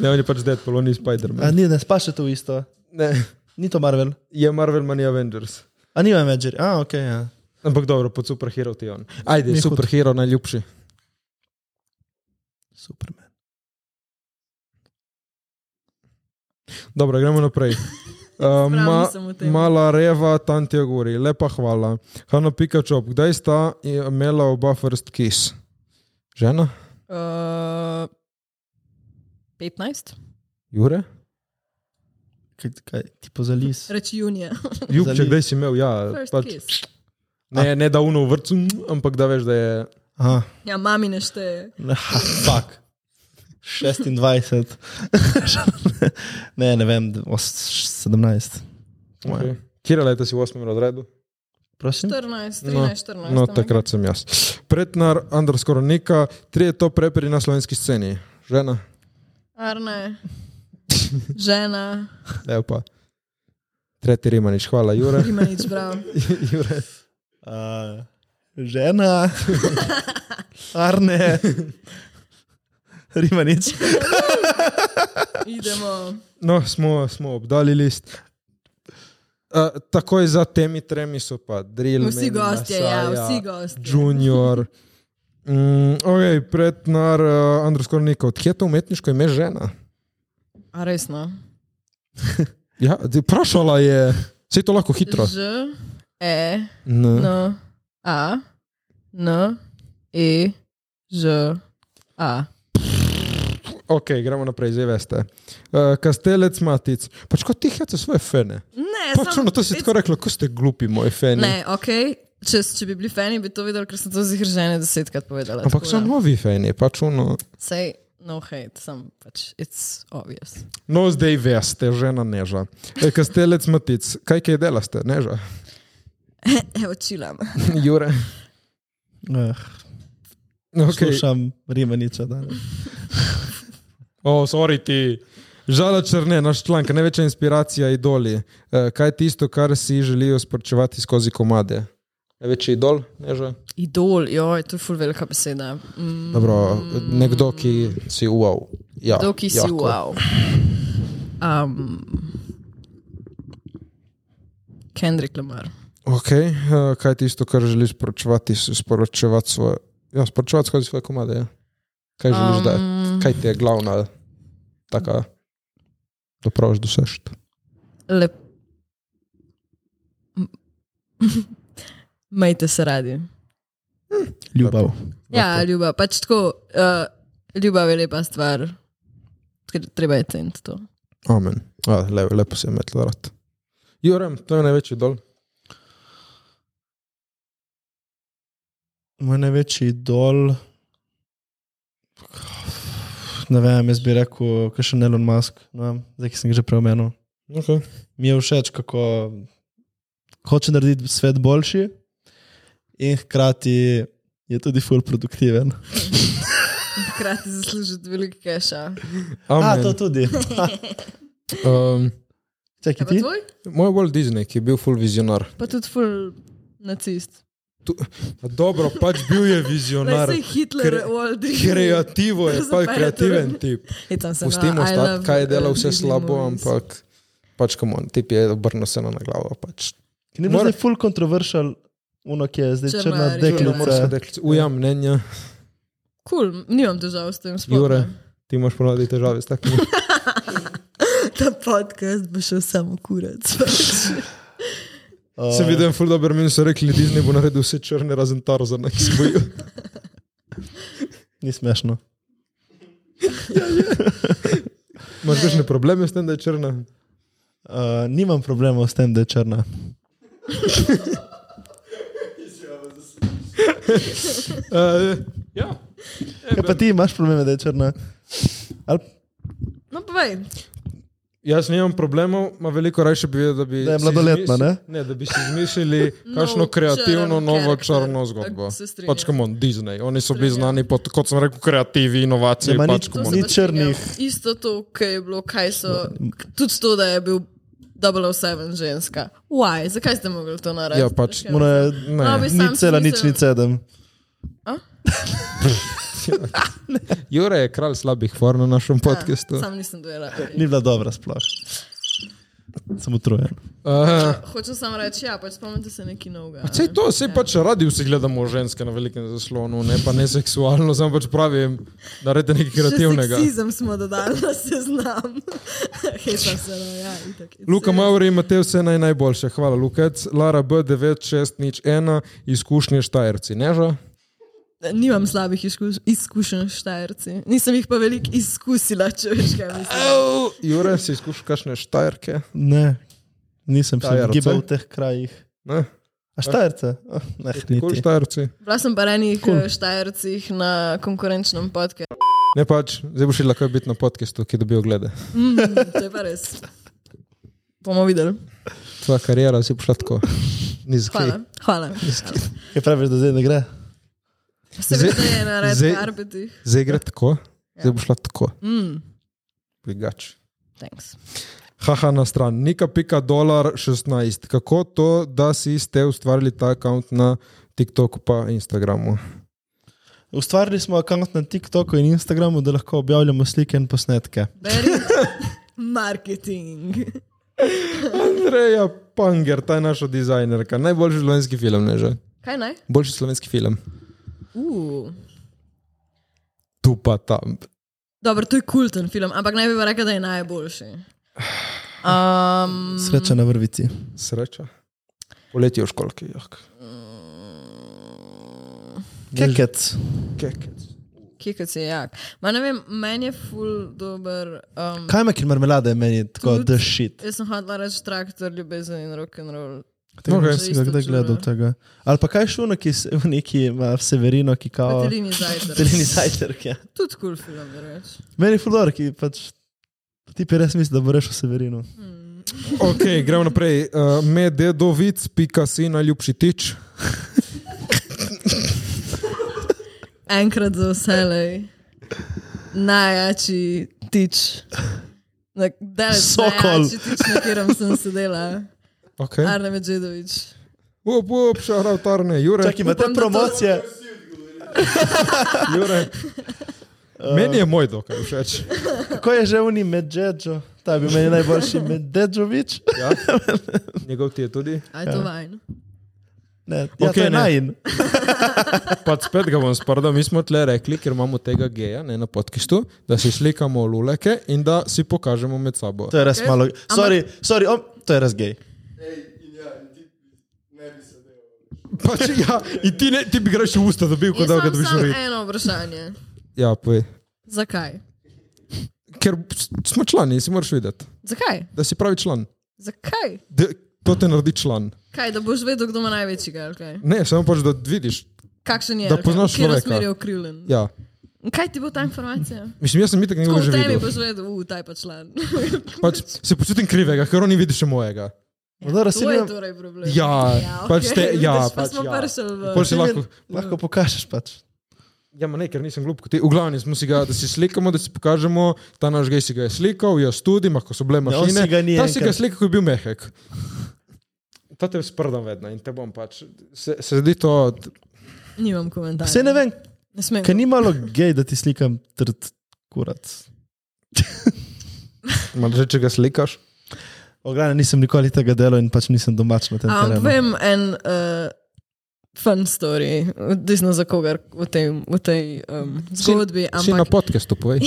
Speaker 5: Ne, on je pač Deadpool, on ni
Speaker 3: A
Speaker 5: Spider-Man.
Speaker 3: ni, ne spaše to v isto.
Speaker 5: Ne,
Speaker 3: Ni to Marvel.
Speaker 5: je Marvel, manj je Avengers.
Speaker 3: A ni Avenger. A, ok, ja.
Speaker 5: Ampak dobro, pod superhero ti je on. Ajde,
Speaker 3: Ni
Speaker 5: Ni
Speaker 3: hud.
Speaker 5: superhero hud. najljubši.
Speaker 3: Superman.
Speaker 5: Dobro, gremo naprej. Uh, ma,
Speaker 4: sem v tem.
Speaker 5: mala reva, tanti agori, lepa hvala. Hanna Pikačop, kdaj sta imela oba first kiss? Žena?
Speaker 4: Uh, 15?
Speaker 5: Jure?
Speaker 3: Kaj, kaj ti pozališ?
Speaker 4: Reči junija.
Speaker 5: Ljubče,
Speaker 3: Zaliv.
Speaker 5: kdaj si imel? Ja,
Speaker 4: First kiss.
Speaker 5: ne, ne da uno v vrtu, ampak da veš, da je.
Speaker 3: Aha,
Speaker 4: Ja, mami ne šteje.
Speaker 3: Aha, fuck. 26. ne, ne vem, os- 17.
Speaker 5: Okay. Kje leta si v osmem razredu?
Speaker 3: Prosim?
Speaker 4: 14,
Speaker 5: No,
Speaker 4: 13, 14.
Speaker 5: No,
Speaker 4: ne?
Speaker 5: takrat sem jaz. Pretnar, underscore neka, tri je to preperi na slovenski sceni. Žena,
Speaker 4: Arne, žena,
Speaker 5: lepo pa. Tretji Rimanič, hvala, Jure.
Speaker 4: ima nič prav.
Speaker 5: Jure.
Speaker 3: Uh, žena, arne, rimanič.
Speaker 4: Idemo.
Speaker 5: No, smo, smo obdali list. Uh, takoj za temi tremi so pa Drill.
Speaker 4: Vsi gostje, ja, vsi gostje.
Speaker 5: Junior. Mm, ok, pretnar, uh, underscore neka, odkje je to umetniško ime žena?
Speaker 4: A resno?
Speaker 5: Ja, zdaj vprašala je, se to lahko hitro.
Speaker 4: Ž, E,
Speaker 5: N.
Speaker 4: N, A, N, E, Ž, A.
Speaker 5: Ok, gremo naprej, zdaj veste. Uh, kastelec Matic, pač kot ti hece svoje fene.
Speaker 4: Ne,
Speaker 5: Pač
Speaker 4: Ja, samo-
Speaker 5: ono, to si
Speaker 4: it's-
Speaker 5: tako rekla, ko ste glupi, moji feni.
Speaker 4: Ne, ok, če, s- če bi bili fani, bi to videli, ker sem to zihržene desetkrat povedala.
Speaker 5: Ampak
Speaker 4: tako ja.
Speaker 5: so
Speaker 4: da.
Speaker 5: novi feni, pač uno.
Speaker 4: Sej, no hate, sem pač, it's obvious.
Speaker 5: No, zdaj veste, žena neža. E, Kastelec Matic, kaj kaj delaste, neža?
Speaker 4: Evo, čilam.
Speaker 5: Jure.
Speaker 3: Eh,
Speaker 5: Okay.
Speaker 3: Poslušam Rimaniča danes.
Speaker 5: O, oh, sorry ti. Žala Črne, naš članek, največja inspiracija idoli. E, Kaj je tisto, kar si želijo sporočevati skozi komade? Največji idol, neža?
Speaker 4: Idol, joj, to je ful velika beseda. Mm,
Speaker 5: Dobro, nekdo, ki si wow. Ja,
Speaker 4: Kdo, ki si
Speaker 5: jako.
Speaker 4: wow. Um, Kendrick Lamar.
Speaker 5: Okay. e, Kaj je tisto, kar želiš sporočevati, s- sporočevati, svoje, ja, sporočevati skozi svoje komade? Ja. Kaj želiš, um, da je?
Speaker 4: Um,
Speaker 5: Kaj ti je glavna taka, da praviš dosežeš?
Speaker 4: lep... Majte se radi.
Speaker 3: Ljubav.
Speaker 4: Ja, ljubav, pač tako, uh, ljubav je lepa stvar. Tr- Treba je ceniti to.
Speaker 5: Amen. Ja, le, lepo se je metlo rad. Jurem, to je največji dol.
Speaker 3: Moj največji idol. Ne vem, jaz bi rekel, kaj še Elon Musk, ne vem, zdaj ki sem ga že preomenil.
Speaker 5: Okay.
Speaker 3: Mi je všeč, kako hoče narediti svet boljši, in hkrati je tudi full produktiven.
Speaker 4: Hkrati zaslužiti veliko keša.
Speaker 3: A,
Speaker 5: Amen.
Speaker 3: to tudi.
Speaker 5: Um,
Speaker 4: Je
Speaker 3: Čakaj,
Speaker 4: pa
Speaker 3: ti?
Speaker 4: tvoj?
Speaker 5: moj Walt Disney, ki je bil full vizionar.
Speaker 4: Pa tudi ful nacist.
Speaker 5: Dobro, pač bil je
Speaker 4: Naj
Speaker 5: vizionar.
Speaker 4: se Hitler,
Speaker 5: kre-
Speaker 4: Walt Disney.
Speaker 5: Kreativo je, pa
Speaker 4: Zapaj
Speaker 5: kreativen
Speaker 4: to.
Speaker 5: tip.
Speaker 4: Hecam se, no,
Speaker 5: Pustimo
Speaker 4: I
Speaker 5: stati,
Speaker 4: love,
Speaker 5: kaj je delal
Speaker 4: uh,
Speaker 5: vse
Speaker 4: Disney
Speaker 5: slabo,
Speaker 4: movies.
Speaker 5: ampak pač kam on, tip je obrnil se na na glavo. Pač.
Speaker 3: Ki ni bil
Speaker 5: Mora-
Speaker 3: zdaj full kontroversial, uno, ki je zdaj
Speaker 4: Črna
Speaker 3: črna
Speaker 4: reka.
Speaker 5: Mora se
Speaker 3: deklica.
Speaker 5: reči, uja mnenja,
Speaker 4: Kul, cool, nimam težav s tem sploh.
Speaker 5: Jure, ti imaš ponovadi težave s takim.
Speaker 4: Ta podcast bo šel samo kurac.
Speaker 5: Sem
Speaker 3: Eh,
Speaker 5: videl en full dober min, so rekli, Disney bo naredil vse črne razen Tarzana, ki se bojijo.
Speaker 3: Ni smešno.
Speaker 5: Imaš kakšne probleme s tem, da je črna?
Speaker 3: Uh, nimam problemov s tem, da je črna.
Speaker 5: Uh, ja.
Speaker 3: Eh, Kaj pa ti imaš probleme, da je črna? Ali
Speaker 4: no, povej.
Speaker 5: Jaz nimam problemov, ima veliko rajše bi vedel, da bi.
Speaker 3: Da je
Speaker 5: si
Speaker 3: mladoletna,
Speaker 5: izmisli-
Speaker 3: ne?
Speaker 5: Ne, da bi si izmislili
Speaker 4: Nov
Speaker 5: kakšno kreativno,
Speaker 4: No, črn
Speaker 5: novo
Speaker 4: karakter.
Speaker 5: črno zgodbo.
Speaker 4: Tako se strinjam.
Speaker 5: Pač kam on, Disney. Oni so bili
Speaker 4: Strinjam.
Speaker 5: znani po, kot sem rekel, kreativi, inovacije.
Speaker 3: Nema
Speaker 5: Pač
Speaker 3: nič-
Speaker 5: kam
Speaker 4: To
Speaker 5: on.
Speaker 4: se
Speaker 3: Ni
Speaker 4: pa
Speaker 3: črnih.
Speaker 4: strinjam. Isto to, kar je bilo, kaj so. Tudi to, da je bil 007 ženska. Why? Zakaj ste mogli to narediti?
Speaker 5: Ja, pač,
Speaker 4: Veš kaj?
Speaker 3: Ona je
Speaker 4: No,
Speaker 5: Ne.
Speaker 4: bi sam
Speaker 3: nič cela, nič
Speaker 4: smisel-
Speaker 3: nič sedem.
Speaker 5: Jure je kralj slabih form na našem
Speaker 4: Ah,
Speaker 5: podkastu.
Speaker 4: Sam nisem dojela.
Speaker 3: Ni bila dobra sploh. Sem utrujen.
Speaker 4: Ja.
Speaker 5: Uh,
Speaker 4: Hočem samo reči, ja, pač spomnite se nekaj novega.
Speaker 5: Vse
Speaker 4: ne.
Speaker 5: to, vse pač radi vsi gledamo ženske na velikem zaslonu, ne pa ne seksualno, samo pač pravim, naredite nekaj kreativnega.
Speaker 4: Še seksizem smo dodali na seznam. Hecam se, no, ja, itak. It's
Speaker 5: Luka
Speaker 4: serious.
Speaker 5: Mauri, imate vse naj najboljše. Hvala, Lukec. Lara B9601, izkušnje Štajerci. Neža?
Speaker 4: Nimam slabih izkuš izkušenj s štajerci. Nisem jih pa veliko izkusila, če veš kaj mislim.
Speaker 5: Au! Jure, si izkušal kakšne Štajerke?
Speaker 3: Ne, nisem se
Speaker 5: Štajerce?
Speaker 3: gibal v teh krajih.
Speaker 5: Ne?
Speaker 3: A štajrce? Oh, ne,
Speaker 5: Kul
Speaker 3: niti.
Speaker 5: Štajerci.
Speaker 4: Bila sem pa na enih
Speaker 3: Cool.
Speaker 4: cool. štajercih na konkurenčnem podkastu.
Speaker 5: Ne pač, zdaj boš šla kaj biti na podkastu, ki dobijo glede.
Speaker 4: Mm, to je pa res. Bomo videli.
Speaker 5: Tvoja karijera si pošla tako. Nizki.
Speaker 4: Hvala. Hvala.
Speaker 3: Kaj praviš, da zdaj ne gre?
Speaker 4: Seveda
Speaker 5: Zdaj-
Speaker 4: je na red
Speaker 5: zdaj-
Speaker 4: arbitih.
Speaker 5: Zdaj gre tako, zdaj boš šla tako.
Speaker 4: Ja. Mm,
Speaker 5: Brigač.
Speaker 4: thanks.
Speaker 5: Haha, na stran, nika pika dolar 16. Kako to, da si ste ustvarili ta račun na TikToku pa Instagramu?
Speaker 3: Ustvarili smo račun na TikToku in Instagramu, da lahko objavljamo slike in posnetke.
Speaker 4: Very marketing.
Speaker 5: Andreja Panger, ta je naša dizajnerka, najboljši slovenski film, ne že.
Speaker 4: Kaj naj?
Speaker 5: Boljši slovenski film.
Speaker 4: Uh.
Speaker 5: Tu pa tam.
Speaker 4: Dobro, to je kulten film, ampak naj bi pa rekel, da je najboljši. Um,
Speaker 3: Sreča na vrvici.
Speaker 5: Sreča. Poletje v školki, jak.
Speaker 4: Mm.
Speaker 3: Kekec.
Speaker 5: Kekec.
Speaker 4: Kikac je jak. Ma ne vem, meni je ful dober. Um,
Speaker 3: Kaj ima, ker marmelada je meni tako
Speaker 4: Tudi-
Speaker 3: dešit?
Speaker 4: jaz sem hodila reči traktor, ljubezen in rock and roll.
Speaker 3: Tega
Speaker 5: Okay.
Speaker 3: nisem ga
Speaker 4: Isto no.
Speaker 3: kdaj
Speaker 4: čudo.
Speaker 3: gledal tega. Ali pa kaj šuno, ki se v neki ima v severino, ki kao...
Speaker 4: Petelini zajtrk.
Speaker 3: Oh. Petelini zajtrk, ja.
Speaker 4: Tudi kul cool film, reč.
Speaker 3: Meni je fulor, ki pač... Ti pa res misliš, da bo rešil severino.
Speaker 5: Ok, gremo naprej. Uh, Mededovic, pika si najljubši tič.
Speaker 4: Enkrat za vselej. Najjači tič. Na- Daleč
Speaker 3: Sokol. Eh?
Speaker 4: najjači tič, na katerem sem sedela.
Speaker 5: Okay.
Speaker 4: Arne Medžedovič.
Speaker 5: Up, up, šarav tarne, Jure.
Speaker 3: Čakaj, ima te
Speaker 4: Upam, da to-
Speaker 3: promocije.
Speaker 5: Jure. Meni je moj dokaj všeč.
Speaker 3: Kako je že oni Medžedžo? Ta bi meni najboljši Medžedžovič.
Speaker 5: Ja. Njegov ti je tudi.
Speaker 4: A
Speaker 3: Ja.
Speaker 4: je to vajn?
Speaker 3: Ne, ja,
Speaker 5: Okej,
Speaker 3: okay, to je
Speaker 5: ne.
Speaker 3: najin.
Speaker 5: Pa spet ga bom sprdal, mi smo tle rekli, ker imamo tega geja ne, na podkištu, da si slikamo luleke in da si pokažemo med sabo.
Speaker 3: To je res okay. malo. Sorry, sorry, on, to je res gej.
Speaker 5: Pač, ja, in ti, ne, ti bi greš v usta dobil, kot da ga dobiš v
Speaker 4: samo
Speaker 5: rit.
Speaker 4: eno vprašanje.
Speaker 5: Ja, poj.
Speaker 4: Zakaj?
Speaker 5: Ker s- smo člani, si moraš videti,
Speaker 4: Zakaj?
Speaker 5: da si pravi član.
Speaker 4: Zakaj?
Speaker 5: De, to te naredi član.
Speaker 4: Kaj, da boš vedel, kdo ima največjega? ali kaj?
Speaker 5: Ne, samo pač, da vidiš.
Speaker 4: Kakšen je?
Speaker 5: Da
Speaker 4: ali kaj?
Speaker 5: poznaš
Speaker 4: V katero
Speaker 5: človeka.
Speaker 4: smer je okrivljen?
Speaker 5: Ja.
Speaker 4: Kaj ti bo ta informacija?
Speaker 5: Mislim, jaz sem itek
Speaker 4: Ko
Speaker 5: nekaj že
Speaker 4: v tebi
Speaker 5: videl.
Speaker 4: boš vedel, v taj pa član.
Speaker 5: Pač, se počutim krivega, ker on ni videl še mojega.
Speaker 3: No, Dobro, si
Speaker 4: to je
Speaker 3: mi
Speaker 4: torej problem.
Speaker 5: Ja, pač te-
Speaker 4: okej,
Speaker 5: ja,
Speaker 4: vidiš, pa
Speaker 5: pač
Speaker 4: smo
Speaker 5: ja.
Speaker 4: pršel v...
Speaker 5: Pol si lahko.
Speaker 3: lahko pokažeš pač.
Speaker 5: Ja, ma ne, ker nisem glup kot ti. V glavnem smo si ga, da si slikamo, da si pokažemo, ta naš gej si ga je slikal, jaz tudi, ampak ko so bile
Speaker 3: on
Speaker 5: mašine.
Speaker 3: si ga ni
Speaker 5: ta Ja, si ga je
Speaker 3: enkrat-
Speaker 5: slikal, ko je bil mehek. To te sprdam vedno in te bom pač. Se, se zdi to,
Speaker 4: Nimam komentarja.
Speaker 3: Vse ne vem,
Speaker 4: Ne smem.
Speaker 3: ker ni malo gej, da ti slikam trd kurat.
Speaker 5: malo že če ga slikaš.
Speaker 3: Oglane nisem nikoli tega delal in pač nisem domač na tem
Speaker 5: no.
Speaker 4: Ampak
Speaker 3: terenu.
Speaker 4: vem en uh, fun story, odvisno za kogar v tej, v tej um, zgodbi.
Speaker 5: Si na
Speaker 4: Ampak
Speaker 5: podkastu, povej.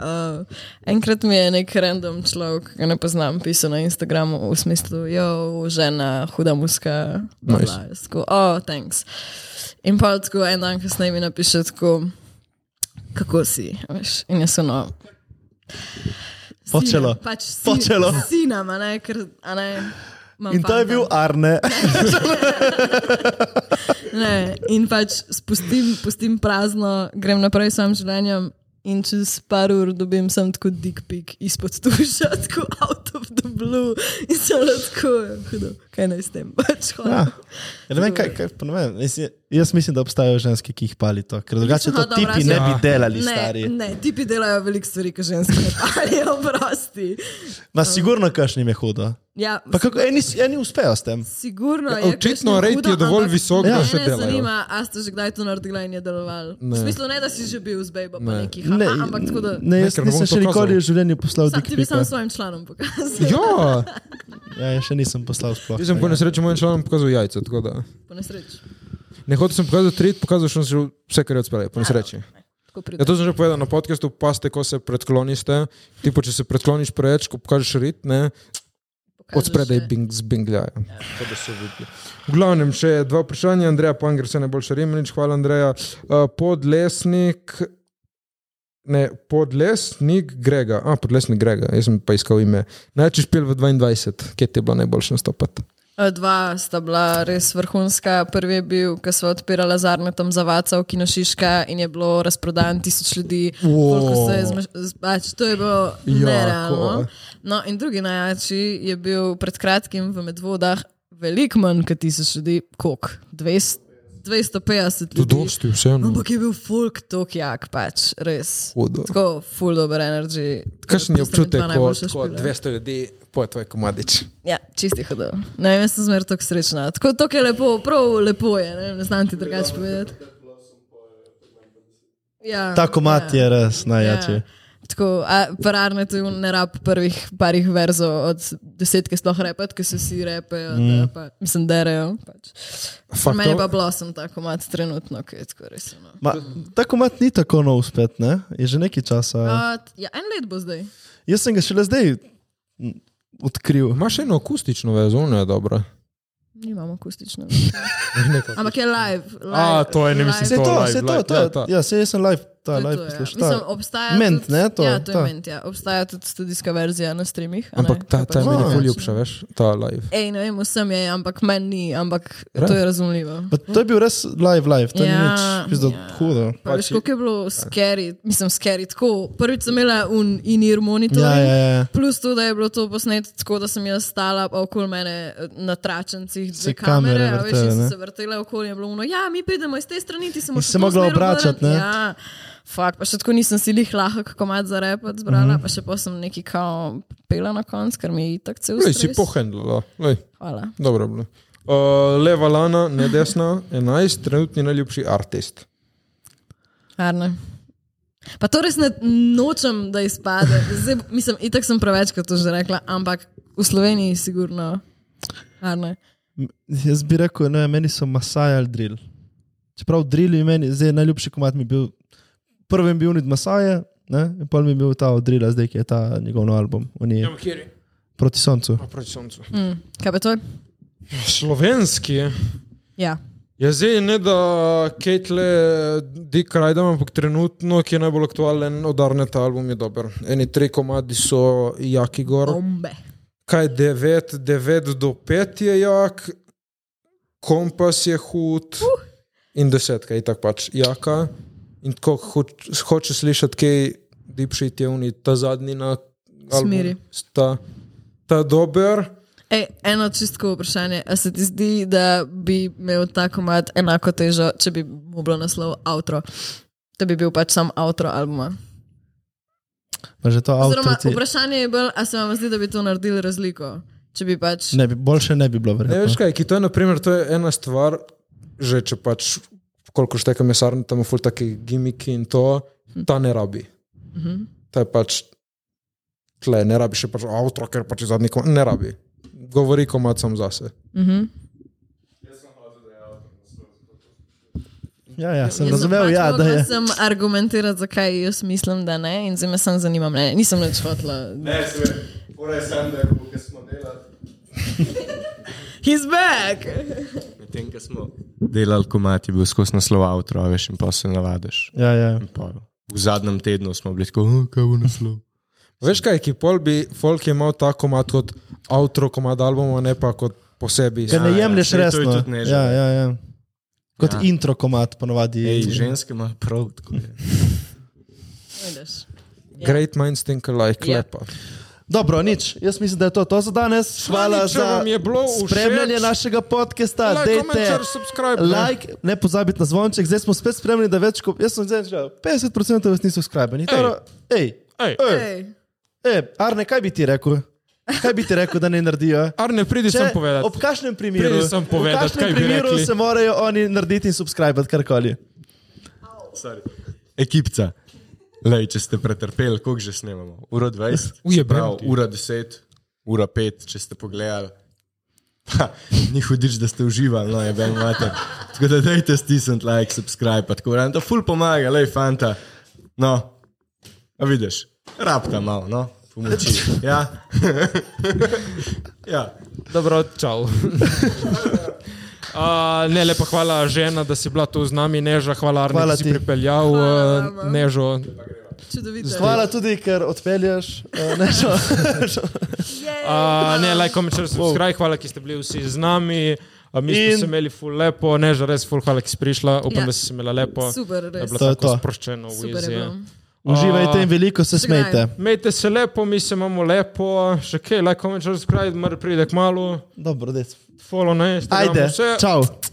Speaker 4: Uh, enkrat mi je nek random človek, ki ga ne poznam, pisal na Instagramu v smislu, jo, žena, huda muska,
Speaker 5: Nice.
Speaker 4: nice. tako, oh, thanks. In pa tako en dan kasneje mi napiše tako, kako si, veš, in jaz ono. "Si nam,"
Speaker 3: Počelo.
Speaker 4: Pač si,
Speaker 3: Počelo.
Speaker 4: Si nam, a ne, ker, a ne. imam
Speaker 3: In to je
Speaker 4: fanta.
Speaker 3: bil Arne.
Speaker 4: Ne, in pač spustim, pustim prazno, grem naprej s svojim življenjem. In čez par ur dobim sem tako dik pik izpod tuša, tako out of the blue. In sem bila tako, hudo, kaj naj s tem pač
Speaker 3: Ja.
Speaker 4: hodim.
Speaker 3: Ja, ne vem, kaj, kaj, pa ne vem. Mislim, jaz mislim, da obstajajo ženske, ki jih pali to, ker drugače to
Speaker 4: Aha, dobra,
Speaker 3: tipi
Speaker 4: jaz-
Speaker 3: ne bi delali,
Speaker 4: Ne,
Speaker 3: stari.
Speaker 4: ne, tipi delajo veliko stvari, ki ženske ne palijo, prosti.
Speaker 3: Ma sigurno kašnim je hudo.
Speaker 4: Ja,
Speaker 3: Pa kako, eni, s- eni uspejo s tem.
Speaker 4: sigurno
Speaker 5: Ja,
Speaker 4: je.
Speaker 5: očitno
Speaker 4: kakšno
Speaker 5: rate
Speaker 4: hudo,
Speaker 5: je dovolj
Speaker 4: ampak
Speaker 5: visok,
Speaker 3: da
Speaker 4: mene
Speaker 5: še delajo.
Speaker 4: Zanima, a ste že kdaj to naredila in je delovalo? V
Speaker 5: Ne.
Speaker 4: smislu ne, da si že bil z bejbo, pa
Speaker 5: Ne.
Speaker 4: nekih, ne, ampak tako da.
Speaker 3: ne, jaz
Speaker 5: Ne, ker
Speaker 3: ne,
Speaker 5: ne bom
Speaker 3: nisem še
Speaker 5: to
Speaker 3: nikoli
Speaker 5: kazal.
Speaker 3: v življenju poslal
Speaker 4: Sam, ti bi sam
Speaker 3: dikpika.
Speaker 4: svojim članom pokazal.
Speaker 5: Ja,
Speaker 3: Ja, jaz še nisem poslal sploh.
Speaker 5: jaz sem po nesreči mojim članom pokazal jajca, tako da.
Speaker 4: Po nesreči.
Speaker 5: Ne hotel sem pokazati trit, pokazal sem že vse, kar je odspelo, po nesreči.
Speaker 4: Tako pride.
Speaker 5: Ja, to sem že povedal na podkastu, paste, ko se predkloniste. Tipo, če se predkloniš preveč, ko pokažeš rit, ne, Od spredaj bing, zbingljajo.
Speaker 4: Ja,
Speaker 5: To, da se vidi. V glavnem, še dva vprašanja. Andreja Panger, vse najboljše Rimljič, hvala Andreja. Uh, podlesnik, ne, podlesnik Grega, a podlesnik Grega, jaz sem pa iskal ime. Najče špil v 22, kje ti je bilo najboljše nastopati?
Speaker 4: eh, Dva sta bila res vrhunska. Prvi je bil, ko smo odpirali z Arnetom Zavaca v Kinošiška in je bilo razprodan tisoč ljudi. Koliko se je zmeš- z- Pač, to je bilo
Speaker 5: Ja,
Speaker 4: nerealno.
Speaker 5: ko-
Speaker 4: No, in drugi najjači je bil pred kratkim v Medvodah veliko manj kot tisoč ljudi, koliko? 200, 250
Speaker 5: To
Speaker 4: ljudi.
Speaker 5: dosti vseeno.
Speaker 4: Ampak je bil folk tok jak, pač, res.
Speaker 5: Hudo.
Speaker 4: Tako, full dober energy.
Speaker 5: Kakšen je
Speaker 4: Tista mi dva
Speaker 5: občutek, ko
Speaker 4: najboljša
Speaker 5: tako
Speaker 4: špila.
Speaker 5: 200 ljudi poje tvoj komadič?
Speaker 4: Ja, čisti hodil. Ne vem, jaz sem zmer tako srečna. Tako to je lepo, prav lepo je, ne, vem, ne znam ti drugače povedati. Ja,
Speaker 3: Ta komat je res no, najjači.
Speaker 4: Ja. Tako, a pararne tu ne rab prvih parih verzov od desetke sploh repet, ki se vsi repejo, mm. pa, mislim, derejo. Pač. Pri
Speaker 5: Fakt,
Speaker 4: meni
Speaker 5: to-
Speaker 4: pa blossom ta komat trenutno, ki je tako no. resno.
Speaker 3: Ma, ta komat ni tako nov spet, ne? Je že nekaj časa.
Speaker 4: Ja, en let bo zdaj.
Speaker 3: Jaz sem ga šele zdaj m, odkril.
Speaker 5: Imaš eno akustično vezo, ne dobro.
Speaker 4: Nimamo akustično. Ampak je live. live
Speaker 5: A, to je, ne mislim,
Speaker 3: Se
Speaker 5: To
Speaker 3: to,
Speaker 5: live,
Speaker 3: se to,
Speaker 5: live,
Speaker 3: to
Speaker 5: ja,
Speaker 3: je.
Speaker 5: to.
Speaker 3: Ja, se jaz sem live ta
Speaker 4: To je
Speaker 3: live
Speaker 4: to, ja.
Speaker 3: poslušaj. ta-
Speaker 4: Mislim, obstaja.
Speaker 3: Ment,
Speaker 4: tudi,
Speaker 3: ne, to,
Speaker 4: ja, to je
Speaker 3: ta.
Speaker 4: ment, ja. Obstaja tudi studijska verzija na streamih. a ne,
Speaker 5: Ampak ta,
Speaker 4: kaj
Speaker 5: ta
Speaker 4: pač.
Speaker 5: mi je
Speaker 3: Ah,
Speaker 5: ful
Speaker 3: ja.
Speaker 5: ljubša, veš, ta live.
Speaker 4: Ej, ne vem, vsem je, ampak meni ni, ampak
Speaker 5: Res?
Speaker 4: to je razumljivo.
Speaker 3: Pa to je bil res live, live, to ja, ni
Speaker 4: Ja,
Speaker 3: nič, pizdo, ja.
Speaker 4: ja.
Speaker 3: hudo.
Speaker 4: Pa veš, koliko je bilo skeri, mislim, skeri tako. Prvič sem imela un in-ear monitor.
Speaker 3: Ja, ja, ja.
Speaker 4: Plus to, da je bilo to posneto tako, da sem jaz stala pa okoli mene eh, na tračencih
Speaker 3: Se
Speaker 4: dve kamere,
Speaker 3: kamere
Speaker 4: a veš,
Speaker 3: vrtele,
Speaker 4: in so
Speaker 3: ne?
Speaker 4: se vrtele okoli, in je bilo uno, ja, mi pridemo iz te strani, ti se
Speaker 3: In
Speaker 4: moraš
Speaker 3: se
Speaker 4: v to
Speaker 3: mogla
Speaker 4: smer
Speaker 3: obračati,
Speaker 4: obrniti."
Speaker 3: ne?
Speaker 4: Ja, fakt, pa še tako nisem si lih lahek komad za repat zbrala, mm
Speaker 3: Mhm.
Speaker 4: -hmm. pa še posem neki kao pela na konc, ker mi je itak cel
Speaker 5: Lej, si
Speaker 4: stres.
Speaker 5: pohendla, lej,
Speaker 4: Hvala.
Speaker 5: dobro je bilo. Uh, leva lana, ne desna, 11, trenutni najljubši artist.
Speaker 4: Arne. Pa to res ne nočem, da izpade. Zdaj, mislim, itak sem prevečkrat to že rekla, ampak v Sloveniji sigurno. Arne.
Speaker 3: Jaz bi rekel, ne, meni so Masaj ali Drill. Čeprav Drill je meni, zdaj najljubši komat mi je bil, prvi mi je bil Unid Masaje, ne, in pol mi je bil ta od Drilla, zdaj ki je ta njegov nov album, on je
Speaker 5: Ja, kjer je?
Speaker 3: proti soncu.
Speaker 5: Pa proti soncu.
Speaker 4: Mm. Kaj pa to?
Speaker 5: Slovenski je.
Speaker 4: Ja.
Speaker 5: Ja, zdaj ne da Kejtle Dick Rajdam, ampak trenutno, ki je najbolj aktualen od Arneta album, je dober. Eni tri komadi so jaki gor.
Speaker 4: Bombe.
Speaker 5: Kaj je 9, 9 do 5 je jak, kompas je hud uh. in desetka je tako pač jaka. In tako hoč, hoče slišati, kaj deep shit je oni, ta zadnji na
Speaker 4: Smeri.
Speaker 5: Ta, ta dober.
Speaker 4: Ej, E, eno čistko vprašanje. A se ti zdi, da bi imel ta komat enako težo, če bi mu bilo naslov outro? Da bi bil pač sam outro albuma.
Speaker 3: Pa že to avto.
Speaker 4: Oziroma,
Speaker 3: Ti...
Speaker 4: vprašanje je bolj, a se vam zdi, da bi to naredili razliko? Če bi pač.
Speaker 3: Ne bi, boljše ne bi bilo
Speaker 5: Ne
Speaker 3: verjetno.
Speaker 5: veš kaj, ki to je, naprimer, to je ena stvar, že če pač, koliko štekam mesarn, tam ful taki gimiki in to, ta ne rabi. Ta je pač, tle, ne rabi še pač avto, ker pač je zadnji komad, ne rabi. Govori komad sam zase.
Speaker 3: Ja, ja, sem
Speaker 4: Jaz
Speaker 3: razumel,
Speaker 4: pač
Speaker 3: ja, da
Speaker 4: mogla
Speaker 3: je.
Speaker 4: sem argumentirati, zakaj jaz mislim, da ne, in zdaj me samo zanima mnenje. Nisem več hotla.
Speaker 6: Ne, se poraj sem, da je bilo, ker smo delali.
Speaker 4: He's back!
Speaker 1: Medtem, ko smo delali komat, je bil skozi naslov avtor, veš, in pa se navadiš.
Speaker 3: Ja, ja.
Speaker 1: In pol V zadnjem tednu smo bili tako, "Oh, kaj bo naslov.
Speaker 5: Veš kaj, ki pol bi, folk je imel ta komad kot avto komad albuma, ne pa kot posebej.
Speaker 3: Ker ne
Speaker 1: Ja, ja,
Speaker 3: jemliš
Speaker 1: saj to je
Speaker 3: resno.
Speaker 1: tudi nežno.
Speaker 3: Ja, ja, ja. Kot ja. intro komat ponovadi.
Speaker 1: Ej, ženske imajo prav, tako ja. je.
Speaker 4: Vidiš.
Speaker 5: ja. Great minds think alike,
Speaker 4: Ja.
Speaker 5: lepa.
Speaker 3: Dobro, nič. Jaz mislim, da je to, to za danes. Hvala
Speaker 5: če
Speaker 3: za
Speaker 5: vam je bilo všeč-
Speaker 3: spremljanje našega podcasta.
Speaker 5: Like,
Speaker 3: Dejte
Speaker 5: comment, share, subscribe, ne.
Speaker 3: Ja, Like, ne pozabite na zvonček. Zdaj smo spet spremljali, da več kot jaz sem zdaj že 50% vas niso subskrbeni. Ej,
Speaker 5: Ej.
Speaker 3: ej,
Speaker 4: Ej,
Speaker 3: ej, Arne, kaj bi ti rekel? Kaj bi ti rekel, da ne naredijo?
Speaker 5: Arne, pridi sem
Speaker 3: Če,
Speaker 5: povedati.
Speaker 3: ob kakšnem primeru,
Speaker 5: Pridi sem
Speaker 3: v
Speaker 5: povedat,
Speaker 3: kakšnem
Speaker 5: kaj bi
Speaker 3: primeru
Speaker 5: rekli?
Speaker 3: se morajo oni narediti in subskrbati karkoli.
Speaker 1: Ekipca. Lej, če ste pretrpeli, koliko že snemamo? Uro 20,
Speaker 5: Ujebem
Speaker 1: Prav,
Speaker 5: ti.
Speaker 1: ura 10, ura 5, če ste pogledali. Ha, ni hudič, da ste uživali, no je ben mater. Tako da dajte stisniti like, subscribe, pa tako da. To ful pomaga, lej, fanta. No, a vidiš, rabta malo, no, pomoči. Ja, ja.
Speaker 5: Dobro, čau. Uh, ne, lepa hvala, žena, da si bila tu z nami, neža, hvala, Arne,
Speaker 3: Hvala
Speaker 5: da si
Speaker 3: ti.
Speaker 5: pripeljal
Speaker 4: Hvala
Speaker 5: uh,
Speaker 4: vama.
Speaker 5: nežo.
Speaker 4: čudovito.
Speaker 3: Hvala tudi, ker odpeljaš. eh, ne, šel.
Speaker 5: Uh, ne, like, comment, share, subscribe, hvala, ki ste bili vsi z nami. Uh, mi smo
Speaker 3: In-
Speaker 5: se imeli ful lepo, neža, res ful, hvala, ki si prišla, upam,
Speaker 4: Ja.
Speaker 5: da si se imela lepo.
Speaker 4: Super,
Speaker 5: Da je
Speaker 4: res.
Speaker 5: bilo
Speaker 3: To je
Speaker 5: tako
Speaker 3: to.
Speaker 5: sproščeno v
Speaker 4: Super je
Speaker 5: jezi.
Speaker 4: bilo.
Speaker 3: Uživajte in veliko se smejte.
Speaker 5: Mejte se lepo, mi se imamo lepo, še kaj, like, comment, share, subscribe, mora pride k malu,
Speaker 3: Dobro, dec.
Speaker 5: follow na Instagramu.
Speaker 3: Ajde,
Speaker 5: vse.
Speaker 3: čau.